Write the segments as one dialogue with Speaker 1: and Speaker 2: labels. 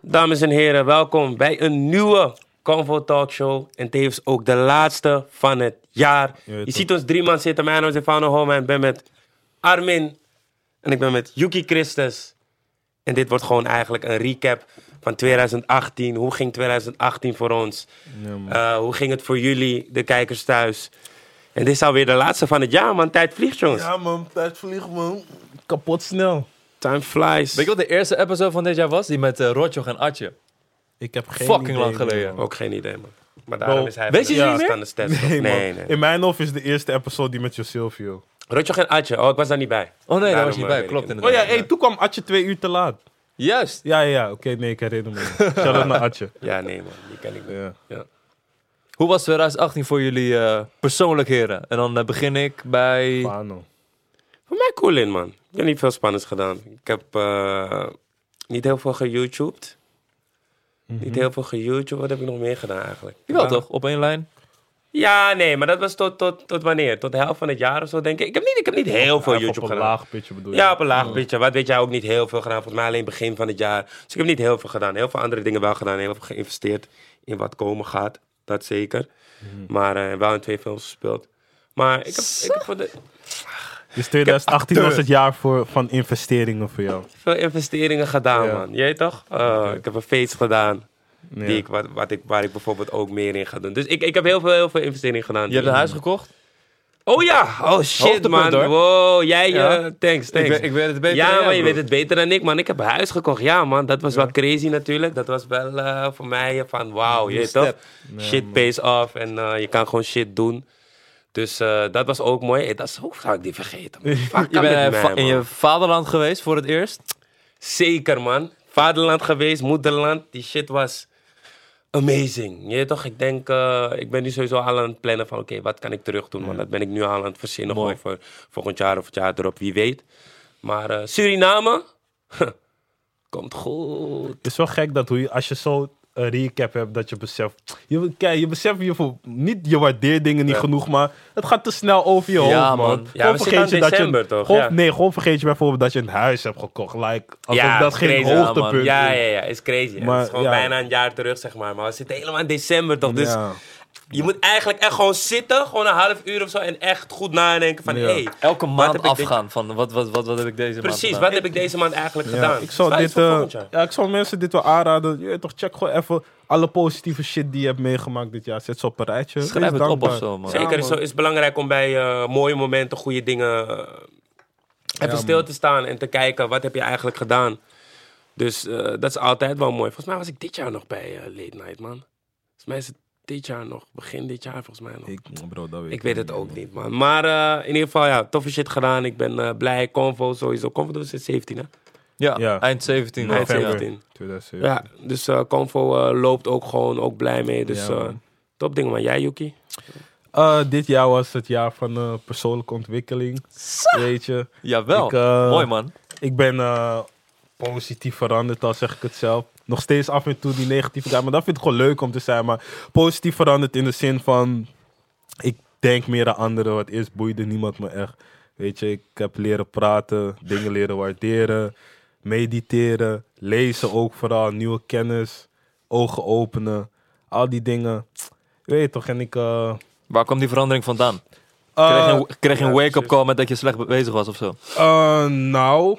Speaker 1: Dames en heren, welkom bij een nieuwe Convo Talk Show. En tevens ook de laatste van het jaar.
Speaker 2: Je weet
Speaker 1: Je
Speaker 2: toch.
Speaker 1: ziet ons drie man zitten. Mijn naam is Stefano Homa en ik ben met Armin. En ik ben met Yuki Christus. En dit wordt gewoon eigenlijk een recap van 2018. Hoe ging 2018 voor ons? Eh, hoe ging het voor jullie, de kijkers thuis? En dit is alweer de laatste van het jaar, man. Tijd vliegt, jongens.
Speaker 2: Ja man, tijd vliegt man. Kapot snel.
Speaker 1: Time flies.
Speaker 3: Weet je wat de eerste episode van dit jaar was? Die met eh Rotjoch en Atje.
Speaker 2: Ik heb geen
Speaker 3: Fucking
Speaker 2: idee,
Speaker 3: lang
Speaker 2: man.
Speaker 3: geleden.
Speaker 1: Ook geen idee, man. Maar daarom
Speaker 2: Bro,
Speaker 1: is hij
Speaker 3: weet je
Speaker 1: van de-
Speaker 3: die niet
Speaker 1: van de stats.
Speaker 2: Nee, man.
Speaker 1: nee, nee.
Speaker 2: In mijn hoofd is de eerste episode die met Josilvio.
Speaker 1: Rotjoch en Atje. Oh, ik was daar niet bij.
Speaker 3: Oh nee, daar
Speaker 1: Daarom,
Speaker 3: was je niet
Speaker 1: eh,
Speaker 3: bij.
Speaker 1: weet
Speaker 3: Klopt
Speaker 1: ik het
Speaker 2: Oh
Speaker 3: inderdaad.
Speaker 2: ja, hey, toen kwam Atje twee uur te laat.
Speaker 3: Juist.
Speaker 2: Ja, ja, ja. Oké, nee, ik herinner me. Shout-out naar Atje.
Speaker 1: Ja, nee, man. Die ken ik niet.
Speaker 2: Ja.
Speaker 1: Ja.
Speaker 3: Hoe was 2018 voor jullie eh, persoonlijk, heren? En dan eh, begin ik bij...
Speaker 2: Pano.
Speaker 1: Voor mij cool in, man. Ik heb niet veel spannends gedaan. Ik heb eh, niet heel veel geYouTubed. Niet heel veel geYouTubed. Wat heb ik nog meer gedaan eigenlijk?
Speaker 3: Mhm. Jawel
Speaker 1: Ja.
Speaker 3: toch? Op één lijn?
Speaker 1: Ja, nee, maar dat was tot, tot, tot wanneer? Tot de helft van het jaar of zo, denk ik. Ik heb niet, ik heb niet heel veel
Speaker 2: Ja,
Speaker 1: YouTube
Speaker 2: Op een
Speaker 1: gedaan.
Speaker 2: laag pitje bedoel je?
Speaker 1: Ja, op een laag pitje. Wat weet jij ook niet heel veel gedaan. Volgens mij alleen begin van het jaar. Dus ik heb niet heel veel gedaan. Heel veel andere dingen wel gedaan. Heel veel geïnvesteerd in wat komen gaat. Dat zeker. Maar eh, wel in twee films gespeeld. Maar ik heb, ik heb voor de,
Speaker 2: Dus 2018 was het jaar voor, van investeringen voor jou.
Speaker 1: veel investeringen gedaan,
Speaker 2: Ja.
Speaker 1: man. Jij toch? Eh, Ik heb een feest gedaan.
Speaker 2: Ja.
Speaker 1: Die ik, wat, wat ik, waar ik bijvoorbeeld ook meer in ga doen. Dus ik, ik heb heel veel, heel veel investeringen gedaan.
Speaker 3: Je hebt een huis gekocht?
Speaker 1: Oh ja! Oh shit,
Speaker 3: Hoogtepunt,
Speaker 1: man.
Speaker 3: hoor.
Speaker 1: Wow, jij...
Speaker 3: Ja.
Speaker 1: eh, thanks,
Speaker 3: Ik,
Speaker 1: thanks.
Speaker 3: weet- ik weet het beter dan
Speaker 1: ja,
Speaker 3: jij,
Speaker 1: maar je
Speaker 3: broer.
Speaker 1: weet het beter dan ik, man. Ik heb een huis gekocht. Ja, man, dat was wel crazy natuurlijk. Dat was wel eh, voor mij eh, van wauw, je
Speaker 3: Nieuwe
Speaker 1: weet toch?
Speaker 3: step.
Speaker 1: shit pays off en eh, je kan gewoon shit doen. Dus eh, dat was ook mooi. Hey, dat is, hoe zou ik die vergeten? man? Fuck,
Speaker 3: Je
Speaker 1: kan nou
Speaker 3: bent
Speaker 1: met mij,
Speaker 3: eh, va-
Speaker 1: man.
Speaker 3: in je vaderland geweest voor het eerst.
Speaker 1: Zeker, man. Vaderland geweest, moederland. Die shit was amazing. Je weet toch, ik denk, eh, ik ben nu sowieso al aan het plannen van, oké, wat kan ik terug doen? Want dat ben ik nu al aan het verzinnen
Speaker 3: Mooi.
Speaker 1: over volgend jaar of het jaar erop, wie weet. Maar eh, Suriname, komt goed.
Speaker 2: Het is wel gek dat hoe je, als je zo een recap hebt, dat je beseft. Je, kijk, je beseft je voor, niet, je waardeert dingen niet
Speaker 1: Ja.
Speaker 2: genoeg, maar het gaat te snel over je
Speaker 3: Ja,
Speaker 2: hoofd,
Speaker 3: man.
Speaker 2: man.
Speaker 3: Ja,
Speaker 1: we zitten aan december,
Speaker 2: je,
Speaker 1: toch?
Speaker 2: Gewoon,
Speaker 1: Ja.
Speaker 2: Nee, gewoon vergeet je bijvoorbeeld dat je een huis hebt gekocht. Like, alsof
Speaker 1: Ja,
Speaker 2: dat geen
Speaker 1: crazy.
Speaker 3: Ja, man.
Speaker 2: hoogtepunt
Speaker 1: Ja,
Speaker 2: is.
Speaker 1: ja, ja, is crazy. hè.
Speaker 2: Maar,
Speaker 1: het is gewoon
Speaker 2: ja.
Speaker 1: bijna een jaar terug, zeg maar. Maar we zitten helemaal in december toch. Dus
Speaker 2: Ja.
Speaker 1: je moet eigenlijk echt gewoon zitten, gewoon een half uur of zo. En echt goed nadenken van,
Speaker 2: Ja.
Speaker 1: hey,
Speaker 3: Elke
Speaker 1: wat
Speaker 3: maand
Speaker 1: heb ik dit-
Speaker 3: afgaan van wat, wat, wat, wat heb ik deze maand
Speaker 1: Precies,
Speaker 3: gedaan?
Speaker 1: wat heb ik deze maand eigenlijk
Speaker 2: Ja,
Speaker 1: gedaan?
Speaker 2: ik, zou
Speaker 1: Sluit
Speaker 2: dit,
Speaker 1: voor
Speaker 2: eh,
Speaker 1: volgend jaar.
Speaker 2: ja, ik zou mensen dit wel aanraden. Je, weet toch, check gewoon even alle positieve shit die je hebt meegemaakt dit jaar. Zet ze op een rijtje.
Speaker 3: Schrijf
Speaker 2: Wees
Speaker 3: het op
Speaker 2: dankbaar.
Speaker 3: of zo, man.
Speaker 1: Zeker, is, zo- is belangrijk om bij eh, mooie momenten, goede dingen eh, even stil te staan en te kijken wat heb je eigenlijk gedaan. Dus eh, dat is altijd wel mooi. Volgens mij was ik dit jaar nog bij eh, Late Night, man. Volgens mij is het dit jaar nog, begin dit jaar volgens mij nog. Ik,
Speaker 2: Ik, bro, dat weet
Speaker 1: weet het ook niet, man. Maar eh, in ieder geval, ja, toffe shit gedaan. Ik ben eh, blij. Convo sowieso. Convo doen we sinds 17, hè?
Speaker 3: Ja, eh,
Speaker 2: Ja.
Speaker 3: eind 17.
Speaker 1: Eind
Speaker 3: ja.
Speaker 1: 17.
Speaker 2: 2007.
Speaker 1: Ja, dus eh Convo eh, loopt ook gewoon, ook blij mee. Dus
Speaker 2: Ja,
Speaker 1: eh,
Speaker 2: man.
Speaker 1: top ding, man. Jij, Yuki?
Speaker 2: Eh, dit jaar was het jaar van eh, persoonlijke ontwikkeling. Weet je.
Speaker 3: Jawel.
Speaker 2: Ik, eh,
Speaker 3: Mooi man.
Speaker 2: Ik ben eh, positief veranderd, al zeg ik het zelf. Nog steeds af en toe die negatieve guy, maar dat vind ik gewoon leuk om te zijn. Maar positief veranderd in de zin van, ik denk meer aan anderen, want eerst boeide niemand me echt. Weet je, ik heb leren praten, dingen leren waarderen, mediteren, lezen ook vooral, nieuwe kennis, ogen openen, al die dingen. Je weet toch, en ik... eh,
Speaker 3: Waar kwam die verandering vandaan?
Speaker 2: eh,
Speaker 3: Kreeg je een, kreeg je een wake-up call met dat je slecht bezig was of zo?
Speaker 2: Eh, nou,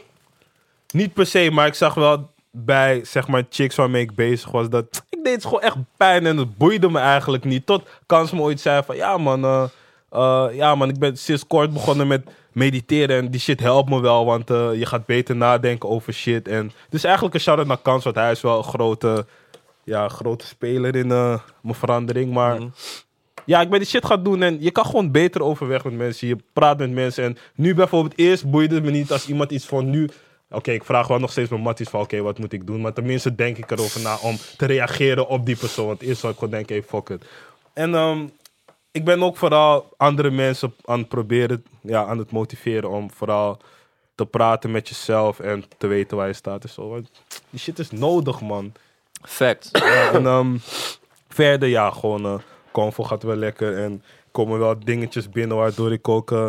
Speaker 2: niet per se, maar ik zag wel bij zeg maar chicks waarmee ik bezig was dat ik deed het gewoon echt pijn en het boeide me eigenlijk niet. Tot Kans me ooit zei van ja man, eh, eh, ja man, ik ben sinds kort begonnen met mediteren en die shit helpt me wel, want eh, je gaat beter nadenken over shit. En dus eigenlijk een shout-out naar Kans, want hij is wel een grote, ja, grote speler in eh, mijn verandering, maar. Ja, ik ben die shit gaan doen en je kan gewoon beter overweg met mensen. Je praat met mensen en nu bijvoorbeeld eerst boeide het me niet als iemand iets van nu... Oké, ik vraag wel nog steeds mijn matties van oké, wat moet ik doen? Maar tenminste denk ik erover na om te reageren op die persoon. Want eerst zou ik gewoon denken, hey, fuck it. En ehm, ik ben ook vooral andere mensen aan het proberen, ja, aan het motiveren om vooral te praten met jezelf en te weten waar je staat en zo. Want die shit is nodig, man.
Speaker 3: Fact.
Speaker 2: Ja, en ehm, verder, ja, gewoon eh Convo gaat wel lekker. En komen wel dingetjes binnen waardoor ik ook eh,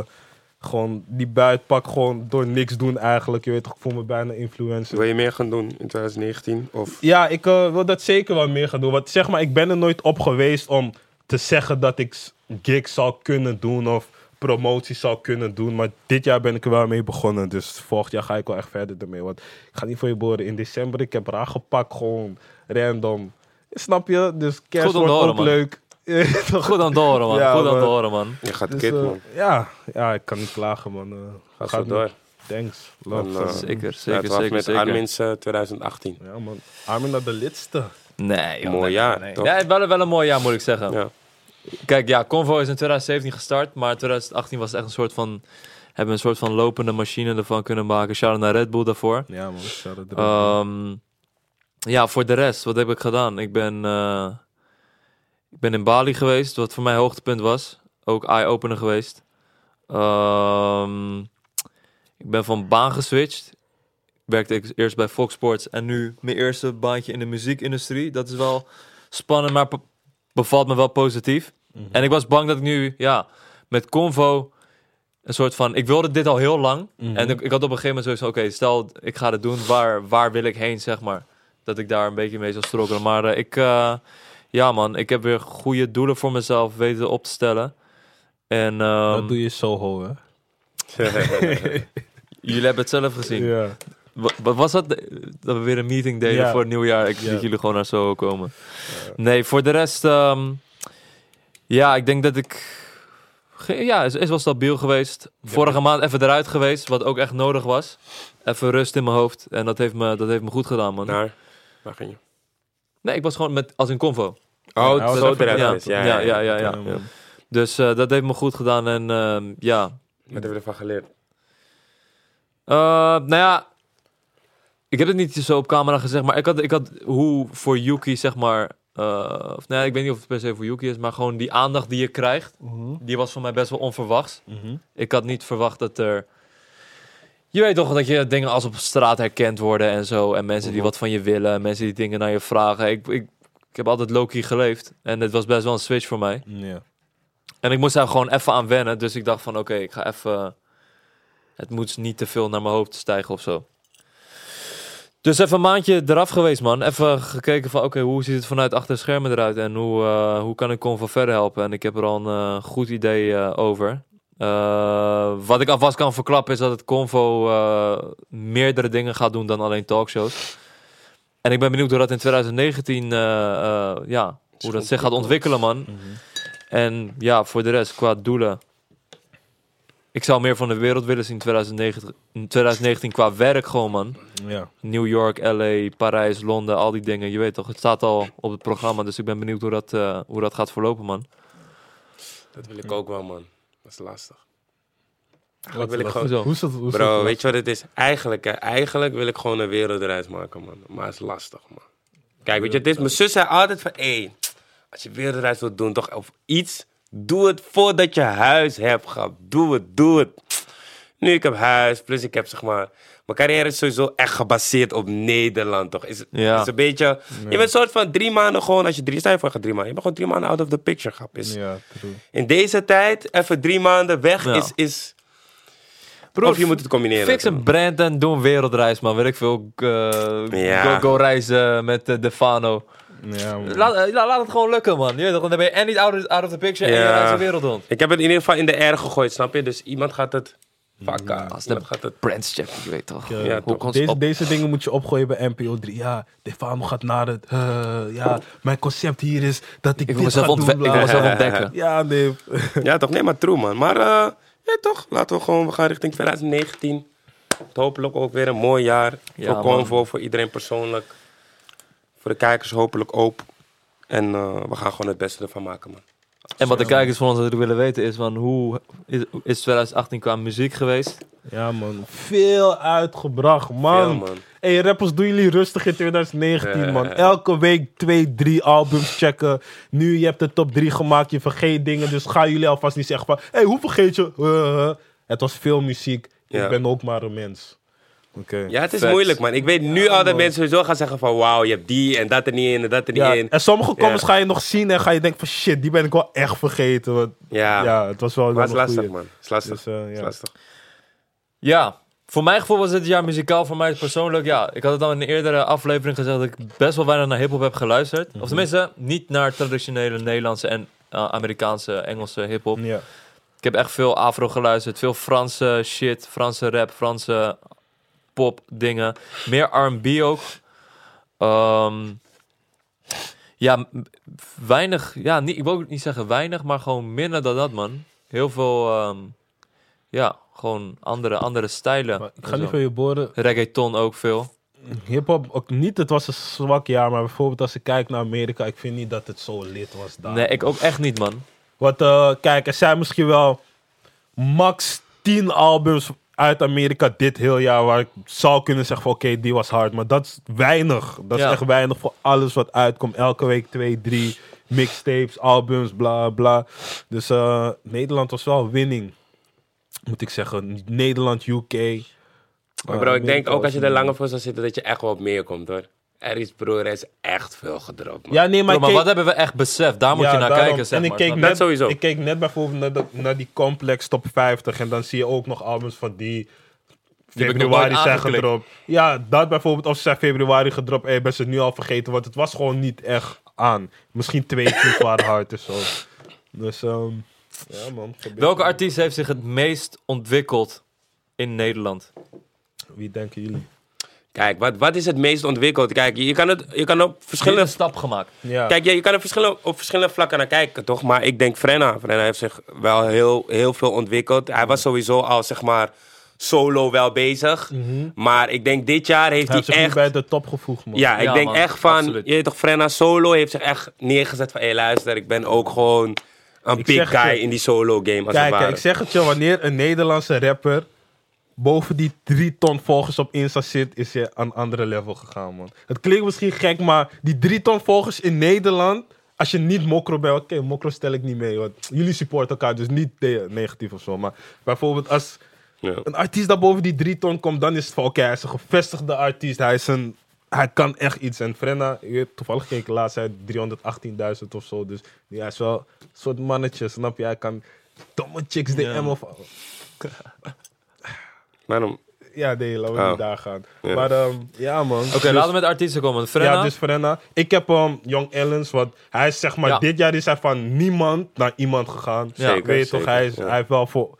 Speaker 2: Gewoon die buitpak, gewoon door niks doen eigenlijk. Je weet toch, ik voel me bijna influencer.
Speaker 1: Wil je meer gaan doen in 2019? Of
Speaker 2: Ja, ik eh, wil dat zeker wel meer gaan doen. Want zeg maar, ik ben er nooit op geweest om te zeggen dat ik s- gigs zou kunnen doen of promoties zou kunnen doen. Maar dit jaar ben ik er wel mee begonnen. Dus volgend jaar ga ik wel echt verder ermee. Want ik ga niet voor je boren. In december, ik heb raar gepakt, gewoon random. Snap je? Dus kerst
Speaker 3: Goed om te
Speaker 2: wordt
Speaker 3: horen,
Speaker 2: ook
Speaker 3: man.
Speaker 2: leuk. Toch?
Speaker 3: Goed aan het horen, man.
Speaker 2: Ja,
Speaker 3: Goed aan
Speaker 2: man.
Speaker 3: het horen, man.
Speaker 1: je gaat
Speaker 2: Dus,
Speaker 1: kid,
Speaker 2: eh,
Speaker 1: man.
Speaker 2: ja, ja, ik kan niet klagen, man. Eh,
Speaker 1: Ga zo
Speaker 2: gaat
Speaker 1: door.
Speaker 2: niet. Thanks. Love.
Speaker 1: Dan, eh,
Speaker 3: Zeker,
Speaker 1: Laten
Speaker 3: zeker,
Speaker 1: we af
Speaker 3: zeker.
Speaker 1: met
Speaker 3: zeker.
Speaker 1: Armin's eh, 2018.
Speaker 2: Ja, man. Armin naar de lidste.
Speaker 3: Nee, joh,
Speaker 1: Mooi
Speaker 3: nee,
Speaker 1: jaar,
Speaker 3: nee.
Speaker 1: toch?
Speaker 3: Ja, het wel, wel een mooi jaar, moet ik zeggen.
Speaker 1: Ja.
Speaker 3: Kijk, ja, Convo is in 2017 gestart, maar in 2018 was het echt een soort van... Hebben we een soort van lopende machine ervan kunnen maken. Shout-out naar Red Bull daarvoor.
Speaker 2: Ja, man. Shout out to
Speaker 3: Ehm, ja, voor de rest, wat heb ik gedaan? Ik ben, eh, ik ben in Bali geweest, wat voor mij hoogtepunt was. Ook eye-opener geweest. Ehm, ik ben van baan geswitcht. Werkte ik eerst bij Fox Sports en nu mijn eerste baantje in de muziekindustrie. Dat is wel spannend, maar be- bevalt me wel positief. En ik was bang dat ik nu, ja, met Convo een soort van... Ik wilde dit al heel lang.
Speaker 2: Mhm.
Speaker 3: En ik, ik had op een gegeven moment zoiets van... Oké, stel ik ga dit doen. Waar, waar wil ik heen, zeg maar? Dat ik daar een beetje mee zou strokkelen. Maar eh, ik... eh, ja, man. Ik heb weer goede doelen voor mezelf weten op te stellen. En ehm,
Speaker 2: Dat doe je Soho, hè?
Speaker 3: jullie hebben het zelf gezien.
Speaker 2: Ja.
Speaker 3: Wa- wa- was dat, dat we weer een meeting deden
Speaker 2: Ja.
Speaker 3: voor het nieuwjaar? Ik
Speaker 2: Ja.
Speaker 3: zie jullie gewoon naar zo komen. Nee, voor de rest... ehm, ja, ik denk dat ik... ge- Ja, is, is wel stabiel geweest. Vorige maand even eruit geweest, wat ook echt nodig was. Even rust in mijn hoofd. En dat heeft me, dat heeft me goed gedaan, man.
Speaker 1: Naar, waar ging je?
Speaker 3: Nee, ik was gewoon met, als een convo.
Speaker 1: Oh,
Speaker 2: hij was
Speaker 1: zo
Speaker 2: ook
Speaker 1: eruit
Speaker 3: ja.
Speaker 1: geweest. Ja, ja,
Speaker 3: Ja,
Speaker 1: ja.
Speaker 3: ja, ja, ja.
Speaker 2: man.
Speaker 3: Dus eh, dat heeft me goed gedaan. En ehm, ja,
Speaker 1: Wat hebben we ervan geleerd?
Speaker 3: Eh, nou ja, ik heb het niet zo op camera gezegd, maar ik had, ik had hoe voor Yuki, zeg maar. eh, of, nou ja, ik weet niet of het per se voor Yuki is, maar gewoon die aandacht die je krijgt,
Speaker 2: Mhm.
Speaker 3: die was voor mij best wel onverwachts. Ik had niet verwacht dat er. Je weet toch dat je dingen als op straat herkend worden en zo. En mensen die wat van je willen, mensen die dingen naar je vragen. Ik, ik, ik heb altijd Loki geleefd en het was best wel een switch voor mij.
Speaker 2: Ja.
Speaker 3: En ik moest daar gewoon even aan wennen. Dus ik dacht van, oké, ik ga even... Het moet niet te veel naar mijn hoofd stijgen of zo. Dus even een maandje eraf geweest, man. Even gekeken van, oké, hoe ziet het vanuit achter de schermen eruit? En hoe, eh, hoe kan ik Convo verder helpen? En ik heb er al een eh, goed idee eh, over. Eh, wat ik alvast kan verklappen is dat het Convo eh, meerdere dingen gaat doen dan alleen talkshows. En ik ben benieuwd hoe dat in 2019, eh, eh, ja, hoe dat zich gaat ontwikkelen, man. En ja, voor de rest, qua doelen. Ik zou meer van de wereld willen zien in 2019, in 2019 qua werk gewoon, man.
Speaker 2: ja.
Speaker 3: New York, LA, Parijs, Londen, al die dingen. Je weet toch, het staat al op het programma. Dus ik ben benieuwd hoe dat, eh, hoe dat gaat verlopen, man.
Speaker 1: Dat wil ik ook wel, man. Dat is lastig.
Speaker 2: Wat
Speaker 1: Eigenlijk wil ik gewoon...
Speaker 3: Hoezo?
Speaker 2: Hoe is dat? Hoe is
Speaker 1: Bro,
Speaker 2: dat?
Speaker 1: weet je wat het is? Eigenlijk, hè, eigenlijk wil ik gewoon een wereld eruit maken, man. Maar het is lastig, man. Kijk, weet je, dit is, mijn zus zei altijd van... Hé, als je wereldreis wilt doen, toch of iets... Doe het voordat je huis hebt, gehad. Doe het, doe het. Nu ik heb huis, plus ik heb zeg maar... Mijn carrière is sowieso echt gebaseerd op Nederland, toch? Is,
Speaker 3: Ja.
Speaker 1: is een beetje... Je bent soort van drie maanden gewoon... Als je drie... Stel je voor, je gaat drie maanden. Je bent gewoon drie maanden out of the picture, grap. Is,
Speaker 2: Ja, true.
Speaker 1: In deze tijd, even drie maanden weg
Speaker 3: Ja.
Speaker 1: is... is of je moet het combineren.
Speaker 3: Fix een brand en doe een wereldreis, man. Weet ik veel. eh,
Speaker 1: Ja.
Speaker 3: go, go reizen met eh, Defano.
Speaker 2: Ja, man.
Speaker 3: Laat, eh, la- laat het gewoon lukken, man. Je weet toch, dan ben je en niet out of, out of the picture en je
Speaker 1: Ja.
Speaker 3: reist de wereld rond.
Speaker 1: Ik heb het in ieder geval in de air gegooid, snap je? Dus iemand gaat het
Speaker 3: Mm,
Speaker 1: vakken. Iemand gaat het...
Speaker 3: Brandscheck, je weet toch.
Speaker 2: Ja,
Speaker 1: Ja,
Speaker 3: Hoe
Speaker 1: toch.
Speaker 3: kon ze
Speaker 2: Eh, Deze,
Speaker 3: op-
Speaker 2: deze dingen moet je opgooien bij NPO 3. Ja, de faam gaat naar het. eh, ja, mijn concept hier is dat ik,
Speaker 3: Ik wil
Speaker 2: dit ga
Speaker 3: mezelf
Speaker 2: doen.
Speaker 3: ontwe- ik
Speaker 2: bla,
Speaker 3: wil
Speaker 2: bla,
Speaker 3: mezelf
Speaker 2: bla.
Speaker 3: ontdekken.
Speaker 2: Ja, nee.
Speaker 1: Ja, toch? Nee, maar true, man. Maar, eh, ja, toch? Laten we gewoon... We gaan richting 2019. Hopelijk ook weer een mooi jaar.
Speaker 3: Ja,
Speaker 1: voor
Speaker 3: man.
Speaker 1: Convo, voor iedereen persoonlijk. Voor de kijkers hopelijk ook. En eh, we gaan gewoon het beste ervan maken, man.
Speaker 3: En wat de kijkers van ons natuurlijk willen weten is van hoe is, is 2018 qua muziek geweest?
Speaker 2: Ja, man. Veel uitgebracht,
Speaker 3: Ehm,
Speaker 2: man.
Speaker 1: Veel, man.
Speaker 2: hey, rappers, doen jullie rustig in 2019,
Speaker 1: Ja.
Speaker 2: man. Elke week twee, drie albums checken. Nu, je hebt de top drie gemaakt, je vergeet dingen. Dus ga jullie alvast niet eh. zeggen van... Hé, hey, hoe vergeet je? Eh, eh. het was veel muziek.
Speaker 1: Ja.
Speaker 2: Ik ben ook maar een mens. Oké.
Speaker 1: Ja, het is
Speaker 3: Facts.
Speaker 1: moeilijk, man. Ik weet nu al dat mensen sowieso gaan zeggen van... Wauw, je hebt die en dat er niet in en dat er niet
Speaker 2: Ja,
Speaker 1: in.
Speaker 2: en sommige comments
Speaker 1: Ja.
Speaker 2: ga je nog zien en ga je denken van shit, die ben ik wel echt vergeten. Want, ja.
Speaker 1: Ja,
Speaker 2: het was wel
Speaker 1: maar
Speaker 2: wel
Speaker 1: het is
Speaker 2: een
Speaker 1: lastig,
Speaker 2: goeie.
Speaker 1: man. Het is lastig.
Speaker 2: Dus, eh,
Speaker 1: Het
Speaker 2: ja.
Speaker 1: is lastig.
Speaker 3: Ja, voor mijn gevoel was dit jaar muzikaal. Voor mij persoonlijk, ja. Ik had het al in een eerdere aflevering gezegd dat ik best wel weinig naar hip-hop heb geluisterd. Of tenminste, niet naar traditionele Nederlandse en eh, Amerikaanse, Engelse hip-hop.
Speaker 2: Ja.
Speaker 3: Ik heb echt veel afro geluisterd. Veel Franse shit, Franse rap, Franse pop dingen. Meer R&B ook. Ehm, ja, m- weinig. Ja, niet, ik wil ook niet zeggen weinig, maar gewoon minder dan dat, man. Heel veel, ehm, ja, gewoon andere, andere stijlen.
Speaker 2: Maar ik
Speaker 3: en
Speaker 2: ga niet
Speaker 3: zo.
Speaker 2: van je boren.
Speaker 3: Reggaeton ook veel.
Speaker 2: Hip-hop ook niet, het was een zwak jaar, maar bijvoorbeeld als ik kijk naar Amerika, ik vind niet dat het zo lid was daar.
Speaker 3: Nee, ik ook echt niet, man.
Speaker 2: Want eh, kijk, er zijn misschien wel max 10 albums uit Amerika dit heel jaar waar ik zou kunnen zeggen van oké, die was hard. Maar dat is weinig. Dat is
Speaker 3: Ja.
Speaker 2: echt weinig voor alles wat uitkomt. Elke week twee, drie mixtapes, albums, bla bla. Dus eh, Nederland was wel winning. Moet ik zeggen. Nederland, UK.
Speaker 1: Maar
Speaker 2: eh,
Speaker 1: bro, ik
Speaker 2: Amerika
Speaker 1: denk ook als
Speaker 2: was
Speaker 1: je er
Speaker 2: winning.
Speaker 1: langer voor zou zitten... dat je echt wel op meer komt, hoor. Er is, broer, er is echt veel gedropt, man.
Speaker 2: Ja, nee, maar,
Speaker 3: Bro, maar
Speaker 2: ik
Speaker 3: wat
Speaker 2: keek-
Speaker 3: hebben we echt beseft? Daar moet
Speaker 2: ja,
Speaker 3: je naar
Speaker 2: daarom.
Speaker 3: kijken, zeg
Speaker 2: en ik
Speaker 3: maar.
Speaker 2: keek
Speaker 3: snap je?
Speaker 2: net,
Speaker 1: Dat sowieso.
Speaker 2: Ik keek net bijvoorbeeld naar, dat- naar die complex top 50 en dan zie je ook nog albums van die
Speaker 3: heb ik nog
Speaker 2: februari
Speaker 3: nooit
Speaker 2: zijn
Speaker 3: aangeklikt.
Speaker 2: gedropt. Ja, dat bijvoorbeeld. Of ze zijn februari gedropt. Hey, ben ze het nu al vergeten, want het was gewoon niet echt aan. Misschien twee tunes waren hard of zo. Dus, ehm, ja man. gebeurt.
Speaker 3: Welke artiest heeft zich het meest ontwikkeld in Nederland?
Speaker 2: Wie denken jullie?
Speaker 1: Kijk, wat, wat is het meest ontwikkeld? Kijk, je kan, het, je kan op verschillende
Speaker 3: Verschillende stap gemaakt.
Speaker 2: Ja.
Speaker 1: Kijk, ja, je kan er verschillen, op verschillende vlakken naar kijken, toch? Maar ik denk Frenna. Frenna heeft zich wel heel, heel veel ontwikkeld. Hij was sowieso al, zeg maar, solo wel bezig. Maar ik denk dit jaar heeft
Speaker 2: Mhm. Hij heeft zich
Speaker 1: hij
Speaker 2: niet
Speaker 1: echt...
Speaker 2: bij de top gevoegd, man.
Speaker 1: Ja, ik
Speaker 3: Ja,
Speaker 1: denk
Speaker 3: man,
Speaker 1: echt van...
Speaker 3: absoluut.
Speaker 1: Je weet toch, Frenna solo heeft zich echt neergezet van... Hé, luister, ik ben ook gewoon een big
Speaker 2: zeg het
Speaker 1: guy
Speaker 2: je.
Speaker 1: in die solo game, als het
Speaker 2: Kijk,
Speaker 1: ware.
Speaker 2: ik zeg het je, wanneer een Nederlandse rapper boven die drie ton volgers op Insta zit, is je aan een andere level gegaan, man. Het klinkt misschien gek, maar die drie ton volgers in Nederland, als je niet mokro bent, oké, mokro stel ik niet mee, want jullie supporten elkaar, dus niet de- negatief of zo. Maar bijvoorbeeld als
Speaker 1: Ja.
Speaker 2: een artiest daar boven die drie ton komt, dan is het van, oké, hij is een gevestigde artiest, hij is een... Hij kan echt iets. En Frenna, je hebt toevallig gekeken laatst, hij had 318.000 of zo. Dus ja, hij is wel een soort mannetje, snap je? Hij kan domme chicks DM of
Speaker 1: Waarom?
Speaker 2: ja, nee, laten we
Speaker 1: Oh.
Speaker 2: niet daar gaan.
Speaker 1: Ja.
Speaker 2: Maar ehm, ja, man.
Speaker 3: Oké, laten we met artiesten komen. Frenna,
Speaker 2: Ja, dus Frenna. Ik heb ehm Young Ellens, want hij is zeg maar,
Speaker 3: Ja.
Speaker 2: dit jaar is hij van niemand naar iemand gegaan.
Speaker 3: Ja.
Speaker 2: Weet je
Speaker 1: Zeker,
Speaker 2: toch, hij, is,
Speaker 1: zeker, ja.
Speaker 2: hij heeft wel voor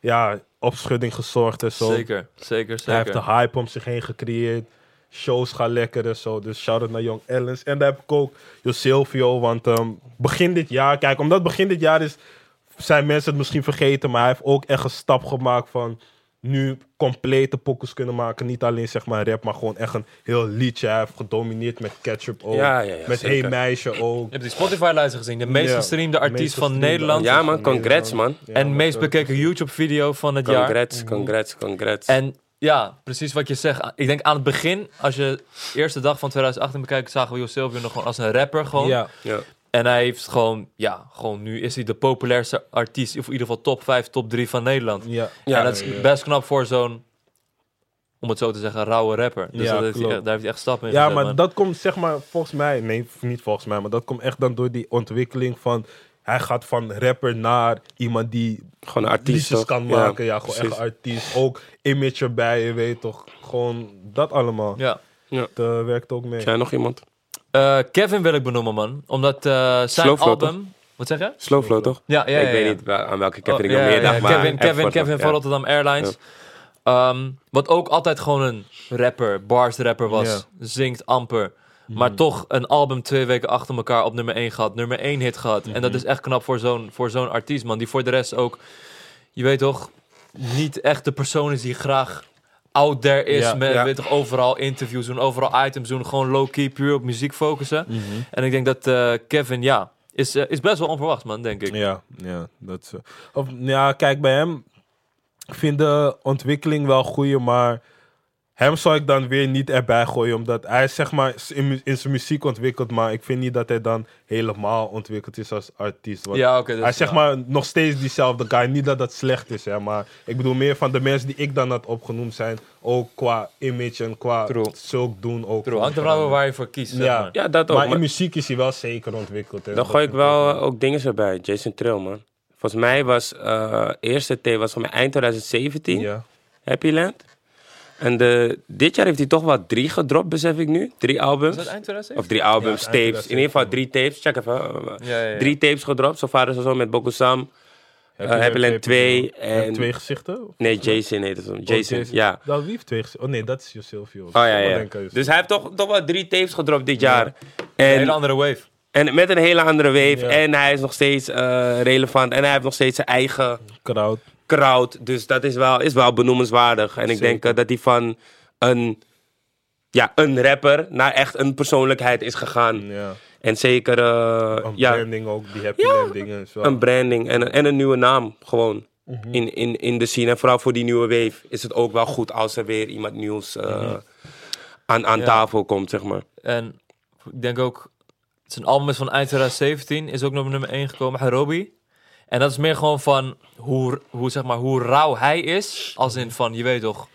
Speaker 2: ja, opschudding gezorgd en zo.
Speaker 3: zeker, zeker,
Speaker 2: Hij heeft
Speaker 3: zeker.
Speaker 2: de hype om zich heen gecreëerd. Shows gaan lekker en zo. Dus shout-out naar Young Ellens. En daar heb ik ook Jo Silvio. Want ehm, begin dit jaar... Kijk, omdat begin dit jaar is... Zijn mensen het misschien vergeten. Maar hij heeft ook echt een stap gemaakt van... Nu complete pokkels kunnen maken. Niet alleen zeg maar rap, maar gewoon echt een heel liedje. Hij heeft gedomineerd met Ketchup ook.
Speaker 1: Ja, ja, ja,
Speaker 2: met
Speaker 1: zeker.
Speaker 2: Hey Meisje ook.
Speaker 3: Je hebt die Spotify-lijst gezien. De meest
Speaker 2: Ja.
Speaker 3: gestreamde artiest
Speaker 2: Meest
Speaker 3: van
Speaker 2: gestreamde
Speaker 3: Nederland.
Speaker 1: Ja, man, congrats, man.
Speaker 3: en
Speaker 2: Ja,
Speaker 3: meest
Speaker 2: dat-
Speaker 3: bekeken YouTube-video van het jaar.
Speaker 1: Congrats, congrats, congrats.
Speaker 3: Mhm. En ja, precies wat je zegt. Ik denk aan het begin, als je de eerste dag van 2018 bekijkt, zagen we Jo Silvio nog gewoon als een rapper. Gewoon.
Speaker 2: Ja.
Speaker 1: Ja.
Speaker 3: En hij heeft gewoon, ja, gewoon nu is hij de populairste artiest. Of in ieder geval top 5, top 3 van Nederland.
Speaker 2: Ja.
Speaker 1: Ja,
Speaker 3: en dat is best knap voor zo'n, om het zo te zeggen, rauwe rapper. Dus
Speaker 2: Ja,
Speaker 3: dat heeft hij
Speaker 2: klopt.
Speaker 3: echt- daar heeft hij echt stappen in
Speaker 2: Ja,
Speaker 3: gezet,
Speaker 2: maar
Speaker 3: man.
Speaker 2: dat komt zeg maar volgens mij, nee, niet volgens mij, maar dat komt echt dan door die ontwikkeling van. Hij gaat van rapper naar iemand die
Speaker 1: Gewoon een artiest,
Speaker 2: liedjes
Speaker 1: toch?
Speaker 2: kan
Speaker 1: Ja,
Speaker 2: maken. Ja, gewoon
Speaker 1: precies.
Speaker 2: echt artiest. Ook image erbij, je weet toch. Gewoon dat allemaal.
Speaker 3: Ja.
Speaker 2: Dat eh, werkt ook mee.
Speaker 1: Zijn nog iemand?
Speaker 3: Eh, Kevin wil ik benoemen, man. Omdat eh, zijn
Speaker 1: Slowflow,
Speaker 3: album... Wat zeg je?
Speaker 1: Slowflow, toch?
Speaker 3: Ja, ja, ja.
Speaker 1: ik weet
Speaker 3: ja.
Speaker 1: niet waar- aan welke
Speaker 3: Oh,
Speaker 1: Kevin ik
Speaker 3: ja,
Speaker 1: nog meer
Speaker 3: ja,
Speaker 1: dacht,
Speaker 3: ja.
Speaker 1: maar...
Speaker 3: Kevin,
Speaker 1: echt
Speaker 3: Kevin,
Speaker 1: kort,
Speaker 3: Kevin
Speaker 1: ja.
Speaker 3: van Rotterdam Airlines. Ehm, wat ook altijd gewoon een rapper, bars rapper was.
Speaker 2: Ja. Mhm.
Speaker 3: Zingt amper. Maar toch een album twee weken achter elkaar op nummer 1 gehad. Nummer 1 hit gehad. En
Speaker 2: Mhm.
Speaker 3: dat is echt knap voor zo'n, voor zo'n artiest, man. Die voor de rest ook, je weet toch, niet echt de persoon is die graag out there is.
Speaker 2: Ja,
Speaker 3: met
Speaker 1: ja.
Speaker 3: Weet toch, overal interviews doen, overal items doen. Gewoon low-key, puur op muziek focussen.
Speaker 2: Mhm.
Speaker 3: En ik denk dat eh, Kevin, ja, is, eh, is best wel onverwacht, man, denk ik.
Speaker 2: Ja, ja, dat is, eh, of, ja, kijk, bij hem, ik vind de ontwikkeling wel goeie, maar Hem zou ik dan weer niet erbij gooien, omdat hij is, zeg maar in, mu- in zijn muziek ontwikkeld, maar ik vind niet dat hij dan helemaal ontwikkeld is als artiest. Want
Speaker 3: Ja, oké. dat
Speaker 2: hij is
Speaker 3: is
Speaker 2: zeg
Speaker 3: waar.
Speaker 2: maar nog steeds diezelfde guy. Niet dat dat slecht is, hè, maar ik bedoel meer van de mensen die ik dan had opgenoemd zijn, ook qua image en qua
Speaker 3: True.
Speaker 2: zulk doen ook.
Speaker 3: True, hangt er wel waar je voor kiest. zeg
Speaker 2: Ja.
Speaker 3: maar.
Speaker 1: Ja, dat ook.
Speaker 2: Maar
Speaker 1: maar-
Speaker 2: in muziek is hij wel zeker ontwikkeld. hè.
Speaker 1: Dan
Speaker 2: Dat
Speaker 1: gooi ik
Speaker 2: vind ook.
Speaker 1: wel eh, ook dingen erbij. Jason Trill, man. Volgens mij was eh eerste T was van mij eind 2017.
Speaker 2: Ja.
Speaker 1: Happy Land. En de, dit jaar heeft hij toch wel drie gedropt, besef ik nu. Drie albums.
Speaker 3: Is dat eind 2007?
Speaker 1: Of drie albums,
Speaker 2: Ja, eind
Speaker 1: tapes. In ieder geval
Speaker 2: 2017.
Speaker 1: drie tapes. Check even. eh,
Speaker 3: Ja, ja, ja.
Speaker 1: Drie tapes gedropt. Zo vader zo met Boko Sam. Eh, Happy Land
Speaker 2: Land
Speaker 1: 2
Speaker 2: en...
Speaker 1: en-
Speaker 2: Twee gezichten? Of-
Speaker 1: Nee, Jason heet het. hem.
Speaker 2: Oh,
Speaker 1: Jason, ja.
Speaker 2: Dat wie heeft twee gezichten? Oh nee, dat is Josilvio.
Speaker 1: Oh ja, ja. Dus hij heeft toch, toch wel drie tapes gedropt dit jaar.
Speaker 3: Een
Speaker 1: En,
Speaker 3: hele andere wave.
Speaker 1: en met een hele andere wave.
Speaker 2: Ja.
Speaker 1: En hij is nog steeds eh, relevant. En hij heeft nog steeds zijn eigen
Speaker 2: Crowd.
Speaker 1: crowd. Dus dat is wel, is wel benoemenswaardig. En ik
Speaker 2: Zeker.
Speaker 1: denk eh, dat hij van een, ja, een rapper naar echt een persoonlijkheid is gegaan.
Speaker 2: Ja.
Speaker 1: En zeker eh,
Speaker 2: Mm. Een
Speaker 1: ja,
Speaker 2: branding ook, die happy land dingen. Is wel...
Speaker 1: een branding en, en een nieuwe naam gewoon.
Speaker 2: Mhm.
Speaker 1: in, in, in de scene. En vooral voor die nieuwe wave is het ook wel goed als er weer iemand nieuws eh,
Speaker 2: Mhm.
Speaker 1: aan, aan
Speaker 3: Ja.
Speaker 1: tafel komt, zeg maar.
Speaker 3: En ik denk ook, zijn album is van eind 2017, is ook nog op nummer 1 gekomen, Harobi. En dat is meer gewoon van hoe, hoe, zeg maar, hoe rauw hij is. Als in van, je weet toch,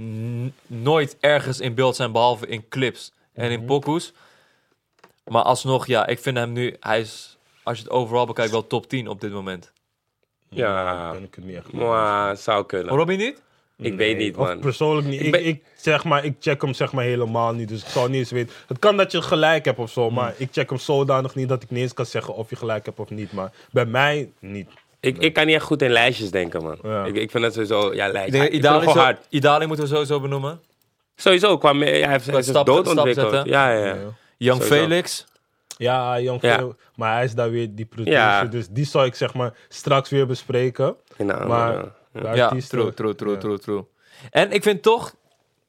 Speaker 3: n- nooit ergens in beeld zijn behalve in clips en in pokoes. Maar alsnog, ja, ik vind hem nu, hij is, als je het overal bekijkt, wel top 10 op dit moment.
Speaker 2: Mhm.
Speaker 1: Ja,
Speaker 2: Ken ik het niet echt.
Speaker 1: maar zou kunnen.
Speaker 3: Robbie niet?
Speaker 1: Ik weet niet,
Speaker 2: Of
Speaker 1: man.
Speaker 2: persoonlijk niet. Ik,
Speaker 1: ben-
Speaker 2: ik, zeg maar, ik check hem zeg maar helemaal niet. Dus ik zal niet eens weten. Het kan dat je gelijk hebt of
Speaker 1: Hmm.
Speaker 2: zo. Maar ik check hem zodanig niet dat ik niet eens kan zeggen of je gelijk hebt of niet. Maar bij mij niet.
Speaker 1: Ik, ik kan niet echt goed in lijstjes denken, man.
Speaker 2: Ja.
Speaker 1: Ik, ik vind dat sowieso, ja, lijstjes.
Speaker 3: Ik
Speaker 1: Ik,
Speaker 3: denk,
Speaker 1: vind het
Speaker 3: Idali,
Speaker 1: gewoon
Speaker 3: zo-
Speaker 1: hard.
Speaker 3: Idali moeten we sowieso benoemen.
Speaker 1: Sowieso, kwam, hij heeft hij is
Speaker 3: stap-
Speaker 1: dood
Speaker 3: stap
Speaker 1: ontwikkeld.
Speaker 3: zetten.
Speaker 1: Ja, ja, ja.
Speaker 2: Ja.
Speaker 3: Young
Speaker 1: Sowieso.
Speaker 3: Felix.
Speaker 2: Ja, Jan
Speaker 1: Ja.
Speaker 2: Veel, Maar hij is daar weer die producer.
Speaker 1: Ja.
Speaker 2: Dus die zal ik zeg maar straks weer bespreken.
Speaker 1: In de andere,
Speaker 2: Maar
Speaker 1: ja.
Speaker 2: de
Speaker 3: Ja,
Speaker 2: artiesten-
Speaker 3: true, true, true,
Speaker 2: Ja.
Speaker 3: true, true. En ik vind toch...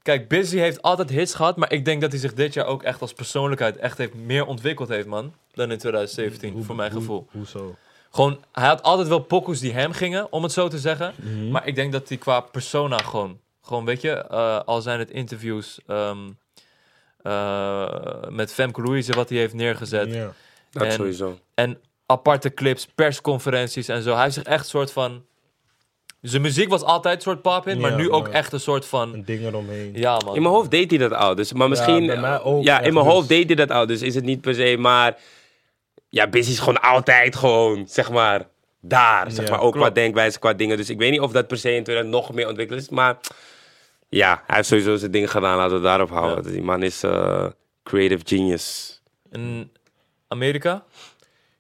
Speaker 3: Kijk, Busy heeft altijd hits gehad, maar ik denk dat hij zich dit jaar ook echt als persoonlijkheid echt heeft meer ontwikkeld heeft, man. Dan in 2017, voor mijn
Speaker 2: Hoe-
Speaker 3: gevoel.
Speaker 2: hoezo?
Speaker 3: Gewoon, hij had altijd wel pokkels die hem gingen, om het zo te zeggen.
Speaker 2: Mhm.
Speaker 3: Maar ik denk dat hij qua persona gewoon, gewoon weet je, eh, al zijn het interviews ehm, eh, met Femke Louise, wat hij heeft neergezet.
Speaker 2: Ja.
Speaker 1: Dat
Speaker 3: En-
Speaker 1: sowieso.
Speaker 3: En aparte clips, persconferenties en zo. Hij heeft zich echt soort van. Zijn muziek was altijd soort pop in, maar
Speaker 2: Ja,
Speaker 3: nu ook
Speaker 2: maar-
Speaker 3: echt een soort van.
Speaker 2: Een ding eromheen.
Speaker 3: Ja, man.
Speaker 1: In mijn hoofd deed hij dat al. Dus, maar misschien.
Speaker 2: bij mij ook
Speaker 1: ja,
Speaker 2: echt,
Speaker 1: in mijn hoofd
Speaker 2: dus-
Speaker 1: deed hij dat al. Dus is het niet per se. Maar. Ja, Busy is gewoon altijd gewoon, zeg maar. Daar. Zeg
Speaker 2: Ja,
Speaker 1: maar ook qua
Speaker 3: klopt.
Speaker 1: denkwijze, qua dingen. Dus ik weet niet of dat per se in 2000 nog meer ontwikkeld is. Maar. Ja, hij heeft sowieso zijn dingen gedaan. Laten we het daarop houden. Die man is. eh, creative genius.
Speaker 3: In Amerika?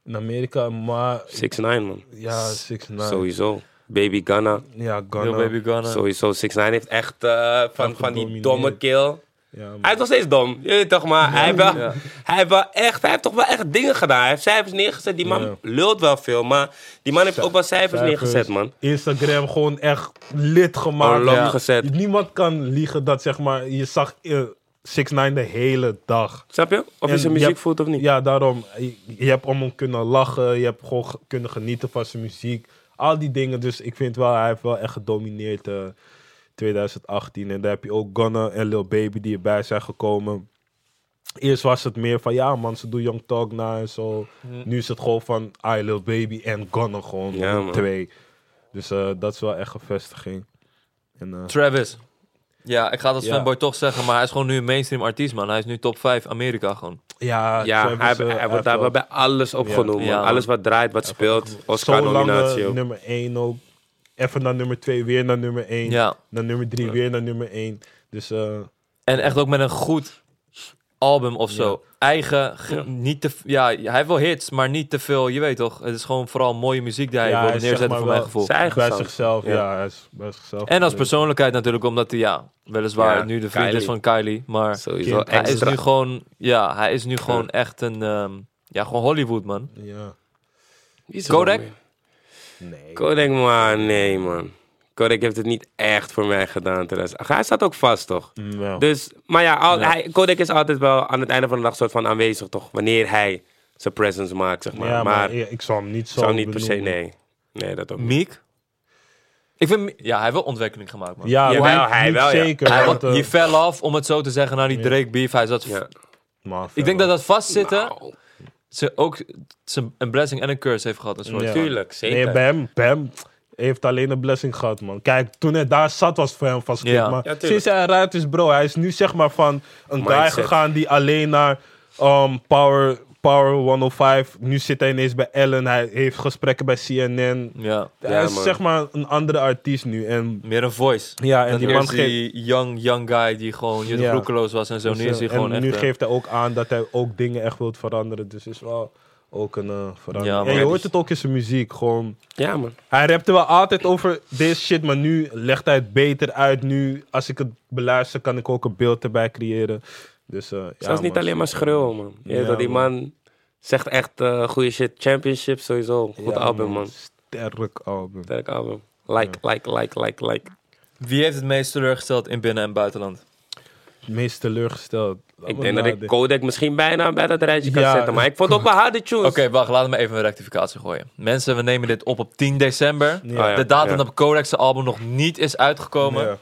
Speaker 2: In Amerika, maar
Speaker 1: 6 9 man.
Speaker 2: ja, 6 9
Speaker 1: Sowieso. Baby Ghana.
Speaker 2: Ja,
Speaker 3: Lil
Speaker 2: Ghana.
Speaker 3: Baby Ghana.
Speaker 1: Sowieso. 6 9 heeft echt. eh, van, van die
Speaker 2: gedomineerd.
Speaker 1: domme kill.
Speaker 2: Ja,
Speaker 1: Hij
Speaker 2: maar-
Speaker 1: is nog steeds dom, je weet toch, maar hij, heeft wel,
Speaker 3: Ja.
Speaker 1: hij, heeft wel echt, hij heeft toch wel echt dingen gedaan. Hij heeft cijfers neergezet. Die man
Speaker 2: Ja.
Speaker 1: lult wel veel, maar die man heeft ook wel cijfers,
Speaker 2: Cijfers,
Speaker 1: neergezet, man.
Speaker 2: Instagram gewoon echt lid gemaakt.
Speaker 1: Online
Speaker 3: Ja.
Speaker 1: gezet.
Speaker 2: Niemand kan liegen dat zeg maar, je zag 6 9 de hele dag.
Speaker 1: Snap je? Of je
Speaker 2: En
Speaker 1: zijn
Speaker 2: je
Speaker 1: muziek
Speaker 2: hebt-
Speaker 1: voelt of niet.
Speaker 2: Ja, daarom. Je, je hebt om hem kunnen lachen. Je hebt gewoon ge- kunnen genieten van zijn muziek. Al die dingen. Dus ik vind wel, hij heeft wel echt gedomineerd eh, 2018. En daar heb je ook Gunna en Lil Baby die erbij zijn gekomen. Eerst was het meer van, ja man, ze doen Young Talk na en zo. Nu is het gewoon van, I Lil Baby en Gunna gewoon.
Speaker 1: Ja,
Speaker 2: die
Speaker 1: man.
Speaker 2: twee. Dus eh, dat is wel echt een vestiging. En, eh,
Speaker 3: Travis. Ja, ik ga dat als
Speaker 2: Ja.
Speaker 3: fanboy toch zeggen, maar hij is gewoon nu een mainstream artiest, man. Hij is nu top 5 Amerika gewoon.
Speaker 2: ja,
Speaker 1: Ja,
Speaker 2: Travis,
Speaker 1: hij,
Speaker 2: eh,
Speaker 1: hij
Speaker 2: heeft
Speaker 1: wordt daar
Speaker 2: wel
Speaker 1: wel bij alles op
Speaker 2: Ja.
Speaker 1: genoemd.
Speaker 3: Ja,
Speaker 1: man.
Speaker 3: man.
Speaker 1: Alles wat draait, wat speelt. Oscar-nominatie
Speaker 2: Zo lang,
Speaker 1: ook.
Speaker 2: eh, nummer 1 ook. Even naar nummer 2, weer naar nummer 1.
Speaker 3: Ja.
Speaker 2: Naar nummer 3, weer naar nummer 1. Dus eh,
Speaker 3: En echt ook met een goed album of zo. Eigen, ge-
Speaker 1: Ja.
Speaker 3: niet te... Ja, hij heeft wel hits, maar niet te veel. Je weet toch, het is gewoon vooral mooie muziek die hij
Speaker 2: Ja,
Speaker 3: wil
Speaker 2: hij is zeg
Speaker 3: neerzetten
Speaker 2: maar
Speaker 3: voor mijn
Speaker 2: wel-
Speaker 3: gevoel.
Speaker 1: Zijn eigen
Speaker 2: bij
Speaker 1: sound.
Speaker 2: zichzelf.
Speaker 1: Ja.
Speaker 2: Ja. hij is bij zichzelf.
Speaker 3: En als persoonlijkheid natuurlijk, omdat hij, ja, weliswaar
Speaker 1: Ja,
Speaker 3: nu de vriend
Speaker 1: Kylie.
Speaker 3: is van Kylie, maar...
Speaker 1: Sowieso
Speaker 2: Kind.
Speaker 3: Hij is
Speaker 1: extra.
Speaker 3: nu gewoon, ja, hij is nu gewoon echt een, ehm, ja, gewoon Hollywood, man.
Speaker 2: Ja.
Speaker 1: Wie is er
Speaker 3: Kodak?
Speaker 1: nog meer?
Speaker 2: Nee.
Speaker 1: Kodak, maar nee, man. Kodak heeft het niet echt voor mij gedaan. terwijl- Ach, Hij staat ook vast, toch?
Speaker 2: Ja.
Speaker 1: Dus, maar ja, al,
Speaker 3: Oh. Ja.
Speaker 1: Hij, Kodak is altijd wel aan het einde van de dag soort van aanwezig, toch? Wanneer hij zijn presence maakt, zeg maar.
Speaker 2: ja, maar,
Speaker 1: maar
Speaker 2: ik ik zou hem niet zo
Speaker 1: zou niet per se,
Speaker 2: benoemen.
Speaker 1: nee. Nee, dat ook niet.
Speaker 3: Meek? Ik vind, ja, hij heeft wel ontwikkeling gemaakt, man.
Speaker 2: Ja,
Speaker 1: Jawel,
Speaker 2: hij,
Speaker 1: hij wel, ja.
Speaker 2: zeker.
Speaker 3: Hij,
Speaker 2: want,
Speaker 3: wa-
Speaker 2: eh,
Speaker 3: je fell af, om het zo te zeggen, naar die
Speaker 2: Ja.
Speaker 3: Drake beef. Hij zat,
Speaker 1: Ja.
Speaker 2: maar
Speaker 3: ik denk dat
Speaker 2: verder.
Speaker 3: dat vastzitten
Speaker 1: Nou,
Speaker 3: ze ook ze een blessing en een curse heeft gehad. Een soort.
Speaker 2: Ja.
Speaker 1: Tuurlijk, zeker.
Speaker 2: Nee, bij hem, bij hem heeft alleen een blessing gehad, man. Kijk, toen hij daar zat was voor hem vast goed,
Speaker 3: Ja.
Speaker 2: maar
Speaker 1: Ja, tuurlijk.
Speaker 2: sinds hij eruit is, bro, hij is nu zeg maar van een guy
Speaker 1: Mindset.
Speaker 2: gegaan die alleen naar um, power, power 105, nu zit hij ineens bij Ellen, hij heeft gesprekken bij CNN.
Speaker 3: Ja.
Speaker 2: hij is
Speaker 1: man.
Speaker 2: zeg maar een andere artiest nu en...
Speaker 3: Meer een voice.
Speaker 2: Ja, en
Speaker 3: Dan
Speaker 2: die
Speaker 3: eerst
Speaker 2: man geeft...
Speaker 3: die young, young guy die gewoon je
Speaker 2: Ja. Dus,
Speaker 3: roekeloos was en zo. Nu is hij
Speaker 2: en
Speaker 3: gewoon echt...
Speaker 2: nu
Speaker 3: eh,
Speaker 2: geeft hij ook aan dat hij ook dingen echt wil veranderen, dus is wel ook een eh,
Speaker 3: Ja,
Speaker 2: verandering.
Speaker 3: man.
Speaker 2: en je hoort het ook in zijn muziek, gewoon...
Speaker 1: Ja, man.
Speaker 2: Hij rapte wel altijd over deze shit, maar nu legt hij het beter uit. Nu, als ik het beluister, kan ik ook een beeld erbij creëren. Dus, eh ja,
Speaker 1: Het is niet
Speaker 2: man.
Speaker 1: alleen maar schreeuwen, man. Je weet
Speaker 2: Ja,
Speaker 1: dat die
Speaker 2: man.
Speaker 1: man, zegt echt eh goede shit. Championship sowieso. Goed
Speaker 2: Ja,
Speaker 1: album, man.
Speaker 2: Sterk album.
Speaker 1: Sterk album. Like, like, like, like, like.
Speaker 3: Wie heeft het meest teleurgesteld in binnen- en buitenland?
Speaker 2: Het meest teleurgesteld. Laat
Speaker 1: Ik
Speaker 2: me
Speaker 1: denk dat ik
Speaker 2: nadenken.
Speaker 1: Kodak misschien bijna bij dat rijtje kan
Speaker 2: Ja,
Speaker 1: zetten. Maar ik vond het ook wel harde tunes.
Speaker 3: Oké, wacht, laten we even een rectificatie gooien. Mensen, we nemen dit op op 10 december.
Speaker 2: Ja.
Speaker 1: Ah, ja.
Speaker 3: De datum
Speaker 1: Ja.
Speaker 3: dat Kodak's album nog niet is uitgekomen.
Speaker 2: Ja.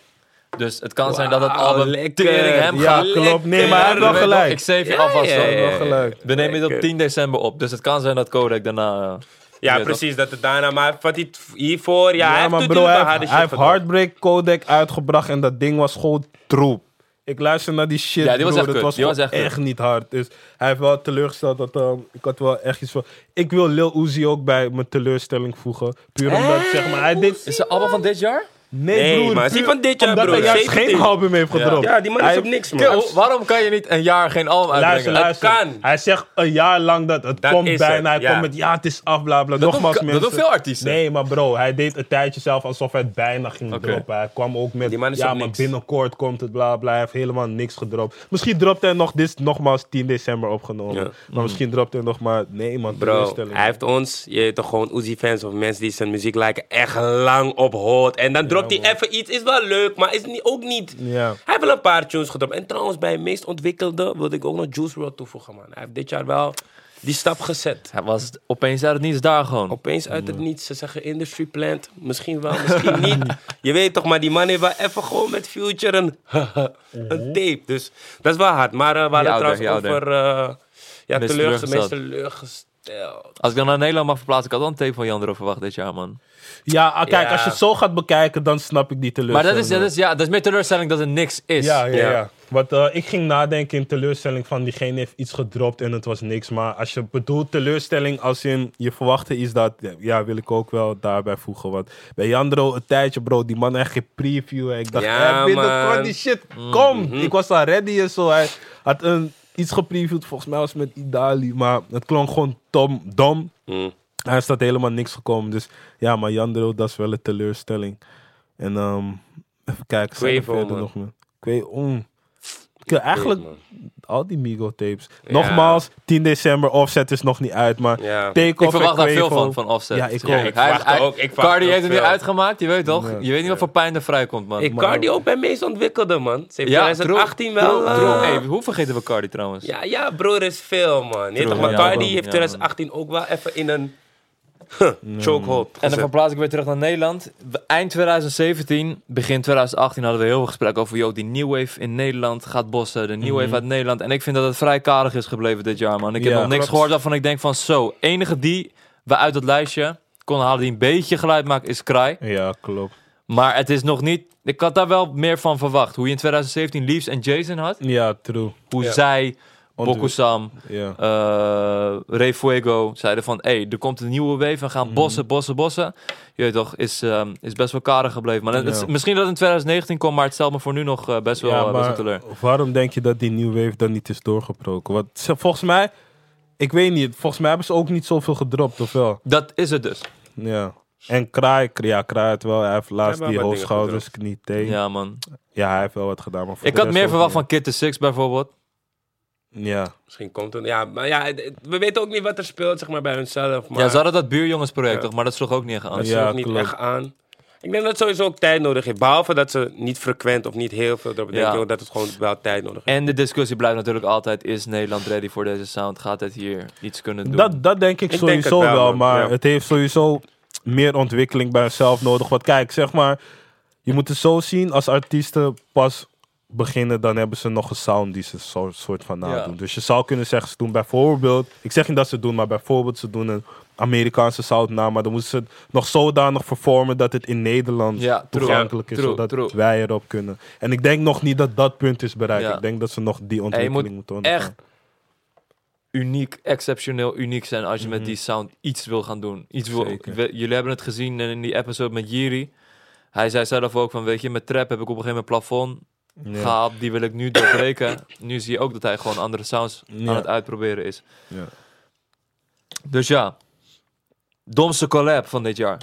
Speaker 3: Dus het kan zijn dat het album
Speaker 1: Wauw,
Speaker 3: tering hem
Speaker 2: Ja,
Speaker 3: gaat.
Speaker 2: klopt. Nee, maar hij heeft
Speaker 3: Je
Speaker 2: wel
Speaker 3: weet
Speaker 2: gelijk.
Speaker 3: nog, Ik save je
Speaker 1: Ja,
Speaker 3: alvast.
Speaker 1: ja,
Speaker 3: hoor.
Speaker 1: ja, ja.
Speaker 2: Wel gelijk.
Speaker 3: We nemen dit op
Speaker 1: Lekker.
Speaker 3: 10 december op. Dus het kan zijn dat Kodak daarna... eh,
Speaker 1: Ja,
Speaker 3: Ja,
Speaker 1: precies, dat het daarna. Maar wat hij t- hiervoor, ja,
Speaker 2: Ja,
Speaker 1: hij heeft
Speaker 2: maar bro,
Speaker 1: natuurlijk
Speaker 2: hij,
Speaker 1: wel harde
Speaker 2: heeft- hij
Speaker 1: shit
Speaker 2: heeft
Speaker 1: gedaan.
Speaker 2: Heartbreak Codec uitgebracht en dat ding was gewoon troep. Ik luister naar die shit,
Speaker 3: Ja, die was
Speaker 2: broer, het
Speaker 3: echt kut.
Speaker 2: was,
Speaker 3: Die was
Speaker 2: gewoon
Speaker 3: echt
Speaker 2: echt,
Speaker 3: kut.
Speaker 2: niet hard. Dus hij heeft wel teleurgesteld. Dat, ehm, ik had wel echt iets van... Ik wil Lil Uzi ook bij mijn teleurstelling voegen. Puur omdat, zeg maar, hij deed...
Speaker 3: Is het album van dit jaar?
Speaker 2: Nee,
Speaker 1: Nee,
Speaker 2: broer,
Speaker 1: maar is die
Speaker 2: puur
Speaker 1: van dit jaar,
Speaker 2: omdat
Speaker 1: broer?
Speaker 2: hij juist
Speaker 1: 17.
Speaker 2: geen album heeft gedropt.
Speaker 1: Ja, die man is
Speaker 2: Hij-
Speaker 1: op niks, man.
Speaker 3: Kijk, hoe- waarom kan je niet een jaar geen album
Speaker 2: Luister,
Speaker 3: uitbrengen?
Speaker 2: luister.
Speaker 1: kan.
Speaker 2: Hij zegt een jaar lang dat het
Speaker 1: Dat
Speaker 2: komt
Speaker 1: is
Speaker 2: bijna.
Speaker 1: het,
Speaker 2: Hij
Speaker 1: ja.
Speaker 2: komt met ja, het is af, bla bla.
Speaker 3: Dat
Speaker 2: Nogmaals,
Speaker 3: doen, dat
Speaker 2: mensen.
Speaker 3: doen veel artiesten.
Speaker 2: Nee, maar bro, hij deed een tijdje zelf alsof hij het bijna ging
Speaker 3: Oké.
Speaker 2: droppen. Hij kwam ook met,
Speaker 1: Die man is
Speaker 2: ja,
Speaker 1: op
Speaker 2: maar
Speaker 1: niks.
Speaker 2: binnenkort komt het, bla bla. Hij heeft helemaal niks gedropt. Misschien dropt hij nog, dit is nogmaals 10 december opgenomen.
Speaker 1: Ja.
Speaker 2: Maar misschien dropt hij nog maar, nee man,
Speaker 1: Bro,
Speaker 2: teleurstelling.
Speaker 1: hij heeft ons, je weet toch gewoon Uzi-fans of mensen die zijn muziek liken, echt lang op hoort. En dan dropt hij even iets, is wel leuk, maar is ni- ook niet.
Speaker 2: Ja.
Speaker 1: Hij heeft wel een paar tunes gedropt. En trouwens, bij meest ontwikkelde wilde ik ook nog Juice WRLD toevoegen, man. Hij heeft dit jaar wel die stap gezet.
Speaker 3: Hij was opeens uit het niets daar gewoon.
Speaker 1: Opeens uit
Speaker 3: Mm.
Speaker 1: het niets, ze zeggen industry plant, misschien wel, misschien niet. Je weet toch, maar die man heeft wel even gewoon met Future een, een tape. Dus dat is wel hard. Maar eh we hadden
Speaker 3: ouder,
Speaker 1: het
Speaker 3: Mhm. die
Speaker 1: trouwens
Speaker 3: ouder.
Speaker 1: over eh ja,
Speaker 3: Meest
Speaker 1: teleurgesteld, meest
Speaker 3: teleurgesteld.
Speaker 1: teleurgesteld.
Speaker 3: Als ik dan naar Nederland mag verplaatsen, ik had wel een tape van Jandro verwacht dit jaar, man.
Speaker 2: Ja, ah, kijk,
Speaker 1: Ja.
Speaker 2: als je het zo gaat bekijken, dan snap ik die
Speaker 3: Maar
Speaker 2: teleurstelling.
Speaker 3: dat is, dat, is, ja, dat is meer teleurstelling dat er niks is.
Speaker 2: Ja, ja, ja.
Speaker 1: Ja.
Speaker 2: Want eh, ik ging nadenken in teleurstelling van diegene heeft iets gedropt en het was niks. Maar als je bedoelt teleurstelling als in je verwachtte iets dat, ja, wil ik ook wel daarbij voegen. Want bij Jandro een tijdje, bro, die man heeft geen preview. hè. Ik dacht,
Speaker 1: Ja,
Speaker 2: ja, binnenkort
Speaker 1: man.
Speaker 2: die shit, kom. Ik was al ready en zo. Hij had een, iets gepreviewd, volgens mij was het met Idali, maar het klonk gewoon tom, dom.
Speaker 1: Hmm.
Speaker 3: Mm.
Speaker 2: Hij staat helemaal niks gekomen. Dus ja, maar Jandro, dat is wel een teleurstelling. En ehm, even kijken, zijn er
Speaker 1: Quavo,
Speaker 2: verder
Speaker 1: man.
Speaker 2: nog meer? Quavo, mm. Ik wil eigenlijk
Speaker 1: man.
Speaker 2: al die Migo-tapes. Nogmaals, 10 december, Offset is nog niet uit, maar
Speaker 1: Ja.
Speaker 2: Take
Speaker 3: Ik
Speaker 2: Off
Speaker 3: verwacht
Speaker 2: en
Speaker 3: daar veel
Speaker 2: Quavo.
Speaker 3: van, van Offset.
Speaker 2: Ja, ik
Speaker 1: Ja,
Speaker 2: ook.
Speaker 1: ik verwacht
Speaker 3: hij-
Speaker 1: ook- ik verwacht
Speaker 3: Cardi
Speaker 1: ook
Speaker 3: heeft hem
Speaker 1: veel.
Speaker 3: weer uitgemaakt, je weet toch?
Speaker 2: Ja.
Speaker 3: Je weet niet wat voor pijn er vrijkomt, man.
Speaker 1: Ik Cardi ook bij meest ontwikkelde, man. Ze heeft
Speaker 3: Ja,
Speaker 1: 2018 wel...
Speaker 3: Bro,
Speaker 1: eh,
Speaker 3: bro, hey, hoe vergeten we Cardi trouwens?
Speaker 1: ja, ja, broer, is veel, man. Je weet toch, maar
Speaker 3: ja,
Speaker 1: Cardi
Speaker 3: man.
Speaker 1: heeft
Speaker 3: Ja,
Speaker 1: 2018 ook wel even in een huh, chokehold
Speaker 3: En dan
Speaker 1: gezet.
Speaker 3: verplaats ik weer terug naar Nederland. Eind 2017, begin 2018 hadden we heel veel gesprekken over... ...joh, die New Wave in Nederland gaat bossen, de New Wave uit Nederland. En ik vind dat het vrij karig is gebleven dit jaar, man. Ik heb
Speaker 2: Ja,
Speaker 3: nog niks
Speaker 2: klopt.
Speaker 3: gehoord waarvan ik denk van... ...zo, enige die we uit dat lijstje konden halen die een beetje geluid maakt, is Kraai.
Speaker 2: Ja, klopt.
Speaker 3: Maar het is nog niet... Ik had daar wel meer van verwacht. Hoe je in 2017 Leaves en Jason had.
Speaker 2: Ja, true.
Speaker 3: Hoe
Speaker 1: Ja.
Speaker 3: zij,
Speaker 2: Ontwikkeld.
Speaker 3: Bokusam,
Speaker 2: Ja.
Speaker 3: eh Ray Fuego zeiden van, hé, hey, er komt een nieuwe wave en
Speaker 2: Mhm.
Speaker 3: gaan bossen, bossen, bossen. Je weet toch, is, ehm, is best wel karig gebleven. Maar het is-
Speaker 2: Ja.
Speaker 3: misschien dat het in 2019 komt, maar het stelt me voor nu nog eh, best wel
Speaker 2: Ja,
Speaker 3: eh, best wel
Speaker 2: maar
Speaker 3: teleur.
Speaker 2: waarom denk je dat die New Wave dan niet is doorgebroken? Want ze- volgens mij, ik weet niet, volgens mij hebben ze ook niet zoveel gedropt, of wel?
Speaker 3: Dat is het dus.
Speaker 2: Ja. En Kraai, ja, Kraai het wel. Hij heeft laatst
Speaker 1: wel
Speaker 2: die
Speaker 1: wat dingen
Speaker 2: hoofdschouders, knie, teen.
Speaker 3: Ja, man.
Speaker 2: Ja, hij heeft wel wat gedaan. Maar voor
Speaker 3: Ik
Speaker 2: de
Speaker 3: had
Speaker 2: rest
Speaker 3: meer
Speaker 2: ook
Speaker 3: verwacht
Speaker 2: niet.
Speaker 3: van Kid the Six bijvoorbeeld.
Speaker 2: Ja,
Speaker 1: Misschien komt het. Ja, maar ja, het- het- we weten ook niet wat er speelt zeg maar, bij hunzelf. Maar
Speaker 3: Ja, ze hadden dat buurjongensproject
Speaker 1: Ja.
Speaker 3: toch, maar dat sloeg ook niet echt aan.
Speaker 1: dat
Speaker 2: Ja,
Speaker 1: is nog niet
Speaker 2: klopt.
Speaker 1: echt aan. Ik denk dat het sowieso ook tijd nodig heeft. Behalve dat ze niet frequent of niet heel veel erop denken,
Speaker 3: Ja.
Speaker 1: joh, dat het gewoon wel tijd nodig heeft.
Speaker 3: En de discussie blijft natuurlijk altijd, is Nederland ready voor deze sound? Gaat het hier iets kunnen doen?
Speaker 2: dat, dat denk ik
Speaker 1: Ik denk
Speaker 2: sowieso
Speaker 1: het
Speaker 2: wel,
Speaker 1: wel, man.
Speaker 2: maar
Speaker 1: Ja.
Speaker 2: het heeft sowieso meer ontwikkeling bij jezelf nodig. Want kijk, zeg maar, je moet het zo zien, als artiesten pas beginnen, dan hebben ze nog een sound die ze zo, soort van nadoen.
Speaker 3: Ja.
Speaker 2: Dus je zou kunnen zeggen, ze doen bijvoorbeeld, ik zeg niet dat ze het doen, maar bijvoorbeeld ze doen een Amerikaanse sound na, maar dan moeten ze het nog zodanig vervormen dat het in Nederland
Speaker 3: Ja, true.
Speaker 2: toegankelijk is,
Speaker 3: True,
Speaker 2: zodat
Speaker 3: true.
Speaker 2: wij erop kunnen. En ik denk nog niet dat dat punt is bereikt.
Speaker 3: Ja.
Speaker 2: Ik denk dat ze nog die
Speaker 3: En je
Speaker 2: ontwikkeling
Speaker 3: moet
Speaker 2: moeten ondergaan.
Speaker 3: echt uniek, exceptioneel uniek zijn als je met die sound iets wil gaan doen. Iets wil,
Speaker 2: Mhm. Zeker.
Speaker 3: we- jullie hebben het gezien in die episode met Jiri. Hij zei zelf ook van, weet je, met trap heb ik op een gegeven moment plafond
Speaker 2: Ja.
Speaker 3: gehaald. Die wil ik nu doorbreken. nu zie je ook dat hij gewoon andere sounds
Speaker 2: Ja.
Speaker 3: aan het uitproberen is.
Speaker 2: Ja.
Speaker 3: Dus ja, domste collab van dit jaar.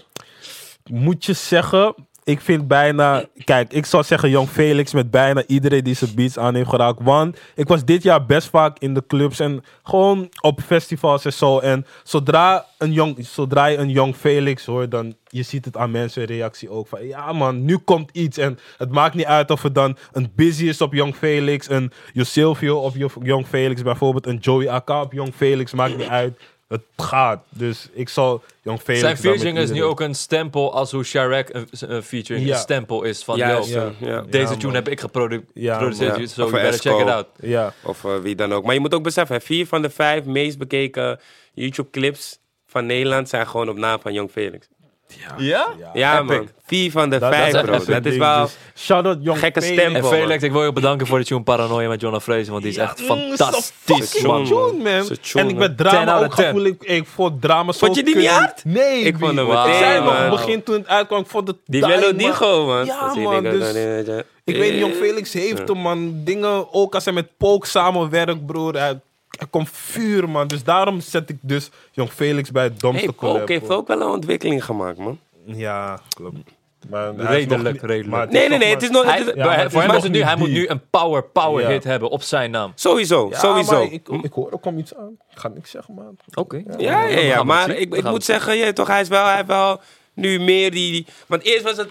Speaker 2: moet je zeggen, ik vind bijna. Kijk, ik zou zeggen Jong Felix met bijna iedereen die zijn beats aan heeft geraakt. Want ik was dit jaar best vaak in de clubs en gewoon op festivals en zo. En zodra, een jong, zodra je een Jong Felix hoort, dan je ziet het aan mensen reactie ook. Van ja, man, nu komt iets. En het maakt niet uit of het dan een Busy is op Jong Felix, een Josilvio op Jo- Jong Felix, bijvoorbeeld een Joey AK op Jong Felix. Maakt niet uit. Het gaat. Dus ik zal Jong Felix.
Speaker 3: Zijn
Speaker 2: dan met
Speaker 3: featuring is nu
Speaker 2: iedereen-
Speaker 3: ook een stempel als hoe Sharek een, een featuring
Speaker 2: Ja.
Speaker 3: een stempel is van,
Speaker 1: Juist,
Speaker 3: yo,
Speaker 1: ja. Ja.
Speaker 3: deze
Speaker 2: Ja,
Speaker 3: tune
Speaker 2: man.
Speaker 3: heb ik geproduceerd, dus
Speaker 2: Ja, man.
Speaker 1: Ja.
Speaker 3: so
Speaker 1: Of
Speaker 3: you better
Speaker 1: Esco.
Speaker 3: check it out.
Speaker 2: Ja.
Speaker 1: Of eh, wie dan ook. Maar je moet ook beseffen, hè, vier van de vijf meest bekeken YouTube-clips van Nederland zijn gewoon op naam van Jong Felix.
Speaker 3: Ja?
Speaker 1: Ja,
Speaker 3: Epic.
Speaker 1: man. Vier van de
Speaker 2: Dat,
Speaker 1: vijf,
Speaker 2: dat,
Speaker 1: bro.
Speaker 2: is
Speaker 1: Dat is wel...
Speaker 2: dus- Shout-out Jong
Speaker 1: gekke
Speaker 2: Felix.
Speaker 1: stem.
Speaker 3: En
Speaker 1: Wel,
Speaker 3: Felix, ik wil je bedanken voor de tune Paranoia met Jonah Fraser, want die is echt
Speaker 2: Mm,
Speaker 3: fantastisch,
Speaker 2: zo'n
Speaker 1: man.
Speaker 2: fucking tune, man.
Speaker 1: Zo'n tune,
Speaker 2: en ik
Speaker 1: man.
Speaker 2: ben
Speaker 3: 10
Speaker 2: drama
Speaker 3: out of
Speaker 2: ook gaan
Speaker 3: 10.
Speaker 2: voelen. Ik, ik vond drama zo
Speaker 1: Vond je die niet
Speaker 2: kut.
Speaker 1: hard?
Speaker 2: Nee,
Speaker 1: Ik vond hem
Speaker 3: Wauw.
Speaker 2: Ik
Speaker 1: meteen,
Speaker 2: zei nog,
Speaker 1: man.
Speaker 2: het begin toen het uitkwam, ik vond het
Speaker 1: Die
Speaker 2: taai,
Speaker 1: Melodigo, man.
Speaker 2: Ja,
Speaker 1: Dat zie ik
Speaker 2: man,
Speaker 1: ook
Speaker 2: dus
Speaker 1: dan, eh, ja.
Speaker 2: Ik weet niet, Jong Felix heeft hem, man. Dingen, ook als hij met Polk samenwerkt, broer. Hij, er komt vuur, man. Dus daarom zet ik dus Jong Felix bij het domste
Speaker 1: Hey,
Speaker 2: collab,
Speaker 1: Polk heeft
Speaker 2: hoor.
Speaker 1: ook wel een ontwikkeling gemaakt, man.
Speaker 2: Ja, klopt. Maar hij is nog
Speaker 3: Redelijk,
Speaker 2: niet-
Speaker 3: redelijk.
Speaker 2: maar het
Speaker 1: Nee,
Speaker 2: is
Speaker 1: nee,
Speaker 2: nog
Speaker 1: nee.
Speaker 2: maar-
Speaker 1: Het is nog...
Speaker 3: Hij,
Speaker 1: het is-
Speaker 2: Ja, maar
Speaker 3: bij-
Speaker 2: het
Speaker 3: voor
Speaker 2: is
Speaker 3: hem
Speaker 2: nog
Speaker 3: is het nu,
Speaker 2: niet
Speaker 3: hij moet
Speaker 2: die.
Speaker 3: nu een power, power
Speaker 2: Ja.
Speaker 3: hit hebben op zijn naam.
Speaker 1: Sowieso,
Speaker 2: Ja,
Speaker 1: sowieso.
Speaker 2: maar ik, ik hoor, er komt iets aan. Ik ga niks zeggen, man.
Speaker 3: Oké.
Speaker 1: Ja, ja, ja. Maar ik, ik moet
Speaker 3: zeggen...
Speaker 1: zeggen, ja, toch, hij is wel, hij heeft wel nu meer die, die- Want eerst was het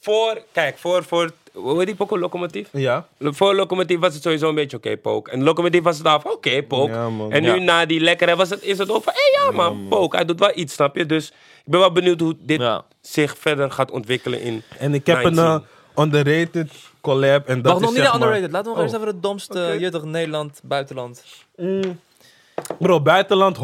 Speaker 1: voor, kijk, voor, voor hoe heet die pokken, locomotief?
Speaker 2: Ja.
Speaker 1: Voor locomotief was het sowieso een beetje oké, Pook. En locomotief was het af, oké, Pook.
Speaker 2: Ja, man.
Speaker 1: en nu
Speaker 3: Ja.
Speaker 1: na die lekkere was het, is het ook van, hé hey, ja, man, Pook. Hij doet wel iets, snap je? Dus ik ben wel benieuwd hoe dit
Speaker 3: Ja.
Speaker 1: zich verder gaat ontwikkelen in.
Speaker 2: En ik heb een
Speaker 1: 19.
Speaker 2: eh, underrated collab. En dat
Speaker 3: Wacht
Speaker 2: is
Speaker 3: nog niet
Speaker 2: zeg
Speaker 3: de
Speaker 2: maar-
Speaker 3: underrated. Laten we nog
Speaker 2: Oh.
Speaker 3: eerst even de domste,
Speaker 2: Oké.
Speaker 3: je toch, Nederland, buitenland.
Speaker 2: Bro, buitenland 100%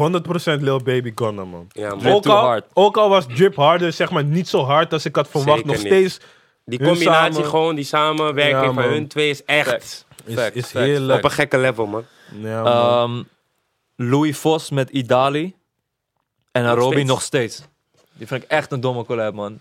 Speaker 2: Lil Baby Gunna, man.
Speaker 1: Ja, man.
Speaker 3: Drip
Speaker 2: ook,
Speaker 3: too
Speaker 2: al,
Speaker 3: hard.
Speaker 2: ook al was Drip Harder zeg maar niet zo hard als ik had verwacht.
Speaker 1: Zeker
Speaker 2: nog
Speaker 1: niet.
Speaker 2: steeds
Speaker 1: Die
Speaker 2: hun
Speaker 1: combinatie
Speaker 2: samen
Speaker 1: gewoon, die samenwerking
Speaker 2: Ja,
Speaker 1: van
Speaker 2: man.
Speaker 1: hun twee is echt
Speaker 3: Facts.
Speaker 2: is,
Speaker 3: Fact,
Speaker 2: is
Speaker 3: fact,
Speaker 2: heel
Speaker 1: op een gekke level, man.
Speaker 2: Ja,
Speaker 1: Oh,
Speaker 2: man.
Speaker 3: Ehm, Louis Vos met Idali. En Arobi
Speaker 1: steeds.
Speaker 3: nog steeds. Die vind ik echt een domme collab, man.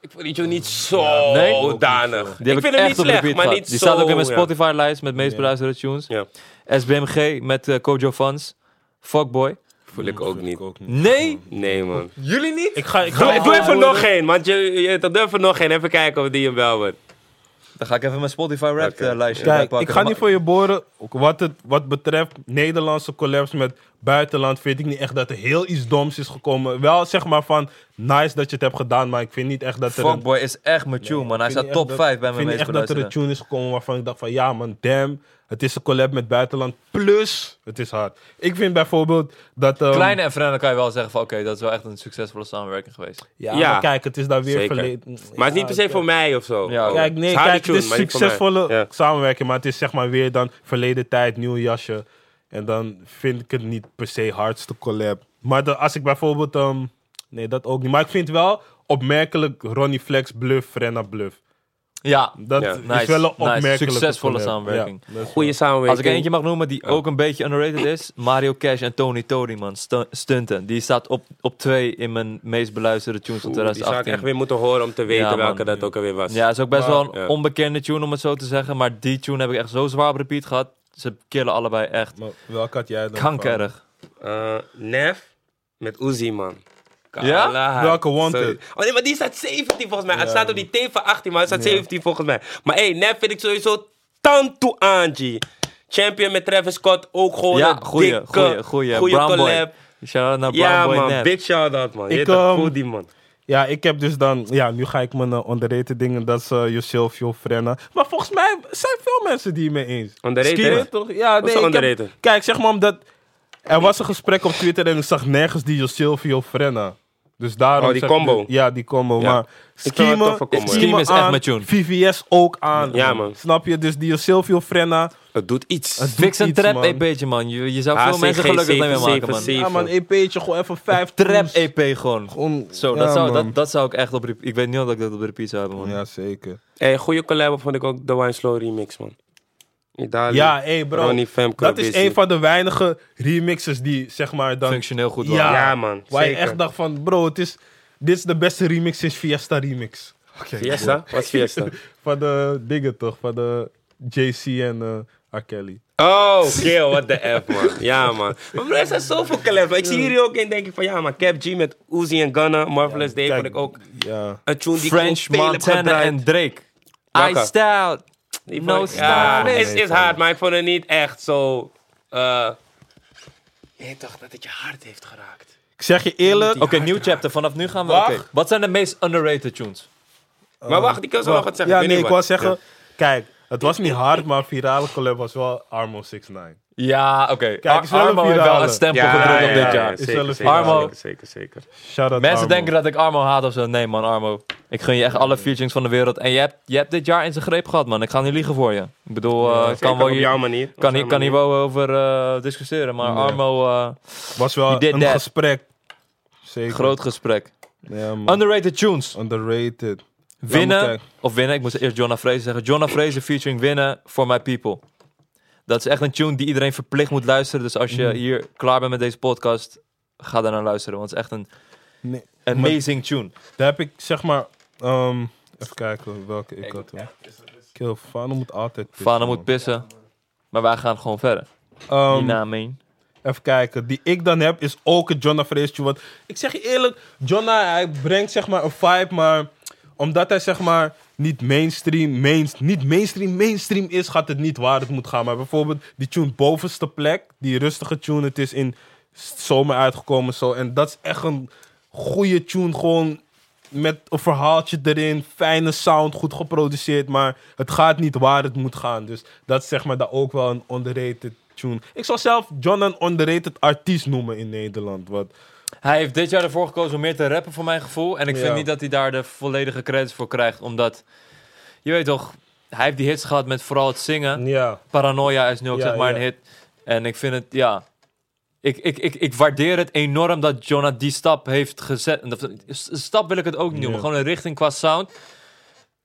Speaker 1: Ik vond die tune niet zo
Speaker 3: nee, ook niet
Speaker 1: danig.
Speaker 3: Die heb
Speaker 1: ik vind hem niet
Speaker 3: repeat
Speaker 1: slecht, maar
Speaker 3: gehad.
Speaker 1: niet
Speaker 3: Die
Speaker 1: zo...
Speaker 3: staat ook in mijn
Speaker 1: ja.
Speaker 3: Spotify-lijst met meest
Speaker 2: Ja.
Speaker 3: beluisterde tunes.
Speaker 1: Ja.
Speaker 3: SBMG met eh, Kojo Fans. Fuckboy.
Speaker 1: Voel ik ook niet.
Speaker 3: Nee,
Speaker 1: Nee, man.
Speaker 3: jullie niet?
Speaker 2: Ik ga, ik ga
Speaker 1: Doe, doe even
Speaker 2: houden.
Speaker 1: nog één, want je, je, dat durf er nog één. Even kijken of die hem wel wordt.
Speaker 3: Dan ga ik even mijn Spotify rap
Speaker 1: Oké.
Speaker 3: eh, lijstje
Speaker 2: Kijk,
Speaker 3: bijpakken.
Speaker 2: ik ga niet
Speaker 3: Maar-
Speaker 2: voor je boren. Ook Wat, het, wat betreft Nederlandse collabs met buitenland, vind ik niet echt dat er heel iets doms is gekomen. Wel zeg maar van nice dat je het hebt gedaan, maar ik vind niet echt dat er. een-
Speaker 3: Fuckboy is echt mijn tune, man. Hij
Speaker 2: Ik vind
Speaker 3: staat
Speaker 2: niet
Speaker 3: top
Speaker 2: echt dat-
Speaker 3: 5 bij mijn
Speaker 2: Ik
Speaker 3: meest
Speaker 2: vind niet echt dat er
Speaker 3: beluisterde.
Speaker 2: een tune is gekomen waarvan ik dacht van ja man, damn. Het is een collab met buitenland. Plus, het is hard. Ik vind bijvoorbeeld dat... ehm,
Speaker 3: Kleine en Frenna kan je wel zeggen van... Oké, dat is wel echt een succesvolle samenwerking geweest.
Speaker 2: Ja,
Speaker 1: Ja.
Speaker 2: maar kijk, het is daar weer
Speaker 1: Zeker.
Speaker 2: verleden.
Speaker 1: Maar het is
Speaker 2: Ja,
Speaker 1: niet per se
Speaker 2: kijk.
Speaker 1: voor mij of zo.
Speaker 3: Ja,
Speaker 1: Oh.
Speaker 2: Kijk, nee,
Speaker 1: is haar
Speaker 2: kijk,
Speaker 1: die
Speaker 2: het is
Speaker 1: tune, maar niet voor mij.
Speaker 2: succesvolle
Speaker 1: Ja.
Speaker 2: samenwerking, maar het is zeg maar weer dan verleden tijd, nieuw jasje. En dan vind ik het niet per se hardste collab. Maar de- als ik bijvoorbeeld... ehm, nee, dat ook niet. Maar ik vind wel opmerkelijk Ronnie Flex bluff, Frenna bluff.
Speaker 3: Ja,
Speaker 2: Dat
Speaker 1: Ja.
Speaker 2: is
Speaker 3: Nice,
Speaker 2: wel een
Speaker 3: nice.
Speaker 2: opmerkelijke
Speaker 3: Succesvolle
Speaker 2: collab.
Speaker 3: samenwerking.
Speaker 2: Ja, dat is
Speaker 1: Goeie samenwerking.
Speaker 3: Als ik eentje mag noemen die ook een beetje underrated is, Mario Cash en Tony Tony, man. Stu- Stunten. Die staat op, op twee in mijn meest beluisterde tunes van
Speaker 1: Oeh, Die zou ik
Speaker 3: 2018.
Speaker 1: echt weer moeten horen om te weten
Speaker 3: Ja,
Speaker 1: welke
Speaker 3: man.
Speaker 1: dat ook alweer was.
Speaker 3: Ja, is ook best wel een
Speaker 1: Ja.
Speaker 3: onbekende tune om het zo te zeggen, maar die tune heb ik echt zo zwaar op repeat gehad. Ze killen allebei echt
Speaker 2: Maar welke had jij dan?
Speaker 3: kankerig.
Speaker 1: Eh, Nef met Uzi, man.
Speaker 3: Ja?
Speaker 1: Kalahari.
Speaker 2: Welke Wanted?
Speaker 1: Sorry. Oh nee, maar die staat 17 volgens mij.
Speaker 2: Ja,
Speaker 1: het staat op die T van 18, maar het staat 17 volgens mij. Maar hé, hey, Nef vind ik sowieso tanto Angie. Champion met Travis Scott ook gewoon
Speaker 3: Ja,
Speaker 1: een
Speaker 3: goeie,
Speaker 1: dikke,
Speaker 3: goeie, goeie.
Speaker 1: goeie
Speaker 3: Brown
Speaker 1: collab.
Speaker 3: Boy. Shout-out naar Brown
Speaker 1: Ja
Speaker 3: Boy
Speaker 1: man,
Speaker 3: Nat.
Speaker 1: big shout-out man.
Speaker 2: Ik,
Speaker 1: Ik um,
Speaker 2: ehm,
Speaker 1: voel die man.
Speaker 2: Ja, ik heb dus dan... Ja, nu ga ik mijn eh, underrated dingen. Dat is eh Yourself, Yo Frenna. Maar volgens mij zijn veel mensen die mee eens.
Speaker 1: Underrated?
Speaker 2: Skinny, toch? Ja,
Speaker 1: Wat is
Speaker 2: nee. Ik heb,
Speaker 1: underrated?
Speaker 2: kijk, zeg maar omdat... Er was een gesprek op Twitter en ik zag nergens die Yourself, Yo Frenna. Dus daarom
Speaker 1: Oh, die
Speaker 2: zeg ik
Speaker 1: combo.
Speaker 2: dit- ja, die combo.
Speaker 1: Ja.
Speaker 2: Maar
Speaker 1: vind het een
Speaker 2: Schiemen,
Speaker 1: toffe combo, ja.
Speaker 3: Schiemen is echt
Speaker 2: aan,
Speaker 3: mijn tune.
Speaker 2: VVS ook aan.
Speaker 1: Ja, man.
Speaker 2: Snap je? Dus die Silvio Frenna.
Speaker 1: Het doet iets.
Speaker 2: Het doet
Speaker 3: Fix een
Speaker 2: iets,
Speaker 3: trap
Speaker 2: man.
Speaker 3: EP'tje, man. Ah, Je, je zou veel
Speaker 1: HCG
Speaker 3: mensen gelukkig mee maken, man.
Speaker 1: 77.
Speaker 2: Ja, man, EP'tje, gewoon even vijf
Speaker 3: Trap
Speaker 2: tunes.
Speaker 3: EP gewoon.
Speaker 2: Gewoon-
Speaker 3: Zo,
Speaker 2: ja,
Speaker 3: dat, zou,
Speaker 2: man.
Speaker 3: dat, dat zou ik echt op repeat... Ik weet niet of ik dat op repeat zou hebben, man.
Speaker 2: Ja, zeker.
Speaker 1: Hey, goede collab vond ik ook de Wine Slow remix, man. Idali,
Speaker 2: Ja, hey, bro.
Speaker 1: Ronnie Femke,
Speaker 2: Dat is
Speaker 1: Busy.
Speaker 2: een van de weinige remixes die, zeg maar, dan...
Speaker 3: Functioneel goed,
Speaker 2: Ja,
Speaker 3: ja.
Speaker 1: Ja, man,
Speaker 2: Waar je
Speaker 1: zeker.
Speaker 2: echt dacht van, bro, het is, dit is de beste remix sinds Fiesta Remix.
Speaker 1: Fiesta? Wat is Fiesta?
Speaker 2: Van de dingen toch, van de JC en eh R. Kelly.
Speaker 1: Oh, kill, what the F, man. Ja, man. Maar bro, er zijn zoveel collabs. Ik zie hier ook in, denk ik van, ja, maar Cap G met Uzi en Gunna,
Speaker 3: Dus
Speaker 1: Marvelous Day vond
Speaker 2: Kijk,
Speaker 1: ik ook
Speaker 2: Ja.
Speaker 1: een tune die ik
Speaker 3: French,
Speaker 1: gewoon veel heb
Speaker 3: Montana
Speaker 1: gedraaid.
Speaker 3: en Drake.
Speaker 1: Welke?
Speaker 3: Iced out.
Speaker 1: Die
Speaker 3: No
Speaker 1: vond ik- ja,
Speaker 3: style.
Speaker 1: is, is hard, maar ik vond het niet echt zo... eh je dacht dat het je hart heeft geraakt.
Speaker 2: Ik zeg je eerlijk,
Speaker 3: Oké, nieuw chapter. Vanaf nu gaan we...
Speaker 2: Wacht.
Speaker 3: oké. Wat zijn de meest underrated tunes? Oh.
Speaker 1: maar wacht, ik kan zo nog wat zeggen.
Speaker 2: Ja,
Speaker 1: weet
Speaker 2: nee,
Speaker 1: niet
Speaker 2: ik
Speaker 1: wat.
Speaker 2: wou zeggen, kijk, het was niet hard, maar virale collab was wel Armo 69.
Speaker 3: Ja, oké.
Speaker 2: Kijk,
Speaker 3: Ar-
Speaker 2: het is wel een
Speaker 3: Armo heeft wel
Speaker 2: virale.
Speaker 3: een stempel
Speaker 1: Ja,
Speaker 3: gedrukt
Speaker 1: ja,
Speaker 3: op
Speaker 1: ja,
Speaker 3: dit
Speaker 1: ja,
Speaker 3: jaar.
Speaker 2: Is
Speaker 1: zeker,
Speaker 2: wel een
Speaker 1: zeker,
Speaker 3: Armo. Eh,
Speaker 1: zeker, zeker, zeker.
Speaker 2: Shout out
Speaker 3: Mensen
Speaker 2: Armo.
Speaker 3: denken dat ik Armo haat of zo. Nee man, Armo. Ik gun je echt alle featurings van de wereld. En je hebt, je hebt dit jaar in zijn greep gehad, man. Ik ga niet liegen voor je. Ik bedoel, eh,
Speaker 1: Zeker
Speaker 3: kan wel
Speaker 1: op
Speaker 3: hier...
Speaker 1: jouw manier. op
Speaker 3: Kan,
Speaker 1: zijn
Speaker 3: hier- kan hier
Speaker 1: manier.
Speaker 3: wel over eh, discussiëren, maar Armo, eh,
Speaker 2: was
Speaker 3: You
Speaker 2: wel
Speaker 3: did
Speaker 2: een
Speaker 3: that.
Speaker 2: gesprek. Zeker.
Speaker 3: groot gesprek.
Speaker 2: Ja, man.
Speaker 3: Underrated tunes.
Speaker 2: Underrated. Ja,
Speaker 3: Winnen,
Speaker 2: moet ik-
Speaker 3: of winnen, ik moest eerst Jonna Fraser zeggen. Jonna Fraser featuring Winnen for My People. Dat is echt een tune die iedereen verplicht moet luisteren. Dus als je
Speaker 2: Mhm.
Speaker 3: hier klaar bent met deze podcast, ga daar naar luisteren. Want het is echt een
Speaker 2: Nee.
Speaker 3: amazing tune.
Speaker 2: Daar heb ik zeg maar. ehm, even kijken welke ik had. hoor. Kill, Fano moet altijd. pissen,
Speaker 3: Fana
Speaker 2: man.
Speaker 3: moet pissen, maar wij gaan gewoon verder.
Speaker 2: Ehm,
Speaker 3: Hierna, meen.
Speaker 2: even kijken. Die ik dan heb is ook een Jonna Fraser. Want ik zeg je eerlijk, Jonna hij brengt zeg maar een vibe, maar omdat hij zeg maar niet mainstream, mains- niet mainstream, mainstream is, gaat het niet waar het moet gaan. Maar bijvoorbeeld die tune bovenste plek, die rustige tune, het is in zomer uitgekomen zo. En dat is echt een goede tune, gewoon met een verhaaltje erin, fijne sound, goed geproduceerd, maar het gaat niet waar het moet gaan. Dus dat is zeg maar daar ook wel een underrated tune. Ik zou zelf John een underrated artiest noemen in Nederland. Wat,
Speaker 3: Hij heeft dit jaar ervoor gekozen om meer te rappen, voor mijn gevoel. En ik vind
Speaker 2: Ja.
Speaker 3: niet dat hij daar de volledige credits voor krijgt. Omdat, je weet toch, hij heeft die hits gehad met vooral het zingen.
Speaker 2: ja,
Speaker 3: Paranoia is nu ook
Speaker 2: Mm. Ja,
Speaker 3: zeg maar
Speaker 2: ja.
Speaker 3: een hit. En ik vind het, ja... Ik, ik, ik, ik waardeer het enorm dat Jonah die stap heeft gezet. En dat- s- Stap wil ik het ook niet noemen.
Speaker 2: Ja.
Speaker 3: Gewoon een richting qua sound.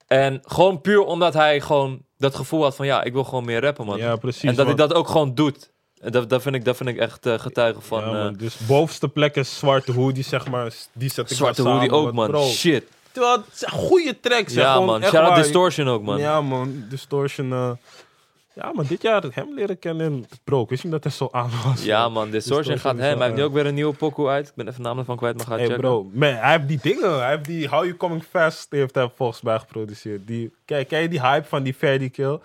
Speaker 3: En gewoon puur omdat hij gewoon dat gevoel had van... Ja, ik wil gewoon meer rappen, man.
Speaker 2: ja, precies.
Speaker 3: en dat hij
Speaker 2: man.
Speaker 3: dat ook gewoon doet. En dat, dat, vind, ik, dat vind ik echt eh, getuige van...
Speaker 2: Ja,
Speaker 3: eh,
Speaker 2: man, dus bovenste plek is Zwarte Hoodie, zeg maar. Die zet ik
Speaker 3: Zwarte
Speaker 2: maar
Speaker 3: hoodie
Speaker 2: samen,
Speaker 3: ook,
Speaker 2: want
Speaker 3: man.
Speaker 2: bro,
Speaker 3: Shit.
Speaker 2: terwijl het zijn goede tracks. hè,
Speaker 3: Ja,
Speaker 2: gewoon
Speaker 3: man.
Speaker 2: echt
Speaker 3: Shout-out
Speaker 2: waar.
Speaker 3: Distortion ook, man.
Speaker 2: Ja, man. Distortion. eh, ja, maar dit jaar hem leren kennen. en- Bro, ik wist niet dat hij zo aan was.
Speaker 3: Ja, man. Distortion
Speaker 2: Distortion
Speaker 3: gaat
Speaker 2: is
Speaker 3: hem.
Speaker 2: wel
Speaker 3: Hij heeft nu
Speaker 2: erg.
Speaker 3: ook weer een nieuwe pokoe uit. Ik ben even namen van kwijt, maar ga
Speaker 2: Hey
Speaker 3: checken.
Speaker 2: bro, man, hij heeft die dingen, hij heeft die How You Coming Fast heeft hij volgens mij geproduceerd. Die, kijk, ken je die hype van die Ferdy Kill?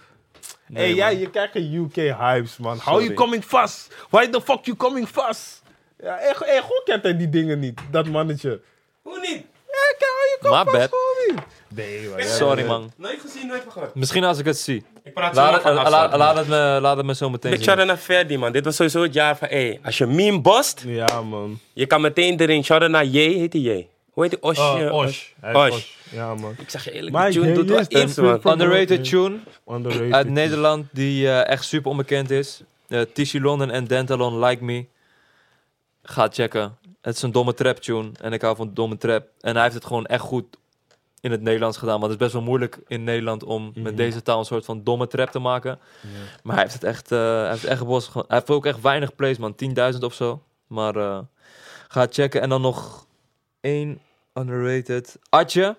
Speaker 3: Nee,
Speaker 2: hey,
Speaker 3: man.
Speaker 2: jij, je kijkt geen UK hypes, man. How You
Speaker 3: Sorry.
Speaker 2: Coming Fast? Why the fuck You Coming Fast? Ja, hey, go- hey, goed kent hij die dingen niet, dat mannetje.
Speaker 1: Hoe niet?
Speaker 2: Ja, kijk, How You
Speaker 3: My
Speaker 2: Coming
Speaker 3: bad.
Speaker 2: Fast gewoon niet. Nee, man. ja,
Speaker 3: Sorry,
Speaker 2: ja,
Speaker 3: man.
Speaker 1: Nooit gezien, nooit van gehoord.
Speaker 3: Misschien als ik het zie.
Speaker 1: Ik praat zo
Speaker 3: Laat
Speaker 1: lang
Speaker 3: het,
Speaker 1: van
Speaker 3: eh, laat,
Speaker 1: afstand.
Speaker 3: laat het me, laat het me zo meteen
Speaker 1: Big
Speaker 3: zien.
Speaker 1: shout-out naar Ferdi, man. Dit was sowieso het jaar van, hé, als je meme bost,
Speaker 2: ja. Ja, man.
Speaker 1: je kan meteen erin. Shout-out naar J, heet die J? Hoe heet die? Osh?
Speaker 2: Oh,
Speaker 1: eh,
Speaker 2: Osh. Hij is
Speaker 1: Osh.
Speaker 2: Osh. Ja, man.
Speaker 1: Ik zeg je eerlijk,
Speaker 2: Maar
Speaker 1: die tune
Speaker 2: J
Speaker 1: doet wel
Speaker 2: is dat
Speaker 1: iets, man.
Speaker 2: veel-
Speaker 3: Underrated tune
Speaker 2: Underrated.
Speaker 3: uit Nederland die eh, echt super onbekend is. Eh Tishi London en Dentalon Like Me. Ga checken. Het is een domme trap tune. En ik hou van domme trap. En hij heeft het gewoon echt goed in het Nederlands gedaan. Want het is best wel moeilijk in Nederland om met deze taal een soort van domme trap te maken. Maar hij heeft het echt, eh hij heeft het echt gebost. Hij heeft ook echt weinig plays, man. 10.000 of zo. Maar eh, ga checken. En dan nog één underrated. Atje.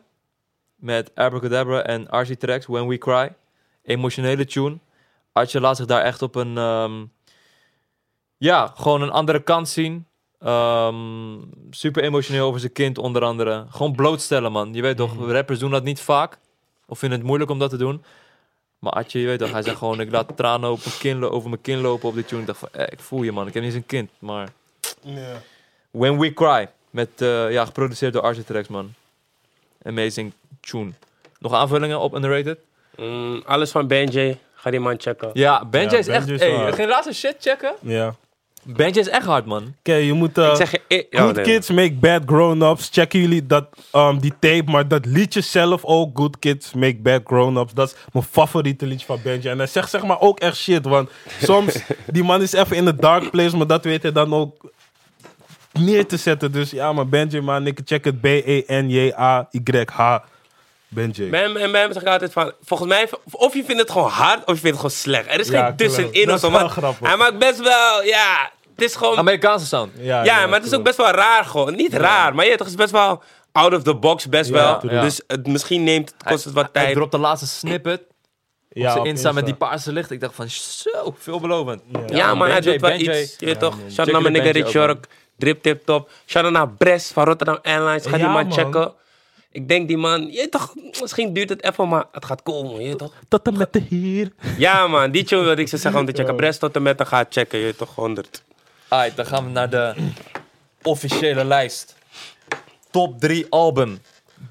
Speaker 3: Met Abracadabra en RC Tracks. When We Cry. Emotionele tune. Atje laat zich daar echt op een... ehm, ja, gewoon een andere kant zien. Ehm, super emotioneel over zijn kind onder andere. Gewoon blootstellen, man. Je weet toch, rappers doen dat niet vaak. Of vinden het moeilijk om dat te doen. Maar Atje, je weet toch, hij zei gewoon... Ik laat tranen op mijn kin lo- over mijn kin lopen op dit tune. Ik dacht van, eh, ik voel je, man. Ik heb niet eens een kind, maar...
Speaker 2: Ja.
Speaker 3: When We Cry. Met, eh, ja, geproduceerd door Architrax, man. Amazing tune. Nog aanvullingen op Underrated?
Speaker 1: Mm, alles van Benjay, ga die man checken.
Speaker 3: Ja, Benjay is
Speaker 2: Benjay
Speaker 3: echt...
Speaker 2: is
Speaker 3: Hey,
Speaker 2: wel-
Speaker 3: geen laatste shit checken.
Speaker 2: Ja.
Speaker 3: Bandje is echt hard, man.
Speaker 2: Oké, je moet... eh,
Speaker 1: Ik zeg je... eh, oh,
Speaker 2: good
Speaker 1: nee.
Speaker 2: Kids Make Bad Grown-Ups. Checken jullie dat, ehm, die tape, maar dat liedje zelf ook. Good Kids Make Bad Grown-Ups. Dat is mijn favoriete liedje van Benji. En hij zegt zeg maar ook echt shit, want soms... die man is even in de dark place, maar dat weet hij dan ook neer te zetten. Dus ja, maar Benji, man, ik check het. E B-E-N-J-A-Y-H. Benji.
Speaker 1: Bam en Bam zeg ik altijd van, volgens mij, of je vindt het gewoon hard of je vindt het gewoon slecht. Er is
Speaker 2: Ja,
Speaker 1: geen
Speaker 2: klopt.
Speaker 1: tussenin
Speaker 2: Dat
Speaker 1: of zo.
Speaker 2: is wel
Speaker 1: want
Speaker 2: grappig.
Speaker 1: Hij maakt best wel, ja, het is gewoon,
Speaker 3: Amerikaanse sound.
Speaker 1: ja, maar het is ook best wel raar gewoon. Niet raar, maar je weet toch, het is best wel out of the box best wel.
Speaker 3: ja.
Speaker 1: Dus het, misschien neemt, kost het wat
Speaker 3: Hij
Speaker 1: tijd.
Speaker 3: dropt de laatste snippet.
Speaker 2: ja,
Speaker 3: Ze
Speaker 2: op
Speaker 3: Insta met die
Speaker 2: Insta.
Speaker 3: paarse licht. Ik dacht van, zo, veelbelovend.
Speaker 1: Ja, maar hij
Speaker 3: Benji,
Speaker 1: doet wel
Speaker 3: Benji.
Speaker 1: iets. Je weet toch, shout
Speaker 3: Check
Speaker 1: out naar mijn
Speaker 3: de
Speaker 1: nigga
Speaker 3: Benji
Speaker 1: Rick
Speaker 3: ook,
Speaker 1: York, Drip Tip Top. Shout out naar Bres van Rotterdam Airlines. Ga die
Speaker 2: Ja,
Speaker 1: man,
Speaker 2: man.
Speaker 1: checken. Ik denk die man, je weet toch, misschien duurt het even, maar het gaat komen, je weet toch.
Speaker 2: Tot en met de hier.
Speaker 1: Ja man, die tune wilde ik ze zeggen om te checken. Bres tot en met dan gaat checken, je weet toch, 100.
Speaker 3: Alright, dan gaan we naar de officiële lijst. Top 3 album.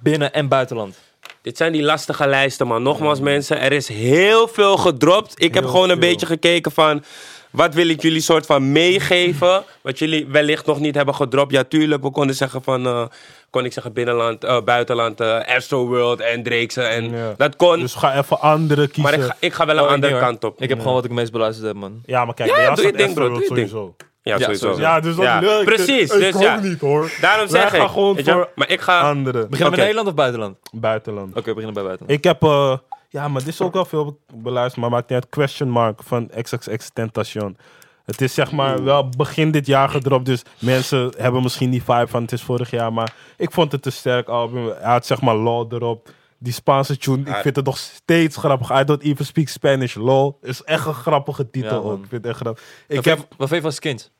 Speaker 3: Binnen en buitenland.
Speaker 1: Dit zijn die lastige lijsten, man. Nogmaals, mensen, er is heel veel gedropt. Ik heb gewoon een
Speaker 2: veel.
Speaker 1: beetje gekeken van. Wat wil ik jullie soort van meegeven? Wat jullie wellicht nog niet hebben gedropt. Ja, tuurlijk, we konden zeggen van. eh, kon ik zeggen binnenland, eh, buitenland, eh Astro World en Drake's. eh, En
Speaker 2: Ja.
Speaker 1: Dat kon.
Speaker 2: Dus eh, ga even andere
Speaker 1: maar
Speaker 2: kiezen.
Speaker 1: ik ga, ik ga wel een
Speaker 3: Oh, ik
Speaker 1: andere
Speaker 3: niet, hoor.
Speaker 1: kant op.
Speaker 3: Ik heb gewoon wat ik het meest beluisterd heb, man.
Speaker 2: Ja, maar kijk,
Speaker 1: Ja,
Speaker 2: bij jou
Speaker 1: doe je
Speaker 2: staat
Speaker 1: ding, bro,
Speaker 2: Astro
Speaker 1: doe je
Speaker 2: World sowieso.
Speaker 1: ja,
Speaker 3: Ja,
Speaker 1: sowieso.
Speaker 3: sowieso.
Speaker 2: Ja, dus dat
Speaker 1: Ja,
Speaker 2: leuk.
Speaker 1: Precies,
Speaker 2: Ik
Speaker 1: dus
Speaker 2: ook
Speaker 1: ja.
Speaker 2: niet, hoor.
Speaker 1: Daarom
Speaker 2: Wij
Speaker 1: zeg
Speaker 2: gaan
Speaker 1: ik.
Speaker 2: gewoon
Speaker 1: weet je wel,
Speaker 2: voor
Speaker 1: maar ik ga.
Speaker 2: Andere.
Speaker 3: Beginnen we
Speaker 1: Oké.
Speaker 3: met Nederland of buitenland? Oké,
Speaker 2: Buitenland.
Speaker 3: we beginnen bij buitenland.
Speaker 2: Ik heb, eh, ja, maar dit is ook wel veel be- beluisterd, maar maakt niet uit. Question Mark van XXX Tentation. Het is zeg maar wel begin dit jaar gedropt, dus mensen hebben misschien die vibe van het is vorig jaar, maar ik vond het een sterk album. Hij had zeg maar LOL erop. Die Spaanse tune, ik
Speaker 1: Ah.
Speaker 2: vind het nog steeds grappig. I don't even speak Spanish, LOL. Is echt een grappige titel
Speaker 3: Ja, man.
Speaker 2: ook. Ik vind het echt grappig.
Speaker 3: Wat
Speaker 2: Ik
Speaker 3: vind-
Speaker 2: heb,
Speaker 3: Wat vind je van Skins?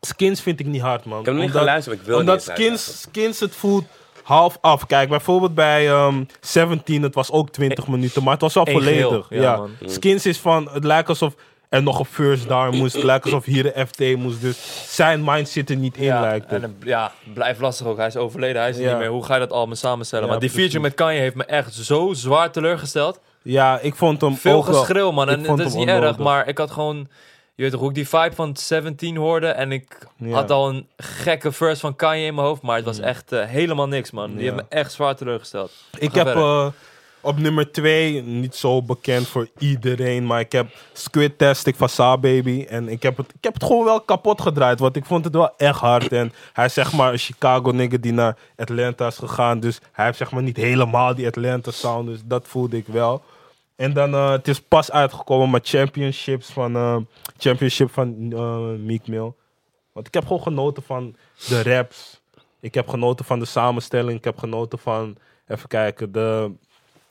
Speaker 2: Skins vind ik niet hard, man.
Speaker 1: Ik heb nog niet
Speaker 2: Omdat-
Speaker 1: geluisterd, maar ik wil
Speaker 2: omdat
Speaker 1: niet eens luisteren.
Speaker 2: skins, skins het voelt half af. Kijk, bijvoorbeeld bij ehm 17, het was ook 20 minuten, maar het was al
Speaker 3: Eén geheel,
Speaker 2: volledig.
Speaker 3: Eh, ja,
Speaker 2: Ja,
Speaker 3: man.
Speaker 1: Mm.
Speaker 2: Skins is van, het lijkt alsof er nog een first daar moest. Het lijkt alsof hier een FT moest. Dus zijn mind zit er niet in, lijkt
Speaker 3: en
Speaker 2: het.
Speaker 3: dan- ja, blijft lastig ook. Hij is overleden, hij is er
Speaker 2: Ja.
Speaker 3: niet meer. Hoe ga je dat allemaal samenstellen?
Speaker 2: Ja,
Speaker 3: maar die
Speaker 2: precies.
Speaker 3: feature met Kanye heeft me echt zo zwaar teleurgesteld.
Speaker 2: Ja, ik vond hem
Speaker 3: Veel
Speaker 2: ook wel-
Speaker 3: geschreeuw, man.
Speaker 2: ik
Speaker 3: En dat
Speaker 2: vond
Speaker 3: is
Speaker 2: hem
Speaker 3: niet erg,
Speaker 2: onnodig.
Speaker 3: maar ik had gewoon... Je weet toch hoe ik die vibe van 17 hoorde en ik
Speaker 2: Ja.
Speaker 3: had al een gekke verse van Kanye in mijn hoofd, maar het was echt eh, helemaal niks, man. Die
Speaker 2: Ja.
Speaker 3: heeft me echt zwaar teleurgesteld.
Speaker 2: Ik
Speaker 3: Ga
Speaker 2: heb
Speaker 3: verder.
Speaker 2: eh, op nummer 2, niet zo bekend voor iedereen, maar ik heb Squid Tastic van Sa Baby. En ik heb, het, ik heb het gewoon wel kapot gedraaid, want ik vond het wel echt hard. En hij is zeg maar een Chicago nigger die naar Atlanta is gegaan. Dus hij heeft zeg maar niet helemaal die Atlanta sound, dus dat voelde ik wel. En dan, eh, het is pas uitgekomen met championships van, eh, championship van eh Meek Mill. Want ik heb gewoon genoten van de raps. Ik heb genoten van de samenstelling. Ik heb genoten van, even kijken, de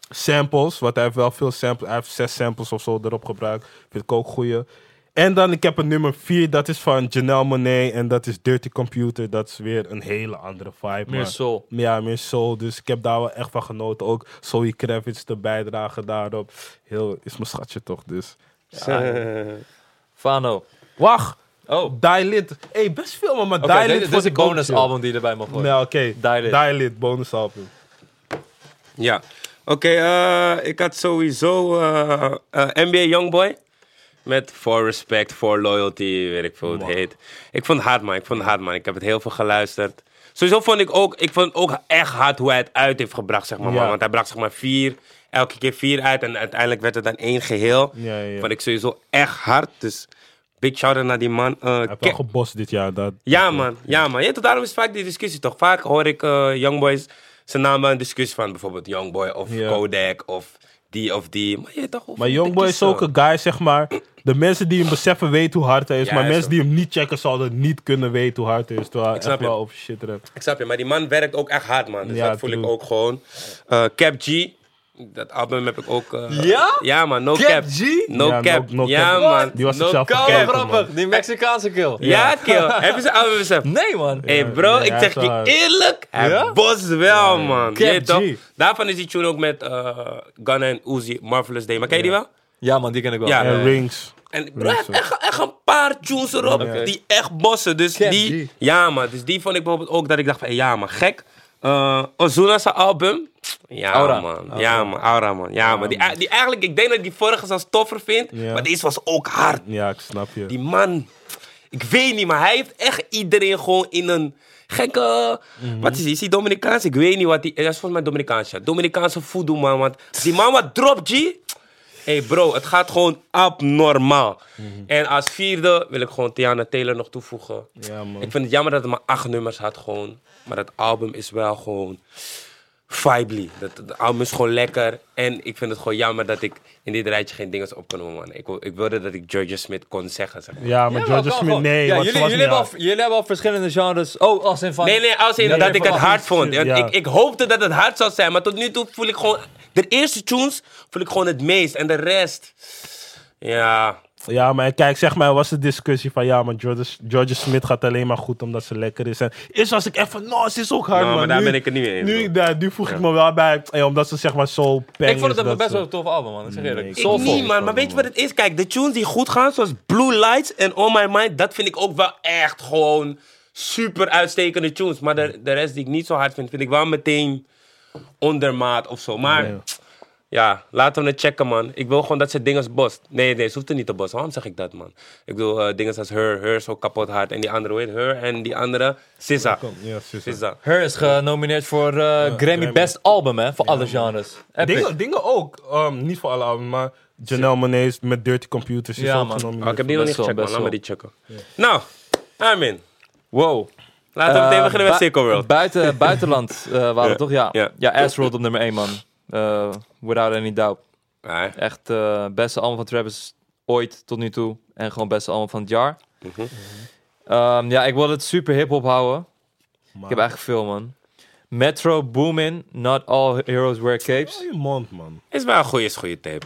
Speaker 2: samples. Want hij heeft wel veel samples. Hij heeft zes samples of zo erop gebruikt. Vind ik ook goeie. En dan, ik heb een nummer vier. Dat is van Janelle Monet. En dat is Dirty Computer. Dat is weer een hele andere vibe.
Speaker 3: Meer
Speaker 2: maar-
Speaker 3: soul.
Speaker 2: ja, meer soul. Dus ik heb daar wel echt van genoten. Ook Zoe Kravitz de bijdrage daarop. Heel, is mijn schatje toch, dus.
Speaker 3: Fano.
Speaker 2: Wacht!
Speaker 3: Oh,
Speaker 2: Die Lit. hey, best veel, man, maar
Speaker 3: oké.
Speaker 2: Die
Speaker 3: dit-
Speaker 2: Lit
Speaker 3: dit,
Speaker 2: vond
Speaker 3: is een
Speaker 2: ik ook Nou,
Speaker 3: bonusalbum die je erbij mag
Speaker 2: chill.
Speaker 3: gooien.
Speaker 2: Nee, oké.
Speaker 3: Die Lit.
Speaker 2: Die Lit, bonusalbum.
Speaker 1: Ja. Oké, eh, ik had sowieso eh, eh, NBA Youngboy. Met For Respect, For Loyalty, weet ik veel hoe het heet. Ik vond het hard, man. Ik vond het hard, man. Ik heb het heel veel geluisterd. Sowieso vond ik ook, ik vond ook echt hard hoe hij het uit heeft gebracht, zeg maar.
Speaker 2: Ja.
Speaker 1: man. Want hij bracht zeg maar vier, elke keer vier uit. En uiteindelijk werd het dan één geheel.
Speaker 2: Ja, ja, ja.
Speaker 1: Vond ik sowieso echt hard. Dus big shout-out naar die man. Eh,
Speaker 2: Hij heeft
Speaker 1: Ke-
Speaker 2: wel gebost dit jaar. Dat,
Speaker 1: ja, man. Ja, man. Ja, tot daarom is vaak die discussie toch. Vaak hoor ik eh Youngboys zijn naam wel een discussie van. Bijvoorbeeld Youngboy of
Speaker 2: Ja.
Speaker 1: Kodak of die of die. Maar je weet toch...
Speaker 2: Maar Youngboy is ook een guy, zeg maar. De mensen die hem beseffen weten hoe hard hij is.
Speaker 1: Ja,
Speaker 2: maar
Speaker 1: hij is
Speaker 2: mensen die hem niet checken, zouden niet kunnen weten hoe hard hij is. Terwijl hij
Speaker 1: snap
Speaker 2: echt
Speaker 1: je.
Speaker 2: wel over shit redt.
Speaker 1: Ik snap je, maar die man werkt ook echt hard, man. Dus
Speaker 2: Ja,
Speaker 1: dat voel ik
Speaker 2: true.
Speaker 1: ook gewoon. Eh, Cap G. Dat album heb ik ook... eh,
Speaker 3: Ja?
Speaker 1: Ja, man. No
Speaker 3: Cap
Speaker 1: Cap.
Speaker 3: G?
Speaker 1: No,
Speaker 2: Ja,
Speaker 1: cap.
Speaker 2: no- no
Speaker 1: Ja,
Speaker 2: cap.
Speaker 1: man.
Speaker 2: Die was
Speaker 1: no
Speaker 2: het zelf
Speaker 1: cap.
Speaker 2: vergeten, man.
Speaker 3: grappig, die Mexicaanse kill.
Speaker 1: Ja, kill. heb je zijn album beseft?
Speaker 3: Nee, man.
Speaker 1: Hé hey
Speaker 2: Ja,
Speaker 1: bro,
Speaker 2: ja,
Speaker 1: ik
Speaker 2: hij
Speaker 1: zeg
Speaker 2: is wel
Speaker 1: je
Speaker 2: hard.
Speaker 1: eerlijk, hij
Speaker 3: Ja?
Speaker 1: bost wel man. Je
Speaker 2: Cap
Speaker 1: weet toch?
Speaker 2: G.
Speaker 1: Daarvan is die tune ook met eh Gunna en Uzi, Marvelous Day. Maar ken je die wel?
Speaker 3: Ja, man, die ken ik wel.
Speaker 1: Ja.
Speaker 2: En
Speaker 1: Ja.
Speaker 2: Rings.
Speaker 1: En bro,
Speaker 2: Ja,
Speaker 1: hij heeft
Speaker 2: zo.
Speaker 1: echt, echt een paar tunes erop
Speaker 3: Ja.
Speaker 1: die echt bossen. Dus
Speaker 3: Cap
Speaker 1: die,
Speaker 3: G.
Speaker 1: ja man, dus die vond ik bijvoorbeeld ook dat ik dacht van, hey, ja man, gek. Eh Ozuna zijn album. Ja
Speaker 3: Aura.
Speaker 1: man, ja man, Aura man. Ja, man. Die, die eigenlijk, ik denk dat ik die vorige zelfs toffer vind,
Speaker 2: Ja.
Speaker 1: maar deze was ook hard.
Speaker 2: Ja, ik snap je.
Speaker 1: Die man, Ik weet niet, maar hij heeft echt iedereen gewoon in een gekke...
Speaker 2: Mhm.
Speaker 1: Wat is hij? Is hij Dominicaans? Ik weet niet wat hij... Hij is volgens mij Dominicaans, ja. Dominicaanse voodoo, man. Want die man wat drop, G... Hé hey bro, het gaat gewoon abnormaal.
Speaker 2: Mhm.
Speaker 1: En als vierde wil ik gewoon Tiana Taylor nog toevoegen.
Speaker 2: Ja, man.
Speaker 1: Ik vind het jammer dat het maar acht nummers had gewoon. Maar het album is wel gewoon vibely. Dat, het album is gewoon lekker. En ik vind het gewoon jammer dat ik in dit rijtje geen dingen op kan noemen, man. Ik, wil- ik wilde dat ik Georgia Smith kon zeggen, zeg maar.
Speaker 2: Ja, maar George
Speaker 3: kan
Speaker 2: Smith,
Speaker 3: gewoon.
Speaker 2: nee.
Speaker 3: Ja,
Speaker 2: want ze
Speaker 3: jullie,
Speaker 2: was
Speaker 3: jullie,
Speaker 2: niet
Speaker 3: hebben al,
Speaker 2: hard.
Speaker 3: jullie hebben al verschillende genres. Oh, als in van...
Speaker 1: Nee, nee, als in
Speaker 3: Nee,
Speaker 1: dat
Speaker 3: nee,
Speaker 1: ik het
Speaker 3: van-
Speaker 1: hard vond. Want
Speaker 2: ja.
Speaker 1: Ik, ik hoopte dat het hard zou zijn, maar tot nu toe voel ik gewoon... De eerste tunes voel ik gewoon het meest. En de rest... Ja...
Speaker 2: Ja, maar kijk, zeg maar, er was de discussie van ja, maar George, George Smith gaat alleen maar goed omdat ze lekker is. En eerst was ik echt van, nou, ze is ook hard,
Speaker 1: Nou, maar
Speaker 2: man.
Speaker 1: daar
Speaker 2: nu,
Speaker 1: ben ik het niet mee eens,
Speaker 2: Nu, daar, nu voeg ik me wel bij, eh, omdat ze zeg maar zo peng
Speaker 3: Ik vond
Speaker 2: is
Speaker 3: het een
Speaker 2: dat
Speaker 3: best
Speaker 2: ze-
Speaker 3: wel een tof album, man. Ik zeg eerlijk.
Speaker 1: Ik
Speaker 3: Soulful.
Speaker 1: niet, man. Maar weet je wat het is? Kijk, de tunes die goed gaan, zoals Blue Lights en On My Mind, dat vind ik ook wel echt gewoon super uitstekende tunes. Maar de, de rest die ik niet zo hard vind, vind ik wel meteen ondermaat of zo. Maar ja, laten we het checken, man. Ik wil gewoon dat ze dingen bost. Nee, nee, ze hoeft er niet te bossen. Waarom zeg ik dat, man? Ik wil eh dingen als Her, Her zo kapot hard. En die andere, weet Her en die andere, SZA.
Speaker 2: Ja, zus.
Speaker 1: SZA.
Speaker 3: Her is genomineerd voor eh, Grammy
Speaker 2: Grammy.
Speaker 3: Best Album, hè? Voor alle genres. Epic.
Speaker 2: Dingen, dingen ook, ehm, niet voor alle albums, maar Janelle Monáe met Dirty Computers is
Speaker 3: Ja,
Speaker 2: ook
Speaker 3: man.
Speaker 2: genomineerd.
Speaker 1: Oh, ik heb die nog niet
Speaker 3: Best wel,
Speaker 1: gecheckt, man.
Speaker 3: best
Speaker 1: Laat me
Speaker 3: wel.
Speaker 1: die checken. Nou, Armin.
Speaker 3: Wow.
Speaker 1: Laten we meteen
Speaker 3: Eh,
Speaker 1: beginnen met
Speaker 3: bui-
Speaker 1: Sicko World.
Speaker 3: Buiten, buitenland eh, waren
Speaker 1: Ja,
Speaker 3: het toch? Ja.
Speaker 1: ja.
Speaker 3: Ja, Asworld op nummer 1, man. Eh, without any doubt.
Speaker 1: Nee.
Speaker 3: Echt eh beste album van Travis ooit tot nu toe. En gewoon beste album van het jaar.
Speaker 1: Mhm.
Speaker 3: Ehm, ja, ik wil het super hip-hop houden.
Speaker 2: Maar-
Speaker 3: Ik heb eigenlijk veel, man. Metro Boomin, Not All Heroes
Speaker 2: Hou
Speaker 3: Wear Capes.
Speaker 2: je mond, man.
Speaker 1: Is wel een goede, is goede tape.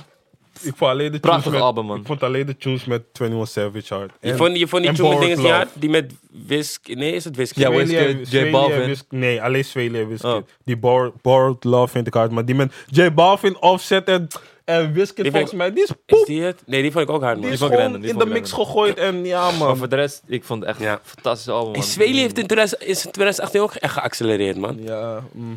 Speaker 2: Ik vond alleen de
Speaker 3: Prachtig
Speaker 2: tunes met,
Speaker 3: album, man.
Speaker 2: Ik vond alleen de tunes met 21 Savage hard.
Speaker 1: Je vond, je vond die
Speaker 2: en
Speaker 1: tune met
Speaker 2: Borrowed
Speaker 1: dingen niet
Speaker 2: Love.
Speaker 1: hard? Die met Wisk... Nee, is het Wisk?
Speaker 3: Ja,
Speaker 1: Wisk.
Speaker 3: Wiz-
Speaker 2: Swaley en-
Speaker 3: J
Speaker 2: Swaley en
Speaker 3: Balvin.
Speaker 2: Wiz- nee, alleen Swaley en Wizkid.
Speaker 3: Oh.
Speaker 2: Die Bor- Borrowed Love vind ik hard. Maar die met J Balvin, Offset en, en Wizkid
Speaker 1: ik-
Speaker 2: volgens mij, die is
Speaker 1: Is
Speaker 2: poep. Die,
Speaker 1: die het? Nee, die vond ik ook hard, man.
Speaker 2: is
Speaker 3: vond ik
Speaker 2: gewoon
Speaker 3: random, die
Speaker 2: in de
Speaker 3: vond ik
Speaker 2: mix gegooid en ja
Speaker 3: Maar
Speaker 2: man.
Speaker 3: voor de rest, ik vond het echt
Speaker 1: Ja.
Speaker 3: een fantastisch album, man.
Speaker 1: En Zweli heeft in 2000 is in 2018 ook echt geaccelereerd, man.
Speaker 2: Ja, mm.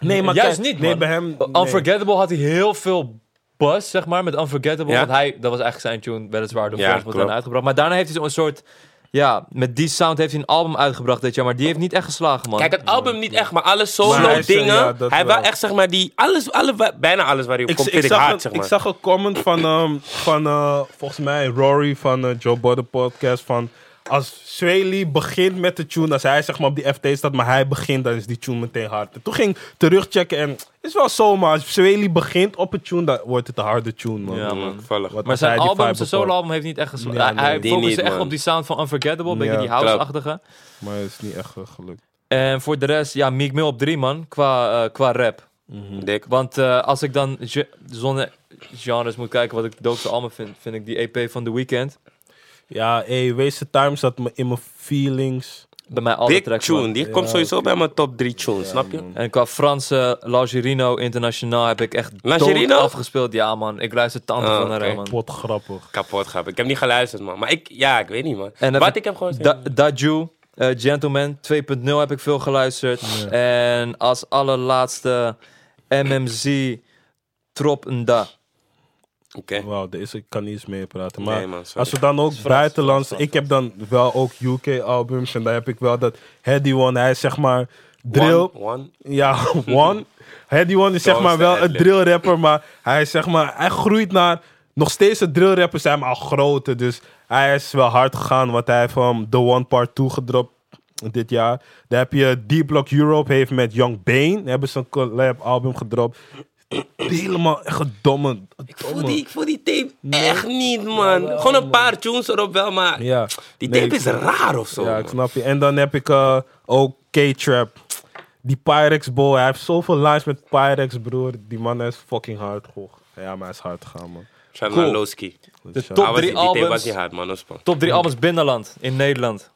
Speaker 2: Nee, maar
Speaker 3: Juist
Speaker 2: kijk,
Speaker 3: niet,
Speaker 2: nee,
Speaker 3: man.
Speaker 2: bij hem... nee.
Speaker 3: Unforgettable had hij heel veel buzz, zeg maar, met Unforgettable.
Speaker 1: Ja.
Speaker 3: Want hij, dat was eigenlijk zijn tune, weliswaar door
Speaker 1: Ja,
Speaker 3: Florence Montana
Speaker 1: klopt.
Speaker 3: uitgebracht. Maar daarna heeft hij zo'n soort... Ja, met die sound heeft hij een album uitgebracht dit jaar, maar die heeft niet echt geslagen, man.
Speaker 1: Kijk, het album niet echt, maar alle
Speaker 2: Maar hij is,
Speaker 1: solo-dingen.
Speaker 2: ja, dat
Speaker 1: hij wel
Speaker 2: wel.
Speaker 1: echt, zeg maar, die... Alles, alle, bijna alles waar hij op
Speaker 2: Ik,
Speaker 1: komt,
Speaker 2: ik,
Speaker 1: vind ik
Speaker 2: zag
Speaker 1: hard,
Speaker 2: een,
Speaker 1: zeg
Speaker 2: ik
Speaker 1: maar.
Speaker 2: zag een comment van, ehm, van eh, volgens mij Rory van eh, Joe Budden podcast van als Swaley begint met de tune, als hij zeg maar op die FT staat, maar hij begint, dan is die tune meteen hard. En toen ging ik terugchecken en het is wel zo, maar als Swaley begint op een tune, dan wordt het een harde tune, man.
Speaker 3: Ja, man.
Speaker 1: Mm, toevallig.
Speaker 2: Wat
Speaker 3: Maar
Speaker 2: als
Speaker 3: zijn
Speaker 2: hij die
Speaker 3: album,
Speaker 2: vibe
Speaker 3: zijn
Speaker 2: bepaalt.
Speaker 3: soloalbum heeft niet echt geslagen.
Speaker 2: Ja,
Speaker 3: Hij- hij
Speaker 1: nee. Die
Speaker 3: focuste
Speaker 1: niet,
Speaker 3: echt
Speaker 1: man.
Speaker 3: op die sound van Unforgettable, een beetje
Speaker 2: Ja,
Speaker 3: die house-achtige.
Speaker 2: Maar het is niet echt eh, gelukt.
Speaker 3: En voor de rest, ja, Meek Mill op drie, man, qua, eh, qua rap.
Speaker 1: Mhm, Dik.
Speaker 3: Want eh, als ik dan ge- zonder genres moet kijken wat ik de doopste album vind, vind ik die EP van The Weeknd.
Speaker 2: Ja, hey, Wasted Time zat me in mijn feelings.
Speaker 3: Bij mij alle
Speaker 1: Dik
Speaker 3: tracks, man.
Speaker 1: tune. Die komt sowieso bij mijn top 3 tunes, snap je?
Speaker 3: En qua Franse Langerino internationaal heb ik echt
Speaker 1: Langerino?
Speaker 3: dood afgespeeld. Ja, man. Ik luister tanden
Speaker 1: Ah,
Speaker 3: van naar hem,
Speaker 1: oké.
Speaker 3: man.
Speaker 2: Pot grappig.
Speaker 1: Kapot, grap. Ik heb niet geluisterd, man. Maar ik... Ja, ik weet niet, man.
Speaker 3: En
Speaker 1: En
Speaker 3: dat-
Speaker 1: Wat ik heb gewoon...
Speaker 3: Da- Daju, eh, Gentleman 2.0 heb ik veel geluisterd. En als allerlaatste MMZ Trop Nda.
Speaker 1: Oké.
Speaker 2: Wauw, daar is- ik kan niet eens mee praten. Maar
Speaker 1: Nee, man, sorry.
Speaker 2: als we dan ook buitenlands... ik heb dan wel ook UK-albums. En daar heb ik wel dat Heady One, hij is zeg maar drill...
Speaker 1: One, one.
Speaker 2: Ja, One. Heady One is zeg
Speaker 1: Zoals
Speaker 2: maar
Speaker 1: de
Speaker 2: wel een
Speaker 1: ad-lib.
Speaker 2: drill rapper. Maar hij is zeg maar... Hij groeit naar... Nog steeds een drill rapper zijn, maar al grote. Dus hij is wel hard gegaan. Want hij heeft van The One Part 2 gedropt dit jaar. Daar heb je D-Block Europe heeft met Young Bane. Hebben ze een collab album gedropt. Helemaal echt een domme...
Speaker 1: Ik voel, die, ik voel die tape echt niet, man. Gewoon een paar tunes erop wel, maar...
Speaker 2: Ja.
Speaker 1: Die
Speaker 2: Nee,
Speaker 1: tape
Speaker 2: ik
Speaker 1: is
Speaker 2: snap-
Speaker 1: raar of zo.
Speaker 2: Ja,
Speaker 1: man.
Speaker 2: ik snap je. En dan heb ik eh, ook K-Trap. Die Pyrex Boy. Hij heeft zoveel lines met Pyrex, broer. Die man is fucking hard, hoor. Ja, maar hij is hard gegaan, man.
Speaker 1: Shout
Speaker 3: Cool.
Speaker 1: naar Lowski.
Speaker 2: Dus ja.
Speaker 3: top-
Speaker 1: Ah, was
Speaker 3: drie
Speaker 1: die- die tape
Speaker 3: albums.
Speaker 1: was niet hard, man. Dat is spannend.
Speaker 3: Top 3 albums binnenland in Nederland.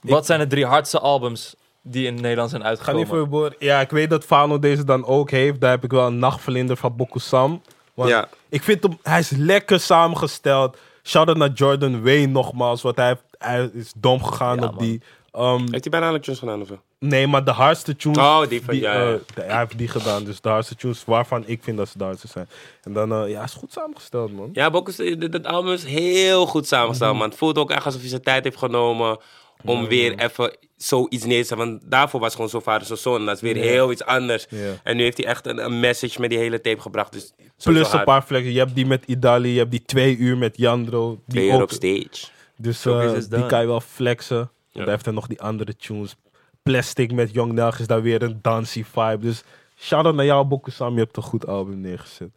Speaker 3: Wat zijn de drie hardste albums die in Nederland zijn
Speaker 2: Ga
Speaker 3: uitgekomen?
Speaker 2: niet voor je broer. Ja, ik weet dat Fano deze dan ook heeft. Daar heb ik wel een nachtvlinder van Bokusam. Want
Speaker 1: Ja.
Speaker 2: ik vind hem... Hij is lekker samengesteld. Shout-out naar Jordan Wayne nogmaals. Want hij, heeft- hij is dom gegaan
Speaker 3: Ja,
Speaker 2: op
Speaker 3: man.
Speaker 2: die Ehm,
Speaker 1: Heeft hij bijna alle tunes gedaan of zo?
Speaker 2: nee, maar de hardste tunes...
Speaker 1: Oh, die van- ja, ja.
Speaker 2: eh, de- hij heeft die gedaan. Dus de hardste tunes waarvan ik vind dat ze de hardste zijn. En dan, eh, ja, is goed samengesteld, man.
Speaker 1: Ja, Bokus, eh, dat album is heel goed
Speaker 2: Mhm.
Speaker 1: samengesteld, man. Het voelt ook echt alsof hij zijn tijd heeft genomen om weer even zoiets neer te zetten. Want daarvoor was gewoon zo vader, zo zoon. Dat is weer heel iets anders.
Speaker 2: Ja.
Speaker 1: En nu heeft hij echt een, een message met die hele tape gebracht. Dus sowieso
Speaker 2: Plus een
Speaker 1: hard.
Speaker 2: paar vlekken. Je hebt die met Idali, je hebt die twee uur met Jandro. Die
Speaker 1: Weer
Speaker 2: ook-
Speaker 1: op stage.
Speaker 2: Dus
Speaker 3: Showbiz
Speaker 2: eh, die
Speaker 3: is done.
Speaker 2: kan je wel flexen. Want hij heeft dan nog die andere tunes. Plastic met Young Nag is daar weer een dancey vibe. Dus shout-out naar jou, Bokusam. Je hebt een goed album neergezet.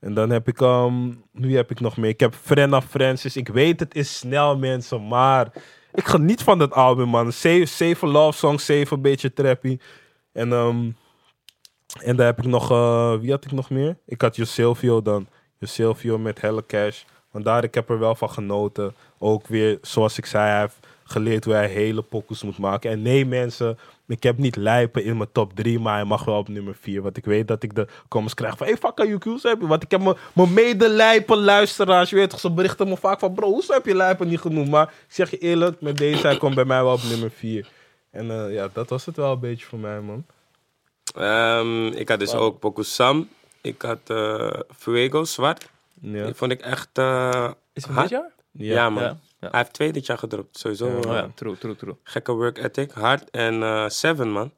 Speaker 2: En dan heb ik... ehm nu heb ik nog meer. Ik heb Frenna Francis. Ik weet het is snel, mensen. Maar ik geniet van dat album, man. Zeven, zeven love songs, zeven een beetje trappy. En, ehm, en daar heb ik nog... eh, wie had ik nog meer? Ik had Josilvio dan. Josilvio met Helle Cash. Want daar, ik heb er wel van genoten. Ook weer, zoals ik zei, hij heeft geleerd hoe hij hele pokkels moet maken. En nee, mensen, ik heb niet lijpen in mijn top 3, maar hij mag wel op nummer 4. Want ik weet dat ik de comments krijg van, hey, fuck, kan je QQ's hebben? Want ik heb mijn- mijn medelijpen luisteraars, je weet toch, ze berichten me vaak van, bro, hoezo heb je lijpen niet genoemd? Maar ik zeg je eerlijk, met deze, hij komt bij mij wel op nummer 4. En eh, ja, dat was het wel een beetje voor mij, man.
Speaker 1: Ehm, ik had dus ook Bokus Sam. Ik had eh, Fuego, zwart.
Speaker 2: Ja,
Speaker 1: Die vond ik echt eh,
Speaker 3: Is
Speaker 1: hard.
Speaker 3: jaar?
Speaker 1: Ja, man.
Speaker 3: Ja. ja.
Speaker 1: Hij heeft twee dit jaar gedropt. Sowieso
Speaker 2: Ja.
Speaker 1: eh,
Speaker 3: Oh ja, true, true, true.
Speaker 1: gekke work ethic. Hard en eh, Seven, man.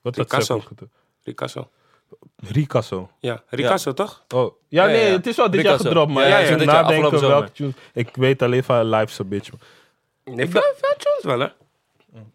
Speaker 2: Wat had
Speaker 1: Ricasso.
Speaker 2: Sepp ook gedaan?
Speaker 1: Ricasso.
Speaker 2: Ricasso.
Speaker 1: Ja, Ricasso, toch?
Speaker 2: Oh, ja,
Speaker 3: Ja,
Speaker 2: nee,
Speaker 3: ja.
Speaker 2: het is wel dit
Speaker 3: Ricasso.
Speaker 2: jaar gedropt, maar
Speaker 3: Ja,
Speaker 2: ja,
Speaker 3: ja,
Speaker 2: ik
Speaker 3: ja,
Speaker 2: moet
Speaker 3: dit jaar,
Speaker 2: nadenken
Speaker 3: afgelopen
Speaker 2: welke tunes. Ik weet alleen van Life's a Bitch, man.
Speaker 1: Nee, veel, veel tunes wel, hè?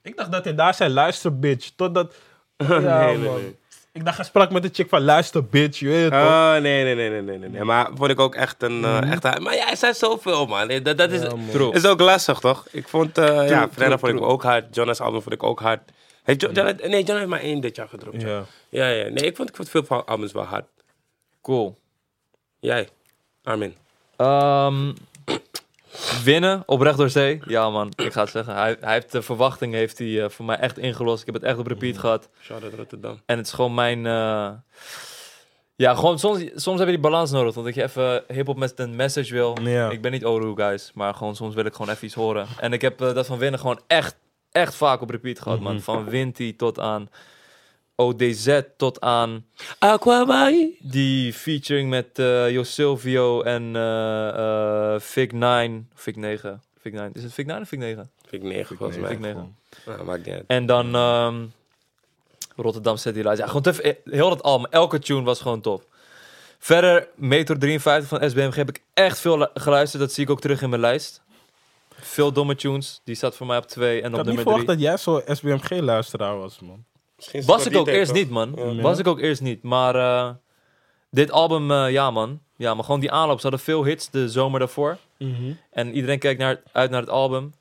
Speaker 2: Ik dacht dat hij daar zei, luister bitch. Totdat... Ja,
Speaker 1: nee,
Speaker 2: man.
Speaker 1: nee.
Speaker 2: Ik dacht, hij sprak met de chick van, luister bitch, je weet toch?
Speaker 1: Oh, nee, nee, nee, nee, nee, nee, nee. Maar vond ik ook echt een... eh, echt, maar ja, er zijn zoveel, man. Nee, Dat, dat is,
Speaker 2: man.
Speaker 3: True.
Speaker 1: is ook lastig, toch? Ik vond... eh ja, Frenna
Speaker 3: true,
Speaker 1: vond ik
Speaker 3: true.
Speaker 1: ook hard. Jonas' album vond ik ook hard. Heeft Jo- John, nee, John heeft maar één dit jaar gedropt. Mhm. Ja,
Speaker 2: Ja.
Speaker 1: ja. ja. Nee, ik vond, ik vond veel van albums wel hard.
Speaker 3: Cool.
Speaker 1: Jij, Armin.
Speaker 3: Ehm, winnen, oprecht door zee. Ja man, ik ga het zeggen. Hij, hij heeft de verwachting heeft hij, eh, voor mij echt ingelost. Ik heb het echt op repeat gehad.
Speaker 1: Shout out Rotterdam.
Speaker 3: En het is gewoon mijn... eh, Ja, gewoon soms, soms heb je die balans nodig. Omdat je even hiphop met een message wil.
Speaker 2: Ja.
Speaker 3: Ik ben niet Oru guys, maar gewoon soms wil ik gewoon even iets horen. En ik heb eh, dat van winnen gewoon echt, echt vaak op repeat gehad man. Van Winty tot aan ODZ tot aan...
Speaker 1: Aquabai.
Speaker 3: Die featuring met eh Jo Silvio en eh eh Fig 9. Fig 9. Fig 9. Is het Fig 9 of Fig 9?
Speaker 1: Vind ik negen, volgens
Speaker 3: Fig
Speaker 1: mij.
Speaker 3: 9.
Speaker 1: Nou, maakt niet uit.
Speaker 3: En dan ehm, Rotterdam City Lights. Ja, gewoon te, ve- heel dat album. Elke tune was gewoon top. Verder, Metro 53 van SBMG heb ik echt veel lu- geluisterd. Dat zie ik ook terug in mijn lijst. Veel domme tunes. Die staat voor mij op 2 en
Speaker 2: Ik
Speaker 3: op
Speaker 2: had niet
Speaker 3: nummer 3.
Speaker 2: verwacht dat jij zo'n SBMG-luisteraar was, man.
Speaker 1: Misschien is het
Speaker 3: Was
Speaker 1: wel
Speaker 3: ik
Speaker 1: die
Speaker 3: ook
Speaker 1: tape,
Speaker 3: eerst
Speaker 1: toch?
Speaker 3: niet, man.
Speaker 2: Ja.
Speaker 3: Was ik ook eerst niet. Maar eh, dit album, eh, ja, man. Ja, maar gewoon die aanloop. Ze hadden veel hits de zomer daarvoor.
Speaker 2: Mhm.
Speaker 3: En iedereen kijkt naar, uit naar het album.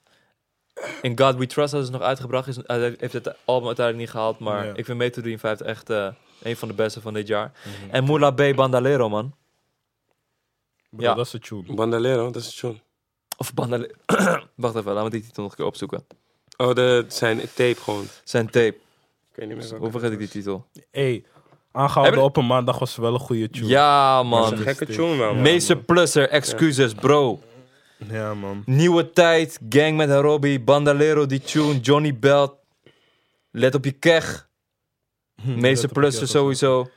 Speaker 3: In God We Trust hadden ze nog uitgebracht. Is, eh, heeft het album uiteindelijk niet gehaald. Maar
Speaker 2: Ja.
Speaker 3: ik vind Metro 53 echt eh, een van de beste van dit jaar.
Speaker 2: Eh,
Speaker 3: En Moula B. Bandalero, man.
Speaker 2: Bro,
Speaker 3: Ja.
Speaker 2: dat is de tune.
Speaker 1: Bandolero, dat is John.
Speaker 3: Of Bandalero. Wacht even, laat me die titel nog een keer opzoeken.
Speaker 1: Oh, dat zijn tape gewoon.
Speaker 3: Zijn tape.
Speaker 1: Ik weet niet meer
Speaker 3: Hoe
Speaker 1: welke.
Speaker 3: vergeet ik die titel?
Speaker 2: hey, aangehouden
Speaker 3: Hebben-
Speaker 2: op een maandag was wel een goede tune.
Speaker 1: Dat
Speaker 3: Ja,
Speaker 1: is een
Speaker 3: man.
Speaker 1: gekke tune wel, man.
Speaker 3: Meester Plusser, excuses, bro.
Speaker 2: Ja, man.
Speaker 3: Nieuwe tijd, gang met Harobi, Bandalero, die tune, Johnny Belt. Let op je keg. Meeste plussen sowieso.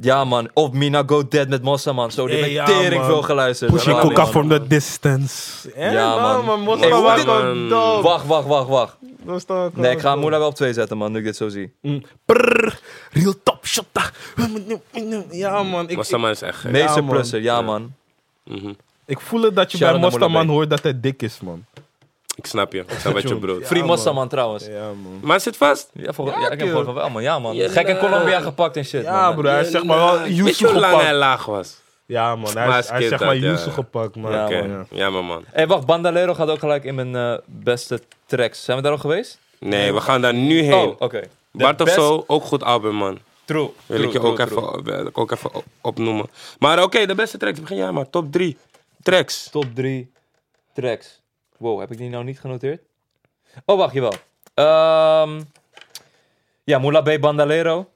Speaker 3: Ja man, of Mina Go Dead met Mossa man. Zo, die
Speaker 2: Hey,
Speaker 3: heb ik
Speaker 2: ja,
Speaker 3: tering
Speaker 2: man.
Speaker 3: veel geluisterd.
Speaker 2: Pushing
Speaker 3: Ja,
Speaker 2: Coca
Speaker 3: man.
Speaker 2: from the distance. Ja,
Speaker 3: man.
Speaker 2: man. man. Was
Speaker 1: Hey,
Speaker 2: dan
Speaker 1: hoe
Speaker 2: wel
Speaker 1: dit-
Speaker 2: gewoon dope.
Speaker 3: Wacht, wacht, wacht, wacht.
Speaker 2: Was dan wel
Speaker 3: Nee, ik ga
Speaker 2: gewoon
Speaker 3: Moela wel op twee zetten man, nu ik dit zo zie.
Speaker 2: dope. Mm. Prrr, real top shot. ah. Ja, man. Ik,
Speaker 1: Was dat maar eens echt gek.
Speaker 3: Meeste
Speaker 2: man.
Speaker 3: plussen, ja man.
Speaker 1: Mhm.
Speaker 2: ik voel het dat je
Speaker 3: Shout-out
Speaker 2: bij
Speaker 3: naar Moula
Speaker 2: Mostaman
Speaker 3: B.
Speaker 2: hoort dat hij dik is, man.
Speaker 1: Ik snap je. Ik snap wat je
Speaker 2: Tjoe.
Speaker 1: bedoelt.
Speaker 3: Free
Speaker 2: man.
Speaker 3: Mossa man trouwens.
Speaker 2: Ja, man.
Speaker 1: Maar het zit vast.
Speaker 3: Ja, voor, ja, ik heb
Speaker 2: joh.
Speaker 3: gehoord van wel man, ja man.
Speaker 1: Ja,
Speaker 3: Gek in
Speaker 1: eh,
Speaker 3: Colombia gepakt en shit
Speaker 2: Ja,
Speaker 3: man.
Speaker 2: broer, hij is zeg maar wel
Speaker 1: Weet
Speaker 2: Yusu
Speaker 1: je hoe lang hij
Speaker 2: gepakt.
Speaker 1: laag was?
Speaker 2: Ja, man, hij
Speaker 1: Maar
Speaker 2: is, hij is
Speaker 1: skip
Speaker 2: zeg
Speaker 1: dat,
Speaker 2: maar
Speaker 1: ja.
Speaker 2: Yusu gepakt, man.
Speaker 3: Ja,
Speaker 2: Ja,
Speaker 1: Oké.
Speaker 2: man. ja.
Speaker 1: Jammer, man.
Speaker 3: Hey wacht, Bandalero gaat ook gelijk in mijn eh, beste tracks. Zijn we daar al geweest?
Speaker 1: Nee, we gaan daar nu heen.
Speaker 3: Oh, oké. De
Speaker 1: Bart of
Speaker 3: best-
Speaker 1: zo, ook goed album, man.
Speaker 3: True.
Speaker 1: Wil ik je ook, even, wil ik ook even op- opnoemen. Maar oké, de beste tracks. Begin jij maar. Top 3 tracks.
Speaker 3: Top 3 tracks. Wow, heb ik die nou niet genoteerd? Oh, wacht, jawel. Ehm ja, Moula B. Bandalero.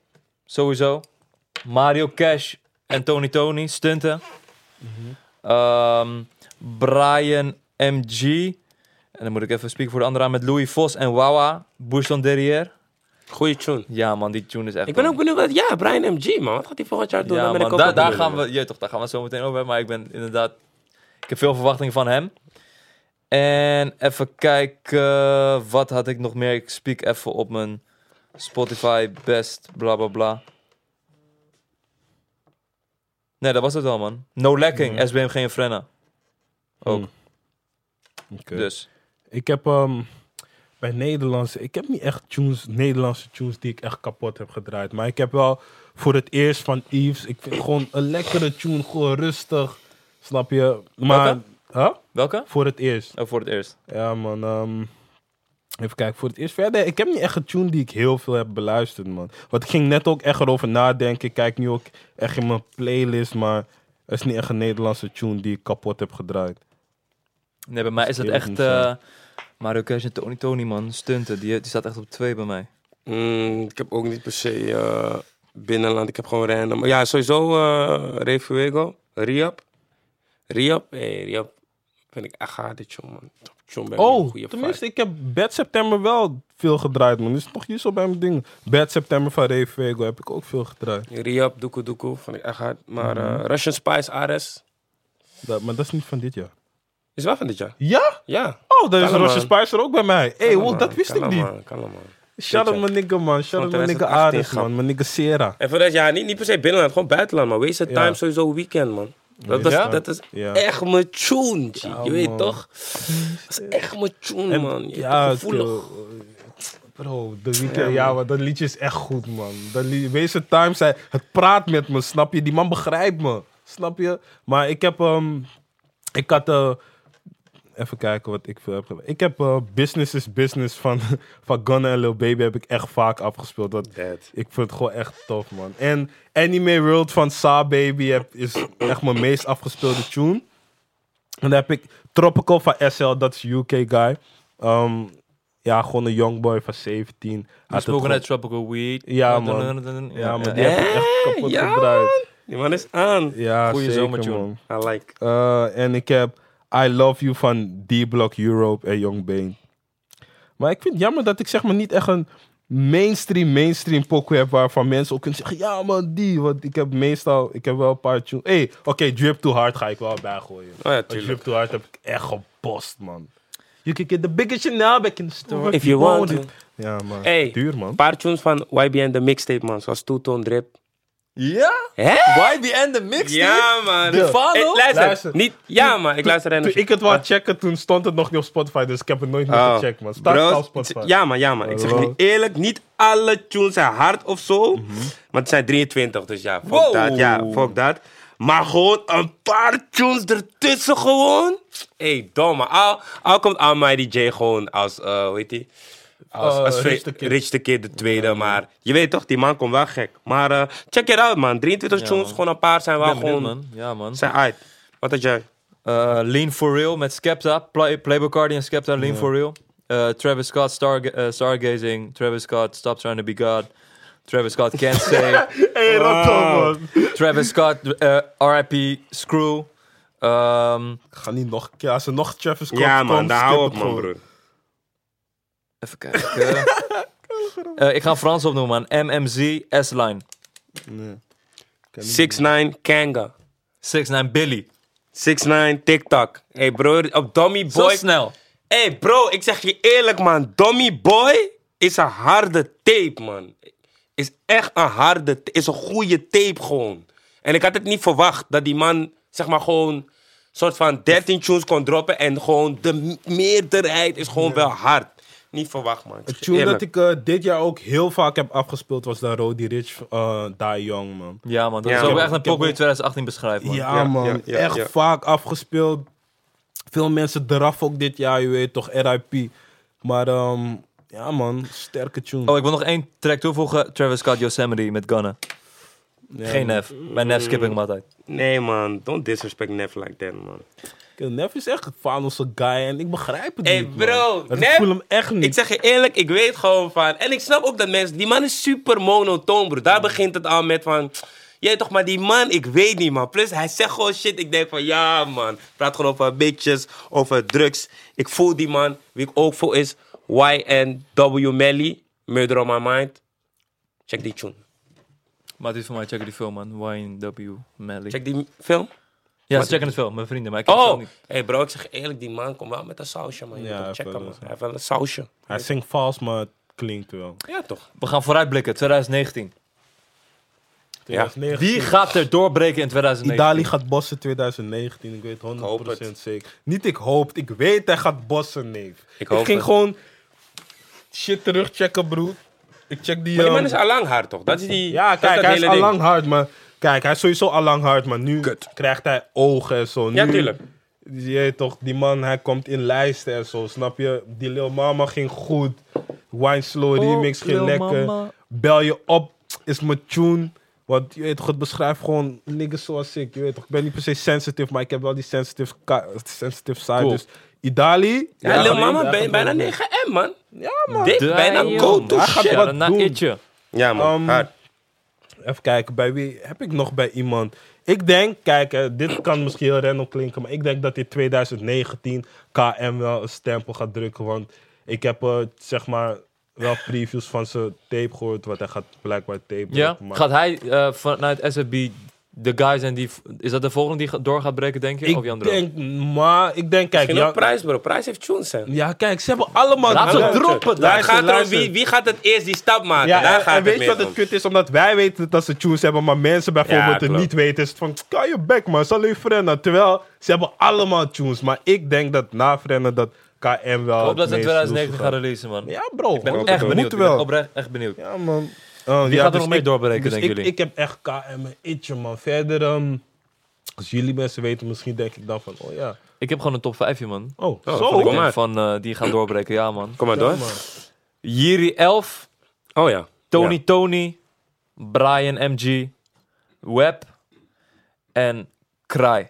Speaker 3: Sowieso. Mario Cash en Tony Tony. Mhm. Stunten. Ehm, Brian MG. En dan moet ik even spieken voor de andere aan met Louis Vos en Wawa. Bouchon Derrière.
Speaker 1: Goeie tune.
Speaker 3: Ja man, die tune is echt...
Speaker 1: Ik ben
Speaker 3: man.
Speaker 1: ook benieuwd wat... Ja, Brian MG, man. Wat gaat hij volgend jaar doen?
Speaker 3: Ja,
Speaker 1: Dan ben
Speaker 3: man,
Speaker 1: ik ook
Speaker 3: daar-
Speaker 1: wel
Speaker 3: daar
Speaker 1: benieuwd,
Speaker 3: gaan we, je, toch, daar gaan we het zo meteen over hebben. Maar ik ben inderdaad... Ik heb veel verwachtingen van hem. En even kijken... Wat had ik nog meer? Ik spiek even op mijn Spotify best. Bla, bla, bla. Nee, dat was het wel, man. No Lacking, SBM Geen Frenna. Ook,
Speaker 2: Oké.
Speaker 3: dus.
Speaker 2: Ik heb ehm, bij Nederlandse, ik heb niet echt tunes, Nederlandse tunes die ik echt kapot heb gedraaid. Maar ik heb wel voor het eerst van Eves, ik vind gewoon een lekkere tune, gewoon rustig. Snap je? Maar,
Speaker 3: Welke?
Speaker 2: huh?
Speaker 3: Welke?
Speaker 2: Voor het eerst.
Speaker 3: Oh, voor het eerst.
Speaker 2: Ja man, ehm, even kijken, voor het eerst. Verder, ik heb niet echt een tune die ik heel veel heb beluisterd man. Want ik ging net ook echt erover nadenken. Ik kijk nu ook echt in mijn playlist, maar er is niet echt een Nederlandse tune die ik kapot heb gedraaid.
Speaker 3: Nee, bij mij is het
Speaker 2: eerlijk
Speaker 3: echt...
Speaker 2: moet zijn.
Speaker 3: eh, Mario Kees en Tony Tony, man. Stunten, die, die staat echt op twee bij mij.
Speaker 1: Mm, ik heb ook niet per se eh, binnenland. Ik heb gewoon random. Ja, sowieso eh Refuego, Riap. Riap, hey, Riap vind ik echt hard, dit jong, man. Top jong bij me,
Speaker 2: Oh,
Speaker 1: goede
Speaker 2: tenminste,
Speaker 1: vibe.
Speaker 2: ik heb Bad September wel veel gedraaid, man. Dus nog hier zo bij mijn dingen. Bad September van Ray Vego heb ik ook veel gedraaid.
Speaker 1: Riap, Doekoe Doekoe, vond ik echt hard. Maar
Speaker 2: Mhm.
Speaker 1: eh, Russian Spice, Ares,
Speaker 2: Dat, maar dat is niet van dit jaar.
Speaker 1: is wel van dit jaar.
Speaker 2: Ja?
Speaker 1: Ja.
Speaker 2: Oh, dan is
Speaker 1: Kalleman.
Speaker 2: Roger Spice er ook bij mij. Hé, hey, wow, dat wist ik niet.
Speaker 1: Kan man.
Speaker 2: Shout out
Speaker 1: Dit
Speaker 2: mijn nigga, man. Shout out
Speaker 1: Van
Speaker 2: mijn nigga
Speaker 1: 2018
Speaker 2: Ares,
Speaker 1: grap.
Speaker 2: man. Mijn nigga Sera.
Speaker 1: En voor dat jaar, niet, niet per se binnenland, gewoon buitenland, maar Waste
Speaker 2: Ja.
Speaker 1: Time sowieso weekend, man. Dat, dat,
Speaker 2: Ja?
Speaker 1: dat is
Speaker 2: Ja.
Speaker 1: echt mijn tune, G. je weet
Speaker 2: man.
Speaker 1: toch? Dat is echt mijn tune,
Speaker 2: En-
Speaker 1: man. Je ja,
Speaker 2: ja, het,
Speaker 1: gevoelig.
Speaker 2: eh, Bro, de weekend, ja, maar dat liedje is echt goed, man. Dat li- Wees Times, hij, het praat met me, snap je? Die man begrijpt me, snap je? Maar ik heb, ehm, ik had, eh, even kijken wat ik veel heb gedaan. Ik heb eh, Business is Business van, van Gunna en Lil Baby heb ik echt vaak afgespeeld. Dat,
Speaker 1: Dead.
Speaker 2: ik vind het gewoon echt tof, man. En Anime World van Sa Baby heb, is echt mijn meest afgespeelde tune. En dan heb ik Tropical van SL, dat is UK guy. Ehm, ja, gewoon een youngboy van 17. Hij had het
Speaker 3: Smoking
Speaker 2: gewoon-
Speaker 3: That Tropical Weed.
Speaker 2: Ja, man.
Speaker 3: Ja,
Speaker 2: Ja, maar
Speaker 3: ja.
Speaker 2: die heb ik echt kapot
Speaker 1: ja.
Speaker 2: gedraaid.
Speaker 1: Die man is aan.
Speaker 2: Ja,
Speaker 3: Goeie
Speaker 2: zeker,
Speaker 3: zomertune.
Speaker 2: man.
Speaker 1: I like.
Speaker 2: Eh, en ik heb I Love You van D-Block Europe en Young Bane. Maar ik vind het jammer dat ik zeg maar niet echt een mainstream, mainstream pokoe heb waarvan mensen ook kunnen zeggen, ja man, die. Want ik heb meestal, ik heb wel een paar tunes. Hé, hey, oké, Drip Too Hard ga ik wel bijgooien.
Speaker 1: Oh ja,
Speaker 2: Want
Speaker 1: tuurlijk.
Speaker 2: Drip Too Hard heb ik echt gebost, man. You can get the biggest Chanel back in the store.
Speaker 1: If you want
Speaker 2: it.
Speaker 1: to.
Speaker 2: Ja, man.
Speaker 1: Hey.
Speaker 2: Duur, man.
Speaker 1: Een paar tunes van YBN, de mixtape, man. Zoals Toeton, Drip.
Speaker 3: Ja?
Speaker 1: Hè?
Speaker 3: YBN de mixtape?
Speaker 1: man.
Speaker 3: De Fano?
Speaker 1: Ik luister.
Speaker 2: Luister.
Speaker 1: Niet, ja, man. Ik luister Ah. en
Speaker 2: Toen ik het wou checken, toen stond het nog niet op Spotify, dus ik heb het nooit meer gecheckt, man. Staat het op Spotify?
Speaker 1: Oh. Ja, man. Ja, man. Ik zeg
Speaker 2: Hallo.
Speaker 1: je eerlijk, niet alle tunes zijn hard of zo. Maar het zijn 23, dus ja. Fuck
Speaker 3: Wow.
Speaker 1: dat. Ja, fuck dat. Maar gewoon een paar tunes ertussen gewoon. hey, domme. Al, al komt Almighty J gewoon als, eh hoe heet die? Als,
Speaker 2: Eh,
Speaker 1: als Fre-
Speaker 2: Rich the Kid.
Speaker 1: Rich the Kid, de tweede. Maar je weet toch, die man komt wel gek. Maar eh, check it out, man. 23 tunes, gewoon een paar zijn wel
Speaker 3: Ik ben benieuwd,
Speaker 1: gewoon...
Speaker 3: man. Ja, man.
Speaker 1: Zijn uit. Wat had jij?
Speaker 3: Eh, Lean For Real met Skepta. Play, Playboy Cardi en Skepta, Lean For Real. Eh, Travis Scott, Starga- eh, Stargazing. Travis Scott, Stop Trying To Be God. Travis Scott, Can't Say.
Speaker 2: Hey, dat toch, man.
Speaker 3: Travis Scott, eh, R.I.P. Screw. Ehm,
Speaker 2: Ga niet nog, ja, als er nog Travis Scott
Speaker 1: Ja, man.
Speaker 2: komt,
Speaker 1: Daar
Speaker 2: skip
Speaker 1: hou op,
Speaker 2: het
Speaker 1: man,
Speaker 2: gewoon.
Speaker 1: broer.
Speaker 3: even kijken. Eh, ik ga Frans opnoemen, man. MMZ, S-Line.
Speaker 2: Nee.
Speaker 1: 6ix9ine, Kanga.
Speaker 3: 6ix9ine, Billy.
Speaker 1: 6ix9ine, TikTok. Hey bro, op Dommy
Speaker 3: Zo
Speaker 1: Boy.
Speaker 3: snel.
Speaker 1: Hey bro, ik zeg je eerlijk man. Dommy Boy is een harde tape man. Is echt een harde, is een goede tape gewoon. En ik had het niet verwacht dat die man zeg maar gewoon soort van 13 tunes kon droppen en gewoon de m- meerderheid is gewoon wel hard. Niet verwacht man.
Speaker 2: Een tune dat ik eh, dit jaar ook heel vaak heb afgespeeld was dan Roddy Rich, eh Die Young, man.
Speaker 3: Ja, man. Dat
Speaker 1: Ja,
Speaker 3: is ook
Speaker 1: man.
Speaker 3: echt een
Speaker 2: Ik heb
Speaker 3: pokoe die
Speaker 2: ook-
Speaker 3: 2018 beschrijft, man.
Speaker 2: Ja,
Speaker 1: ja,
Speaker 2: man.
Speaker 1: ja, ja,
Speaker 2: echt
Speaker 1: ja.
Speaker 2: vaak afgespeeld. Veel mensen eraf ook dit jaar, je weet toch, RIP. Maar ehm, ja, man, sterke tune.
Speaker 3: Oh, ik wil nog één track toevoegen. Travis Scott, Yosemite met Gunna. Geen F. Bij Nef skip ik hem altijd.
Speaker 1: Nee man, don't disrespect Neff like that man.
Speaker 2: Nef is echt een Fanosse guy en ik begrijp het
Speaker 1: Hey
Speaker 2: niet, man.
Speaker 1: bro,
Speaker 2: Het-
Speaker 1: Nef-
Speaker 2: Ik voel hem echt niet.
Speaker 1: Ik zeg je eerlijk, ik weet gewoon van. En ik snap ook dat mensen. Die man is super monotoon, bro. Daar begint het al met van. Jij toch, maar die man, ik weet niet, man. Plus, hij zegt gewoon shit. Ik denk van, ja, man. Praat gewoon over bitches, over drugs. Ik voel die man. Wie ik ook voel is YNW Melly. Murder on my mind. Check die tune.
Speaker 3: Maar het is voor mij, check die film, man. YNW Melly.
Speaker 1: Check die film.
Speaker 3: ja, ze checken het wel, mijn vrienden. Maar ik heb het wel
Speaker 1: Oh!
Speaker 3: niet.
Speaker 1: hey bro, ik zeg eerlijk, die man komt wel met een sausje, man. Je
Speaker 2: Ja,
Speaker 1: moet hem
Speaker 2: hij
Speaker 1: checken,
Speaker 2: heeft wel
Speaker 1: man.
Speaker 2: een-
Speaker 1: Hij heeft wel een sausje.
Speaker 2: Hij zingt vals, maar het klinkt wel.
Speaker 1: Ja, toch?
Speaker 3: We gaan vooruitblikken, 2019.
Speaker 2: 2019.
Speaker 3: Wie gaat er doorbreken in 2019?
Speaker 2: Italië gaat bossen 2019, ik weet 100%
Speaker 1: hoop het.
Speaker 2: zeker. Niet ik hoop, ik weet hij gaat bossen, neef. Ik,
Speaker 1: hoop
Speaker 2: ging
Speaker 1: het.
Speaker 2: gewoon shit terugchecken, broer. Ik check die...
Speaker 1: Maar die man
Speaker 2: ehm,
Speaker 1: is allang hard, toch? Dat is die...
Speaker 2: Ja,
Speaker 1: dat is
Speaker 2: kijk,
Speaker 1: dat
Speaker 2: hij is
Speaker 1: hele
Speaker 2: al
Speaker 1: ding.
Speaker 2: lang hard, maar... Kijk, hij is sowieso al lang hard, maar nu
Speaker 1: Kut.
Speaker 2: krijgt hij ogen en zo. Nu,
Speaker 1: Ja, tuurlijk.
Speaker 2: Je weet toch, die man, hij komt in lijsten en zo, snap je? Die Lil Mama ging goed. Wine Slow
Speaker 3: Oh,
Speaker 2: Remix ging
Speaker 3: Lil
Speaker 2: lekker.
Speaker 3: Mama.
Speaker 2: Bel je op, is mijn tune. Want je weet toch, het beschrijft gewoon niggas zoals ik. Je weet toch, ik ben niet per se sensitive, maar ik heb wel die sensitive, ka- sensitive side.
Speaker 3: Cool.
Speaker 2: Dus Idali...
Speaker 1: Ja,
Speaker 2: hij
Speaker 1: Lil
Speaker 2: gaat-
Speaker 1: Mama,
Speaker 2: hij
Speaker 1: ben-
Speaker 2: gaat
Speaker 1: bijna
Speaker 2: wel-
Speaker 1: 9M, man.
Speaker 2: Ja, man.
Speaker 1: Dik,
Speaker 3: Damn.
Speaker 1: bijna go-to
Speaker 3: Hij
Speaker 2: gaat
Speaker 1: shit.
Speaker 2: wat
Speaker 3: Ja, na
Speaker 2: doen.
Speaker 3: itje.
Speaker 1: Ja, man.
Speaker 2: Ehm,
Speaker 1: hard.
Speaker 2: Even kijken, bij wie heb ik nog bij iemand? Ik denk, kijk, eh, dit kan misschien heel random klinken, maar ik denk dat in 2019 KM wel een stempel gaat drukken. Want ik heb eh, zeg maar wel previews van zijn tape gehoord, want hij gaat blijkbaar tape
Speaker 3: Ja,
Speaker 2: drukken, maar
Speaker 3: gaat hij eh, vanuit SFB de guys en die... Is dat de volgende die ga- door gaat breken, denk je? of die
Speaker 2: ik
Speaker 3: andere?
Speaker 2: denk, maar ik denk, kijk,
Speaker 1: Geen
Speaker 2: ja,
Speaker 1: ook prijs, bro. Prijs heeft tunes, hè.
Speaker 2: ja, kijk, ze hebben allemaal...
Speaker 3: Laat ze
Speaker 2: Luister,
Speaker 3: droppen,
Speaker 1: Daar
Speaker 2: luister,
Speaker 1: gaat er om
Speaker 2: luister.
Speaker 1: wie, wie gaat het eerst die stap maken.
Speaker 2: Ja,
Speaker 1: Daar
Speaker 2: en,
Speaker 1: gaat
Speaker 2: en
Speaker 1: het
Speaker 2: weet je
Speaker 1: meer
Speaker 2: wat het
Speaker 1: om.
Speaker 2: kut is? Omdat wij weten dat ze tunes hebben, maar mensen
Speaker 1: Ja,
Speaker 2: bijvoorbeeld het
Speaker 1: klopt.
Speaker 2: niet weten. Is het van, kan je back man, is alleen Frenna. Terwijl, ze hebben allemaal tunes. Maar ik denk dat na Frenna dat KM wel
Speaker 3: Ik
Speaker 2: het
Speaker 3: hoop dat ze in
Speaker 2: meest
Speaker 3: 2019
Speaker 2: loes
Speaker 3: gaan releasen, man.
Speaker 2: Ja bro,
Speaker 3: Ik ben
Speaker 2: hoor,
Speaker 3: echt
Speaker 2: we
Speaker 3: benieuwd.
Speaker 2: moeten
Speaker 3: Ik ben
Speaker 2: wel.
Speaker 3: oprecht echt benieuwd.
Speaker 2: Ja man. Oh,
Speaker 3: Wie
Speaker 2: ja,
Speaker 3: gaat er
Speaker 2: dus
Speaker 3: nog mee
Speaker 2: ik-
Speaker 3: doorbreken,
Speaker 2: dus
Speaker 3: denken
Speaker 2: ik,
Speaker 3: jullie?
Speaker 2: ik heb echt KM en itje man. Verder, ehm, als jullie mensen weten, misschien denk ik dan van, oh ja.
Speaker 3: Ik heb gewoon een top 5 man.
Speaker 2: Oh,
Speaker 1: Oh,
Speaker 2: zo.
Speaker 1: vond ik
Speaker 3: Ik
Speaker 1: Kom
Speaker 3: denk
Speaker 1: maar.
Speaker 3: van eh, die gaan doorbreken, ja man.
Speaker 1: Kom maar
Speaker 2: Ja,
Speaker 1: door.
Speaker 2: man.
Speaker 3: Jiri 11,
Speaker 1: Oh ja.
Speaker 3: Tony
Speaker 1: Ja.
Speaker 3: Tony, Brian MG, Web en Kraai.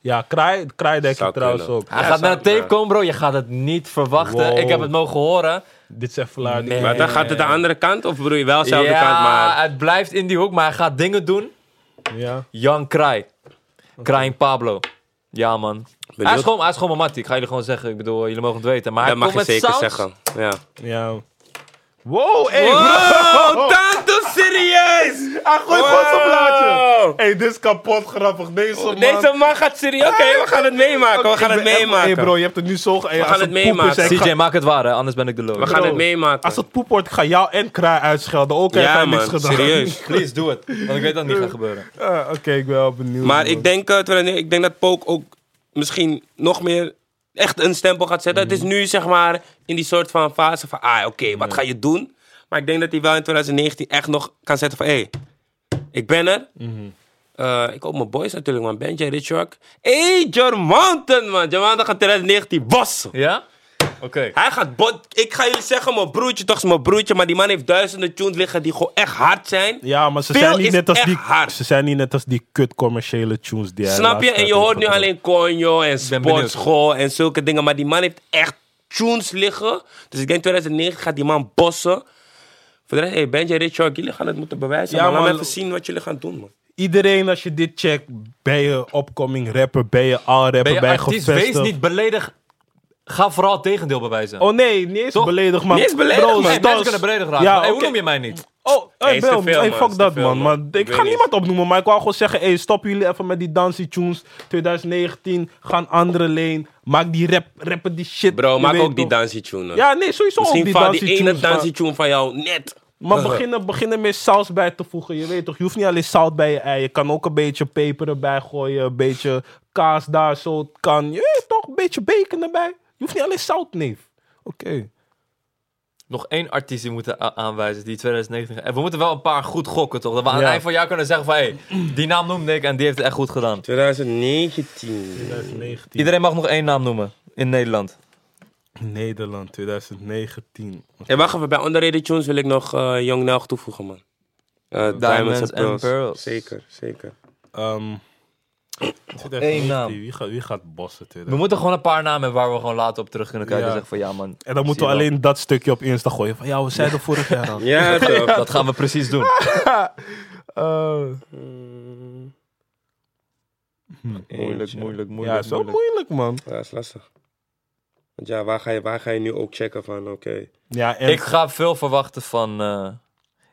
Speaker 2: Ja, kraai, kraai denk
Speaker 1: Zou
Speaker 2: ik trouwens
Speaker 1: kunnen.
Speaker 2: ook.
Speaker 3: Hij
Speaker 1: Ja,
Speaker 3: gaat naar
Speaker 1: zou
Speaker 3: de tape
Speaker 1: kunnen.
Speaker 3: komen, bro. Je gaat het niet verwachten.
Speaker 2: Wow.
Speaker 3: Ik heb het mogen horen.
Speaker 2: Dit is even laat.
Speaker 3: Nee.
Speaker 1: Maar dan gaat het de andere kant, of bedoel je wel dezelfde
Speaker 3: ja,
Speaker 1: kant, maar...
Speaker 3: het blijft in die hoek, maar hij gaat dingen doen.
Speaker 2: Ja.
Speaker 3: Jan Kraai. Kraai en Pablo. Ja, man. Hij is, gewoon, hij is gewoon mijn mattie. Ik ga jullie gewoon zeggen. Ik bedoel, jullie mogen het weten. Maar hij
Speaker 1: Dat mag
Speaker 3: komt
Speaker 1: je
Speaker 3: met
Speaker 1: zeker
Speaker 3: sounds.
Speaker 1: zeggen. Ja.
Speaker 2: Ja. Wow, hey,
Speaker 1: Wow, Tanto serieus!
Speaker 2: Hij gooit gewoon zijn plaatje.
Speaker 1: Wow.
Speaker 2: Ah, Hey, dit is kapot grappig. Deze man.
Speaker 1: Oh, Deze man gaat serieus... Oké, we gaan het meemaken, we
Speaker 2: Ik
Speaker 1: gaan het
Speaker 2: ben echt-
Speaker 1: meemaken.
Speaker 2: Hey bro, je hebt het nu zo... ge- Hey,
Speaker 1: gaan
Speaker 2: als
Speaker 1: het
Speaker 2: poep is,
Speaker 1: meemaken.
Speaker 2: ik ga-
Speaker 3: CJ, maak het waar, hè? anders ben ik de loon.
Speaker 1: We gaan het
Speaker 2: Bro, Als
Speaker 1: meemaken.
Speaker 2: het poep wordt, ik ga jou en Kraai uitschelden. Ook heb
Speaker 1: Ja
Speaker 2: hij niks
Speaker 1: man,
Speaker 2: gedaan.
Speaker 1: serieus.
Speaker 3: Please, doe het. Want ik weet dat het niet gaat gebeuren.
Speaker 2: Eh, Oké, ik ben wel benieuwd.
Speaker 1: Maar
Speaker 2: man.
Speaker 1: ik denk, eh, 2009, ik denk dat Pook ook misschien nog meer echt een stempel gaat zetten. Het is nu zeg maar in die soort van fase van, ah oké, wat ga je doen? Maar ik denk dat hij wel in 2019 echt nog kan zetten van, hé, hey, ik ben er. Eh, ik hoop mijn boys natuurlijk, man. Benji, Richard. Hé, hey, Mountain, man. Jermonten gaat 2019 bossen.
Speaker 3: Ja? Oké.
Speaker 1: Hij gaat bot. Ik ga jullie zeggen, mijn broertje, toch is mijn broertje. Maar die man heeft duizenden tunes liggen die gewoon echt hard zijn.
Speaker 2: Ja, maar ze
Speaker 1: Veel
Speaker 2: zijn, niet
Speaker 1: is
Speaker 2: net als
Speaker 1: echt
Speaker 2: die,
Speaker 1: hard.
Speaker 2: ze zijn niet net als die kut commerciële tunes die hij
Speaker 1: Snap je?
Speaker 2: laatst
Speaker 1: En je
Speaker 2: uit
Speaker 1: hoort nu
Speaker 2: heeft
Speaker 1: alleen Conjo en
Speaker 3: ben benieuwd.
Speaker 1: sportschool en zulke dingen. Maar die man heeft echt tunes liggen. Dus ik denk 2009 gaat die man bossen. Voor de rest, hey, Benji, Richard, jullie gaan het moeten bewijzen.
Speaker 2: Ja,
Speaker 1: Ja, maar laat
Speaker 2: man.
Speaker 1: me even zien wat jullie gaan doen, man.
Speaker 2: Iedereen, als je dit checkt, ben je opkoming rapper, ben je al rapper,
Speaker 3: Ben je artiest,
Speaker 2: gevestigd.
Speaker 3: wees niet beledigd. Ga vooral het tegendeel bewijzen.
Speaker 2: Oh nee, niet eens
Speaker 3: Toch?
Speaker 2: beledigd, maar...
Speaker 1: Niet eens beledigd,
Speaker 2: Bro,
Speaker 1: man.
Speaker 3: Nee,
Speaker 2: Stas-
Speaker 3: mensen kunnen beledigd raken.
Speaker 2: Ja,
Speaker 3: Hey, Hoe
Speaker 2: oké.
Speaker 3: noem je mij niet?
Speaker 2: Oh, hey,
Speaker 1: Nee, is te
Speaker 2: Bel,
Speaker 1: veel,
Speaker 2: hey,
Speaker 1: man.
Speaker 2: fuck
Speaker 1: Is te
Speaker 2: dat
Speaker 1: veel,
Speaker 2: man.
Speaker 1: man.
Speaker 2: Maar
Speaker 1: Ik
Speaker 2: ik
Speaker 1: weet
Speaker 2: ga
Speaker 1: niet.
Speaker 2: niemand opnoemen, maar ik wou gewoon zeggen: hey, stoppen jullie even met die dancy tunes 2019. Ga een andere lane. Maak die rap, rappen die shit.
Speaker 1: Bro,
Speaker 2: Je
Speaker 1: maak
Speaker 2: weet
Speaker 1: ook die
Speaker 2: toch?
Speaker 1: dansie tune.
Speaker 2: Ja, nee, sowieso ook
Speaker 1: Misschien
Speaker 2: die
Speaker 1: valt
Speaker 2: dancy
Speaker 1: die ene
Speaker 2: tunes.
Speaker 1: dansie
Speaker 2: Maar,
Speaker 1: tune van jou net.
Speaker 2: maar beginnen, beginnen meer saus bij te voegen. Je weet toch, je hoeft niet alleen zout bij je ei. Je kan ook een beetje peper erbij gooien. Een beetje kaas daar zo. het Kan. Je weet toch, een beetje bacon erbij. Je hoeft niet alleen zout, neef. Oké.
Speaker 3: Nog één artiest die we moeten a- aanwijzen die 2019 gaat- En we moeten wel een paar goed gokken, toch? Dat we aan het
Speaker 2: Ja.
Speaker 3: eind van het jaar kunnen zeggen van... Hé, die naam noemde ik en die heeft het echt goed gedaan.
Speaker 1: 2019.
Speaker 2: 2019.
Speaker 3: Iedereen mag nog één naam noemen in Nederland.
Speaker 2: Nederland, 2019.
Speaker 1: Hey, wacht even, bij underrated tunes wil ik nog eh Young Nelg toevoegen, man. Eh,
Speaker 3: Diamonds
Speaker 1: Diamonds
Speaker 3: and
Speaker 1: and
Speaker 3: Pearls.
Speaker 1: Pearls. Zeker, zeker.
Speaker 2: Ehm
Speaker 3: Eén naam.
Speaker 2: Wie gaat, wie gaat bossen?
Speaker 3: We moeten gewoon een paar namen hebben waar we gewoon later op terug kunnen kijken.
Speaker 2: Ja.
Speaker 3: En zeggen van ja man.
Speaker 2: En dan moeten we
Speaker 3: zie je
Speaker 2: alleen dat stukje op Insta gooien. Van ja, we zeiden vorig jaar al.
Speaker 1: Ja, toch.
Speaker 3: wel. Dat gaan we precies doen.
Speaker 2: Eh,
Speaker 3: Moeilijk,
Speaker 1: Eentje.
Speaker 3: moeilijk, moeilijk.
Speaker 2: Ja, is wel
Speaker 3: moeilijk.
Speaker 2: moeilijk, man.
Speaker 1: Ja, dat is lastig. Want ja, waar ga je, waar ga je nu ook checken van, oké.
Speaker 2: Ja, en Oh,
Speaker 3: Ik ga veel verwachten van... eh,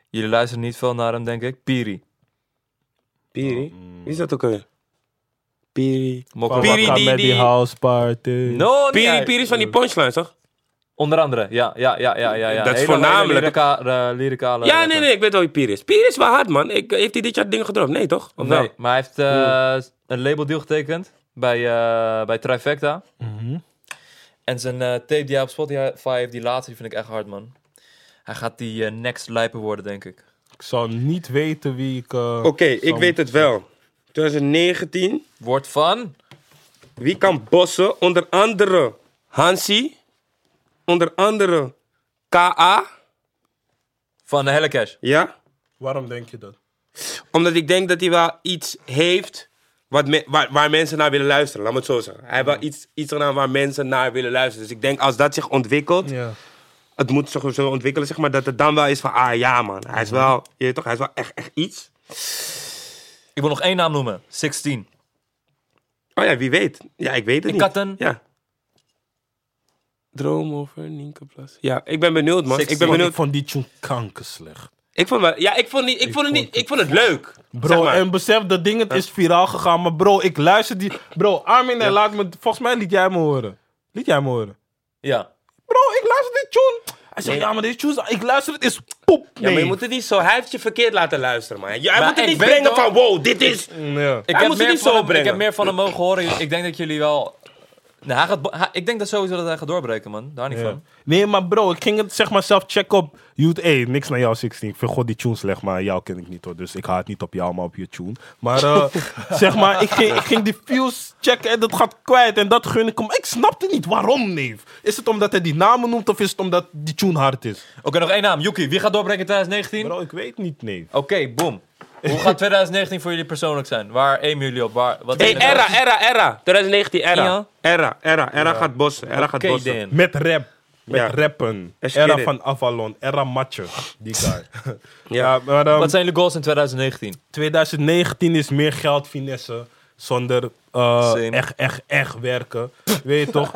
Speaker 3: jullie luisteren niet veel naar hem, denk ik. Piri.
Speaker 1: Piri? Wie is dat ook alweer? Piri.
Speaker 3: Mokko
Speaker 2: mm. Papa
Speaker 1: Piri
Speaker 2: gaat
Speaker 1: die-
Speaker 2: met die
Speaker 1: die-
Speaker 2: house party.
Speaker 3: No, niet
Speaker 1: Piri,
Speaker 3: uit.
Speaker 1: Piri is van die punchline, toch?
Speaker 3: Onder andere, ja, ja, ja, ja, ja. ja.
Speaker 1: Dat is
Speaker 3: Hele- hele
Speaker 1: voornamelijk-
Speaker 3: lyrica- eh, lyricale
Speaker 1: Ja, nee,
Speaker 3: rapper.
Speaker 1: nee, ik weet wel wie Piri is. Piri is wel hard, man. Ik, eh, heeft hij dit jaar dingen gedropt? Nee, toch? Of wel?
Speaker 3: Nee, maar hij heeft eh, een labeldeal getekend bij, eh, bij Trifecta. En zijn eh, tape die hij op Spotify heeft, die laatste, die vind ik echt hard, man. Hij gaat die eh, next lijper worden, denk ik.
Speaker 2: Ik zal niet weten wie ik... eh,
Speaker 1: Oké, ik
Speaker 2: zal-
Speaker 1: weet het wel. 2019,
Speaker 3: Wordt van...
Speaker 1: wie kan bossen? Onder andere Hansi. Onder andere K.A.
Speaker 3: Van de Hellecash.
Speaker 1: Ja?
Speaker 2: Waarom denk je dat?
Speaker 1: Omdat ik denk dat hij wel iets heeft wat me- waar, waar mensen naar willen luisteren. Laat me het zo zeggen. Hij heeft wel iets, iets gedaan waar mensen naar willen luisteren. Dus ik denk als dat zich ontwikkelt,
Speaker 2: Ja.
Speaker 1: het moet zich zo ontwikkelen, zeg maar, dat het dan wel is van, ah ja man, hij is wel, je weet toch, hij is wel echt, echt iets.
Speaker 3: Ik wil nog één naam noemen. 16.
Speaker 1: Oh ja, wie weet. Ja, ik weet het niet.
Speaker 3: had een-
Speaker 1: Ja. Droom over Nienke Plas. Ja, ik ben benieuwd man. Ik ben
Speaker 2: Bro,
Speaker 1: benieuwd.
Speaker 2: ik vond die tune kanker slecht.
Speaker 1: Ik vond, wel, ja, ik vond, niet, ik vond, het, niet, ik vond het leuk.
Speaker 2: Bro,
Speaker 1: zeg maar.
Speaker 2: en besef dat ding, het is viraal gegaan. Maar bro, ik luister die... Bro, Armin, en laat me... Volgens mij liet jij me horen. Liet jij me horen.
Speaker 3: Ja.
Speaker 2: Bro, ik luister die tune. Hij zegt, ja, maar deze tune... Ik luister, het is pop.
Speaker 1: Ja, maar
Speaker 2: nee.
Speaker 1: je moet het niet zo, hij heeft je verkeerd laten luisteren man. Jij
Speaker 3: Maar
Speaker 1: moet het
Speaker 3: ik
Speaker 1: niet
Speaker 3: weet
Speaker 1: brengen
Speaker 3: toch-
Speaker 1: van, wow, dit is...
Speaker 2: Ja.
Speaker 3: Ik
Speaker 1: Hij
Speaker 3: heb,
Speaker 1: moet het
Speaker 3: meer
Speaker 1: niet
Speaker 3: van
Speaker 1: zo
Speaker 3: hem, ik
Speaker 1: brengen.
Speaker 3: heb meer van hem mogen horen. Ik denk dat jullie wel... Nou, hij gaat, bo- hij- ik denk dat sowieso dat hij gaat doorbreken, man. Daar niet
Speaker 2: Ja.
Speaker 3: van.
Speaker 2: Nee, maar bro, ik ging het zeg maar zelf checken op YouTube. Hey, niks naar jou, 16. Ik vind god die tune slecht, maar jou ken ik niet hoor. Dus ik haat niet op jou, maar op je tune. Maar eh, zeg maar, ik ging, ik ging die views checken en dat gaat kwijt. En dat gun ik hem. Ik snapte niet waarom, neef. Is het omdat hij die namen noemt of is het omdat die tune hard is?
Speaker 3: Oké, nog één naam. Yuki, wie gaat doorbreken in 2019?
Speaker 2: Bro, ik weet niet, neef.
Speaker 3: Oké, boom. Hoe gaat 2019 voor jullie persoonlijk zijn? Waar aimen jullie op? Waar, wat
Speaker 1: Hey, Era, Era, Era. 2019, Era.
Speaker 3: Ja.
Speaker 1: Era, Era, Era gaat bossen. Era gaat
Speaker 3: Oké,
Speaker 1: bossen.
Speaker 3: Dan.
Speaker 2: Met rap. Met
Speaker 1: Ja.
Speaker 2: rappen.
Speaker 1: Let's
Speaker 2: Era
Speaker 1: get it.
Speaker 2: van Avalon. Era Matje. Die guy.
Speaker 1: Ja.
Speaker 2: maar, ehm,
Speaker 3: Wat zijn jullie goals in 2019?
Speaker 2: 2019 is meer geld finesse. Zonder eh,
Speaker 3: Same.
Speaker 2: echt, echt, echt werken. Weet je toch?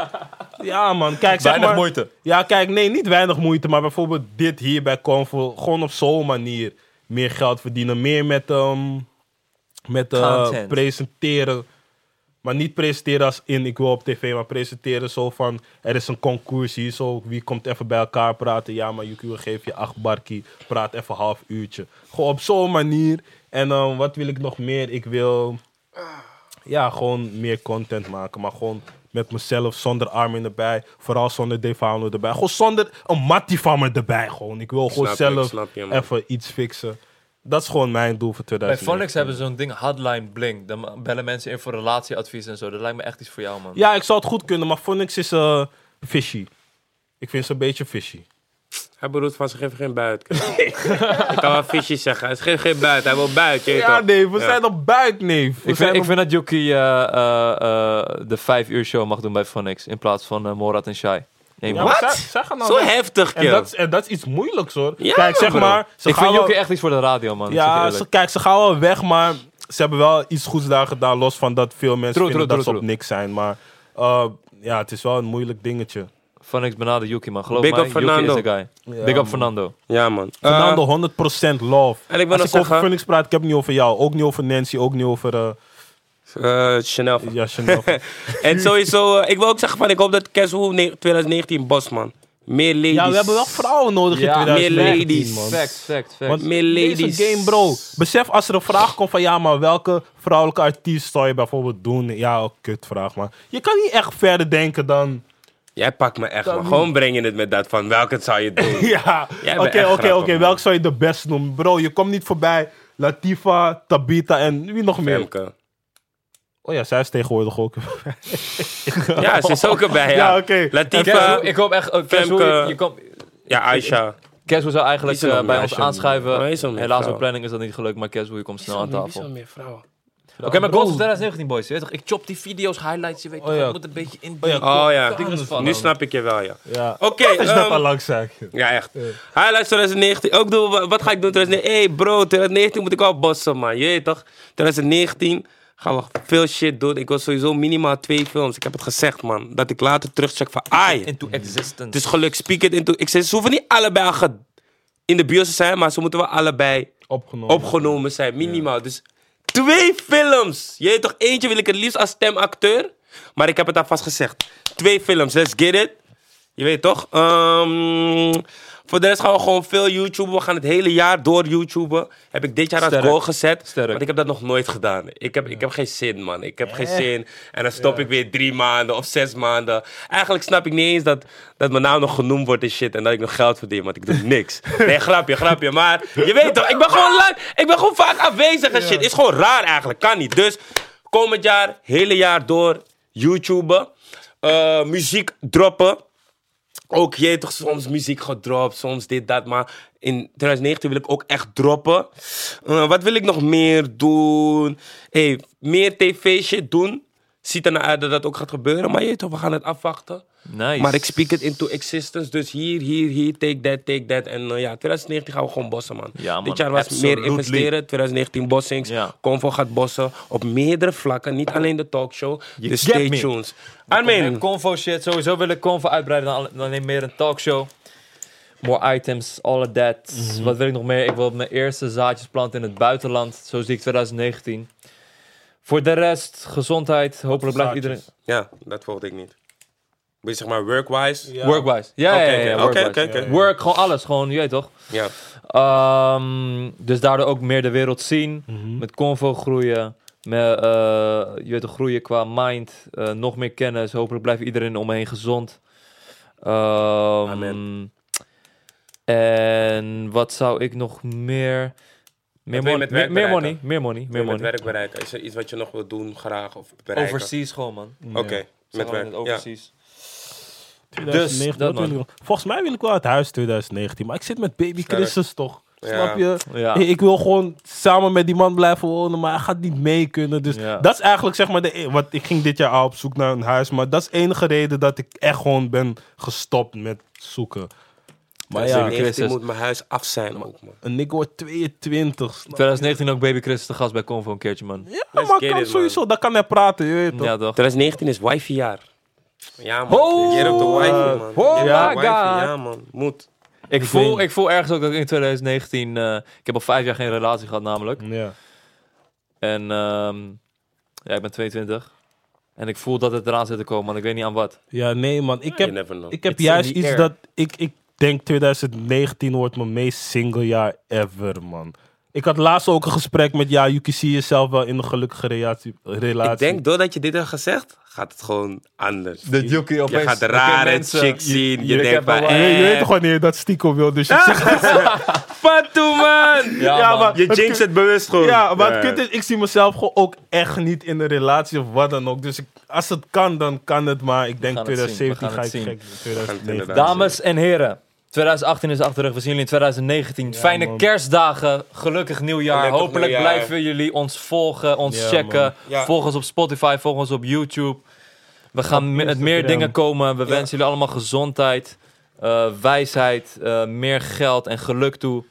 Speaker 2: Ja, man. Kijk, zeg
Speaker 3: Weinig
Speaker 2: maar-
Speaker 3: moeite.
Speaker 2: Ja, kijk, nee, niet weinig moeite. Maar bijvoorbeeld dit hier bij Convo. Gewoon op zo'n manier meer geld verdienen. Meer met, ehm, met eh,
Speaker 3: Content.
Speaker 2: presenteren. Maar niet presenteren als in ik wil op tv, maar presenteren zo van er is een concours hier, zo wie komt even bij elkaar praten. Ja, maar Yuki, we geven je acht barkie, praat even half uurtje. Gewoon op zo'n manier. En eh, wat wil ik nog meer? Ik wil ja, gewoon meer content maken, maar gewoon met mezelf, zonder Armin erbij, vooral zonder Defano erbij. Gewoon zonder een mattie van me erbij, gewoon. Ik wil gewoon
Speaker 1: Snap je,
Speaker 2: zelf
Speaker 1: snap je, man.
Speaker 2: even iets fixen. Dat is gewoon mijn doel voor
Speaker 3: Bij
Speaker 2: 2019.
Speaker 3: Phonics hebben ze zo'n ding, hotline bling. Dan bellen mensen in voor relatieadvies en zo. Dat lijkt me echt iets voor jou, man.
Speaker 2: Ja, ik zou het goed kunnen, maar Phonics is eh, fishy. Ik vind ze een beetje fishy.
Speaker 1: Hij bedoelt van, ze geven geen buit. Ik kan wel visjes zeggen. Hij geeft geen buit. Hij wil buit, je weet
Speaker 2: Ja,
Speaker 1: toch?
Speaker 2: nee, we
Speaker 1: Ja.
Speaker 2: zijn op buit, neef. We zijn
Speaker 3: Ik vind, ik
Speaker 2: op-
Speaker 3: vind dat Yuki eh, eh, eh, de 5 uur show mag doen bij Phonics. In plaats van eh, Morat en Shai. Nee,
Speaker 2: Ja,
Speaker 3: man.
Speaker 2: maar
Speaker 1: Wat?
Speaker 2: zij- zij gaan nou
Speaker 1: Zo
Speaker 2: weg.
Speaker 1: heftig,
Speaker 2: en dat,
Speaker 1: kill.
Speaker 2: is- en dat is iets moeilijks, hoor.
Speaker 1: Ja,
Speaker 2: kijk, zeg
Speaker 1: bro.
Speaker 2: maar... Ze
Speaker 3: Ik
Speaker 2: gaan
Speaker 3: vind
Speaker 2: wel-
Speaker 3: Yuki echt iets voor de radio, man.
Speaker 2: Ja, ze, kijk, ze gaan wel weg, maar ze hebben wel iets goeds daar gedaan. Los van dat veel mensen
Speaker 3: True,
Speaker 2: vinden
Speaker 3: true,
Speaker 2: dat ze
Speaker 3: true,
Speaker 2: op niks zijn. Maar eh, ja, het is wel een moeilijk dingetje.
Speaker 3: Phonics benadert Yuki, man. Geloof
Speaker 1: Big
Speaker 3: me,
Speaker 1: up Fernando.
Speaker 3: Yuki is de guy. Big up Fernando.
Speaker 1: Ja, man. Eh,
Speaker 2: Fernando, 100% love.
Speaker 1: en ik wil nog
Speaker 2: Als ik over
Speaker 1: zeggen-
Speaker 2: Phoenix praat, ik heb het niet over jou. Ook niet over Nancy, ook niet over... eh,
Speaker 1: eh, Chanel.
Speaker 2: ja, Chanel.
Speaker 1: En sowieso, eh, ik wil ook zeggen van, ik hoop dat Kesu ne- 2019 bos, man. Meer ladies.
Speaker 2: ja, we hebben wel vrouwen nodig
Speaker 3: Ja,
Speaker 2: in
Speaker 3: meer
Speaker 2: 2019,
Speaker 1: ladies.
Speaker 2: man.
Speaker 3: Fact, fact, fact.
Speaker 2: Want
Speaker 1: Meer ladies.
Speaker 2: Deze game, bro. Besef als er een vraag komt van ja, maar welke vrouwelijke artiest zou je bijvoorbeeld doen? Ja, oh, kutvraag, maar je kan niet echt verder denken dan.
Speaker 1: Jij pakt me echt, man. Gewoon breng je het met dat van, welke zou je doen?
Speaker 2: Ja,
Speaker 1: Jij bent
Speaker 2: oké,
Speaker 1: echt
Speaker 2: oké,
Speaker 1: grappig,
Speaker 2: oké.
Speaker 1: man.
Speaker 2: Welk zou je de best noemen? Bro, je komt niet voorbij. Latifa, Tabita en wie nog meer?
Speaker 1: Femke.
Speaker 2: Oh ja, zij is tegenwoordig ook.
Speaker 1: Ja, ze is ook erbij, ja.
Speaker 2: Ja, oké.
Speaker 1: Latifa.
Speaker 3: Kesu, ik hoop echt... eh, Kesu,
Speaker 1: Femke.
Speaker 3: je, je komt-
Speaker 1: Ja, Aisha.
Speaker 3: Kesu zou eigenlijk
Speaker 1: Wie is er nog
Speaker 3: eh, bij
Speaker 1: meer?
Speaker 3: ons
Speaker 1: Als je-
Speaker 3: aanschuiven.
Speaker 1: Waar is er nog meer
Speaker 3: Helaas, op
Speaker 1: vrouwen?
Speaker 3: planning is dat niet gelukt, maar Kesu, je komt snel aan tafel. Oké,
Speaker 1: meer vrouwen?
Speaker 3: maar goals van 2019, boys. Je weet toch, ik chop die video's, highlights, je weet toch,
Speaker 2: Oh ja.
Speaker 3: ik moet een beetje in.
Speaker 2: Oh ja,
Speaker 1: Oh ja,
Speaker 3: Anders van
Speaker 1: nu
Speaker 3: dan.
Speaker 1: snap ik je wel, ja.
Speaker 2: Ja.
Speaker 1: Oké,
Speaker 2: Dat is net
Speaker 1: ehm,
Speaker 2: al lang zijn.
Speaker 1: ja echt. Highlights 2019. Ook doen, we- wat ga ik doen 2019? Hé hey bro, 2019 moet ik al bossen man, je weet toch? 2019 Gaan we veel shit doen. Ik wil sowieso minimaal twee films. Ik heb het gezegd, man. Dat ik later terugcheck van, ai,
Speaker 3: Into
Speaker 2: Mm-hmm.
Speaker 3: existence.
Speaker 1: het is geluk. Speak it into... Ik zei, ze hoeven niet allebei ge- in de bios te zijn, maar ze moeten wel allebei
Speaker 2: Opgenomen.
Speaker 1: opgenomen zijn, minimaal. Dus twee films. Je weet toch, eentje wil ik het liefst als stemacteur. Maar ik heb het alvast gezegd. Twee films, let's get it. Je weet toch? Ehm, voor de rest gaan we gewoon veel YouTuben. We gaan het hele jaar door YouTuben. Heb ik dit jaar als
Speaker 3: Sterk.
Speaker 1: goal gezet.
Speaker 3: Sterk.
Speaker 1: Want ik heb dat nog nooit gedaan. Ik heb, ik heb geen zin, man. Ik heb geen zin. En dan stop ik weer drie maanden of zes maanden. Eigenlijk snap ik niet eens dat, dat mijn naam nog genoemd wordt en shit. En dat ik nog geld verdien, want ik doe niks. Nee, grapje, grapje. Maar je weet toch, ik ben gewoon, lang, ik ben gewoon vaak afwezig en shit. Is gewoon raar eigenlijk. Kan niet. Dus komend jaar, hele jaar door, YouTuben. Eh, muziek droppen ook, je hebt toch soms muziek gedropt, soms dit, dat. Maar in 2019 wil ik ook echt droppen. Eh, wat wil ik nog meer doen? Hey, meer tv-shit doen. Ziet er naar uit dat dat ook gaat gebeuren. Maar je weet toch, we gaan het afwachten.
Speaker 3: Nice.
Speaker 1: Maar ik speak it into existence. Dus hier, hier, hier, take that, take that. En eh, ja, 2019 gaan we gewoon bossen, man.
Speaker 3: Ja, man,
Speaker 1: Dit jaar was meer
Speaker 3: absolutely.
Speaker 1: investeren. 2019 bossings.
Speaker 3: Ja.
Speaker 1: Convo gaat bossen. Op meerdere vlakken. Niet alleen de talkshow.
Speaker 3: You
Speaker 1: dus
Speaker 3: get
Speaker 1: stay
Speaker 3: me.
Speaker 1: tuned.
Speaker 3: Meer
Speaker 1: Armin.
Speaker 3: Convo shit. Sowieso wil ik Convo uitbreiden naar alle- dan alleen meer een talkshow. More items, all of that.
Speaker 2: Mm-hmm.
Speaker 3: Wat wil ik nog meer? Ik wil mijn eerste zaadjes planten in het buitenland. Zo zie ik 2019. Voor de rest, gezondheid. Hopelijk blijft iedereen...
Speaker 1: Ja, dat volgde ik niet. Wil je zeg maar workwise?
Speaker 2: Ja.
Speaker 3: Workwise. Ja, ja, ja, ja,
Speaker 1: Oké,
Speaker 3: workwise.
Speaker 1: oké, oké.
Speaker 3: Work, gewoon alles. Gewoon, je weet toch?
Speaker 1: Ja.
Speaker 3: Ehm, dus daardoor ook meer de wereld zien.
Speaker 1: Mhm.
Speaker 3: Met Convo groeien. Met, eh, je weet, toch, groeien qua mind. eh, nog meer kennis. Hopelijk blijft iedereen om me heen gezond. Ehm,
Speaker 1: Amen.
Speaker 3: En wat zou ik nog meer...
Speaker 1: wil je
Speaker 3: Meer, mon-
Speaker 1: met
Speaker 3: meer,
Speaker 1: werk
Speaker 3: meer
Speaker 1: bereiken?
Speaker 3: money. Meer money.
Speaker 1: Wil
Speaker 3: Meer
Speaker 1: je met
Speaker 3: money.
Speaker 1: werk bereiken? Is er iets wat je nog wilt doen, graag of bereiken?
Speaker 3: Overseas gewoon, man.
Speaker 1: Oké, met werk. Ja.
Speaker 3: overseas.
Speaker 2: Dus,
Speaker 3: Dus, dat
Speaker 2: wil ik wel. Volgens mij wil ik wel uit huis 2019, maar ik zit met baby
Speaker 1: Sterk.
Speaker 2: Christus toch. Snap je?
Speaker 3: Ja.
Speaker 2: Hey, ik wil gewoon samen met die man blijven wonen, maar hij gaat niet mee kunnen. Dus
Speaker 3: Ja.
Speaker 2: dat is eigenlijk zeg maar de. e- Want ik ging dit jaar al op zoek naar een huis, maar dat is de enige reden dat ik echt gewoon ben gestopt met zoeken. Maar ja,
Speaker 1: 2019
Speaker 3: Christus.
Speaker 1: moet mijn huis af zijn ook, man.
Speaker 2: een nigga wordt 22. snap je?
Speaker 3: 2019 ook Baby Chris te gast bij Convo een keertje, man.
Speaker 2: Ja,
Speaker 1: Let's
Speaker 2: maar
Speaker 1: get
Speaker 2: kan
Speaker 1: it,
Speaker 2: sowieso, dan kan hij praten, je weet toch?
Speaker 3: Ja, toch?
Speaker 1: 2019 is wifi jaar. Ja, man.
Speaker 3: Oh!
Speaker 1: Year of the wifi, man.
Speaker 3: Oh
Speaker 1: Year of the
Speaker 3: my
Speaker 1: wifi,
Speaker 3: God.
Speaker 1: Ja, man. Moet.
Speaker 3: Ik
Speaker 2: weet
Speaker 3: voel,
Speaker 2: niet.
Speaker 3: ik voel ergens ook dat ik in 2019... eh, ik heb al vijf jaar geen relatie gehad namelijk.
Speaker 2: Ja.
Speaker 3: En ehm, ja, ik ben 22. En ik voel dat het eraan zit te komen, want ik weet niet aan wat.
Speaker 2: ja, nee man, ik
Speaker 1: You
Speaker 2: heb
Speaker 1: never know.
Speaker 2: Ik heb
Speaker 3: It's in
Speaker 2: juist
Speaker 3: the
Speaker 2: iets
Speaker 3: air.
Speaker 2: dat ik, ik denk 2019 wordt mijn meest single jaar ever, man. Ik had laatst ook een gesprek met, ja, Yuki, zie jezelf wel in een gelukkige relatie. relatie.
Speaker 1: Ik denk, doordat je dit hebt gezegd, gaat het gewoon anders.
Speaker 3: De Yuki
Speaker 1: je gaat rare chicks zien. Je,
Speaker 3: ik
Speaker 1: denkt
Speaker 3: heb
Speaker 1: van,
Speaker 3: wel-
Speaker 2: Je, je weet
Speaker 1: eh,
Speaker 2: toch wanneer je dat stiekem wil, dus je zegt...
Speaker 1: Fatou, man!
Speaker 3: Ja,
Speaker 2: Ja,
Speaker 3: man.
Speaker 2: maar-
Speaker 1: Je jinx het bewust gewoon.
Speaker 2: Ja, maar het
Speaker 1: Eh.
Speaker 2: kut is, ik zie mezelf gewoon ook echt niet in een relatie of wat dan ook. Dus ik, als het kan, dan kan het, maar ik denk
Speaker 3: gaan het zien, we
Speaker 2: 2017 ga
Speaker 3: gaan
Speaker 2: ik
Speaker 3: het zien.
Speaker 2: gek doen. 2019.
Speaker 1: inderdaad.
Speaker 3: Dames en heren, 2018 is achter de rug. We zien jullie in 2019. Fijne
Speaker 2: man.
Speaker 3: kerstdagen. Gelukkig nieuwjaar.
Speaker 1: Gelukkig
Speaker 3: Hopelijk
Speaker 1: nieuwjaar.
Speaker 3: blijven jullie ons volgen, ons
Speaker 2: Ja, man.
Speaker 3: checken.
Speaker 1: Ja.
Speaker 3: Volg ons op Spotify, volg ons op YouTube. We gaan met meer
Speaker 2: Instagram.
Speaker 3: dingen komen. We wensen jullie allemaal gezondheid, eh, wijsheid, eh, meer geld en geluk toe.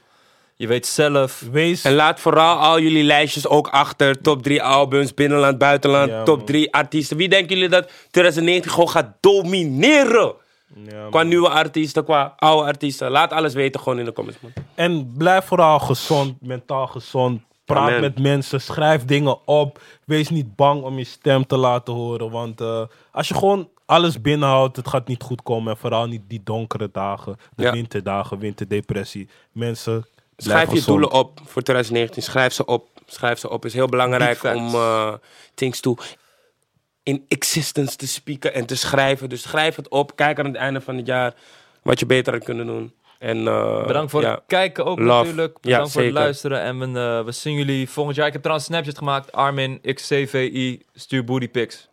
Speaker 3: Je weet zelf.
Speaker 2: Wees...
Speaker 1: En laat vooral al jullie lijstjes ook achter. Top 3 albums, binnenland, buitenland.
Speaker 2: Ja, man.
Speaker 1: top 3 artiesten. Wie denken jullie dat 2019 gewoon gaat domineren?
Speaker 2: Ja,
Speaker 1: Qua nieuwe artiesten, qua oude artiesten. Laat alles weten gewoon in de comments, man.
Speaker 2: En blijf vooral gezond, mentaal gezond. Praat
Speaker 1: Amen.
Speaker 2: met mensen, schrijf dingen op. Wees niet bang om je stem te laten horen. Want eh, als je gewoon alles binnenhoudt, het gaat niet goed komen. En vooral niet die donkere dagen, de
Speaker 1: Ja.
Speaker 2: winterdagen, winterdepressie. Mensen, blijf
Speaker 1: Schrijf je
Speaker 2: gezond.
Speaker 1: doelen op voor 2019. Schrijf ze op. Schrijf ze op. Is heel belangrijk
Speaker 3: Big
Speaker 1: om
Speaker 3: facts.
Speaker 1: eh, things to in existence te spieken en te schrijven. Dus schrijf het op. Kijk aan het einde van het jaar wat je beter had kunnen doen. En, eh,
Speaker 3: Bedankt voor
Speaker 1: ja.
Speaker 3: het kijken ook
Speaker 1: Love.
Speaker 3: natuurlijk.
Speaker 1: Ja,
Speaker 3: Bedankt voor het
Speaker 1: zeker.
Speaker 3: luisteren. En we, eh, we zien jullie volgend jaar. Ik heb trouwens een Snapchat gemaakt. Armin, XCVI, stuur booty pics. Ja,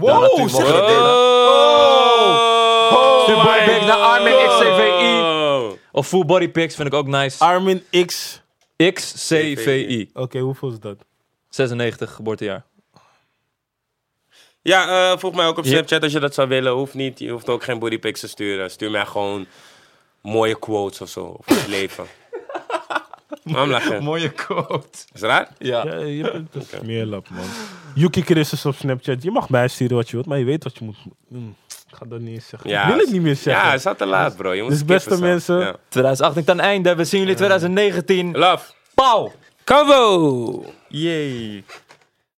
Speaker 2: Wow,
Speaker 3: natuurlijk
Speaker 2: zeg
Speaker 3: mogen we
Speaker 2: het
Speaker 3: dit.
Speaker 2: dit.
Speaker 1: Oh!
Speaker 3: Stuur
Speaker 1: my
Speaker 3: Boy Big naar Armin
Speaker 1: God.
Speaker 3: XCVI. Of full body pics vind ik ook nice.
Speaker 2: Armin X.
Speaker 3: XCVI,
Speaker 2: Oké, hoeveel is dat?
Speaker 3: 96 geboortejaar.
Speaker 1: Ja, eh volg mij ook op
Speaker 3: Ja.
Speaker 1: Snapchat als je dat zou willen. Hoeft niet. Je hoeft ook geen bodypics te sturen. Stuur mij gewoon mooie quotes of zo. Over het leven. Waarom lachen?
Speaker 3: Mooie quote.
Speaker 1: Is het raar?
Speaker 3: Ja.
Speaker 2: Ja, je bent een smeerlap, dus man. Yuki Christus op Snapchat. Je mag mij sturen wat je wilt, maar je weet wat je moet. Mm, ik ga dat niet eens zeggen.
Speaker 1: Ja,
Speaker 2: ik wil het niet meer
Speaker 1: Ja, het
Speaker 2: zeggen.
Speaker 1: staat te laat, bro. Je moet
Speaker 2: Dus beste
Speaker 1: skippen zo.
Speaker 2: mensen.
Speaker 3: 2018 ten einde. We zien jullie 2019.
Speaker 1: Ja. Love.
Speaker 3: Pauw!
Speaker 1: Kavo!
Speaker 3: Yay.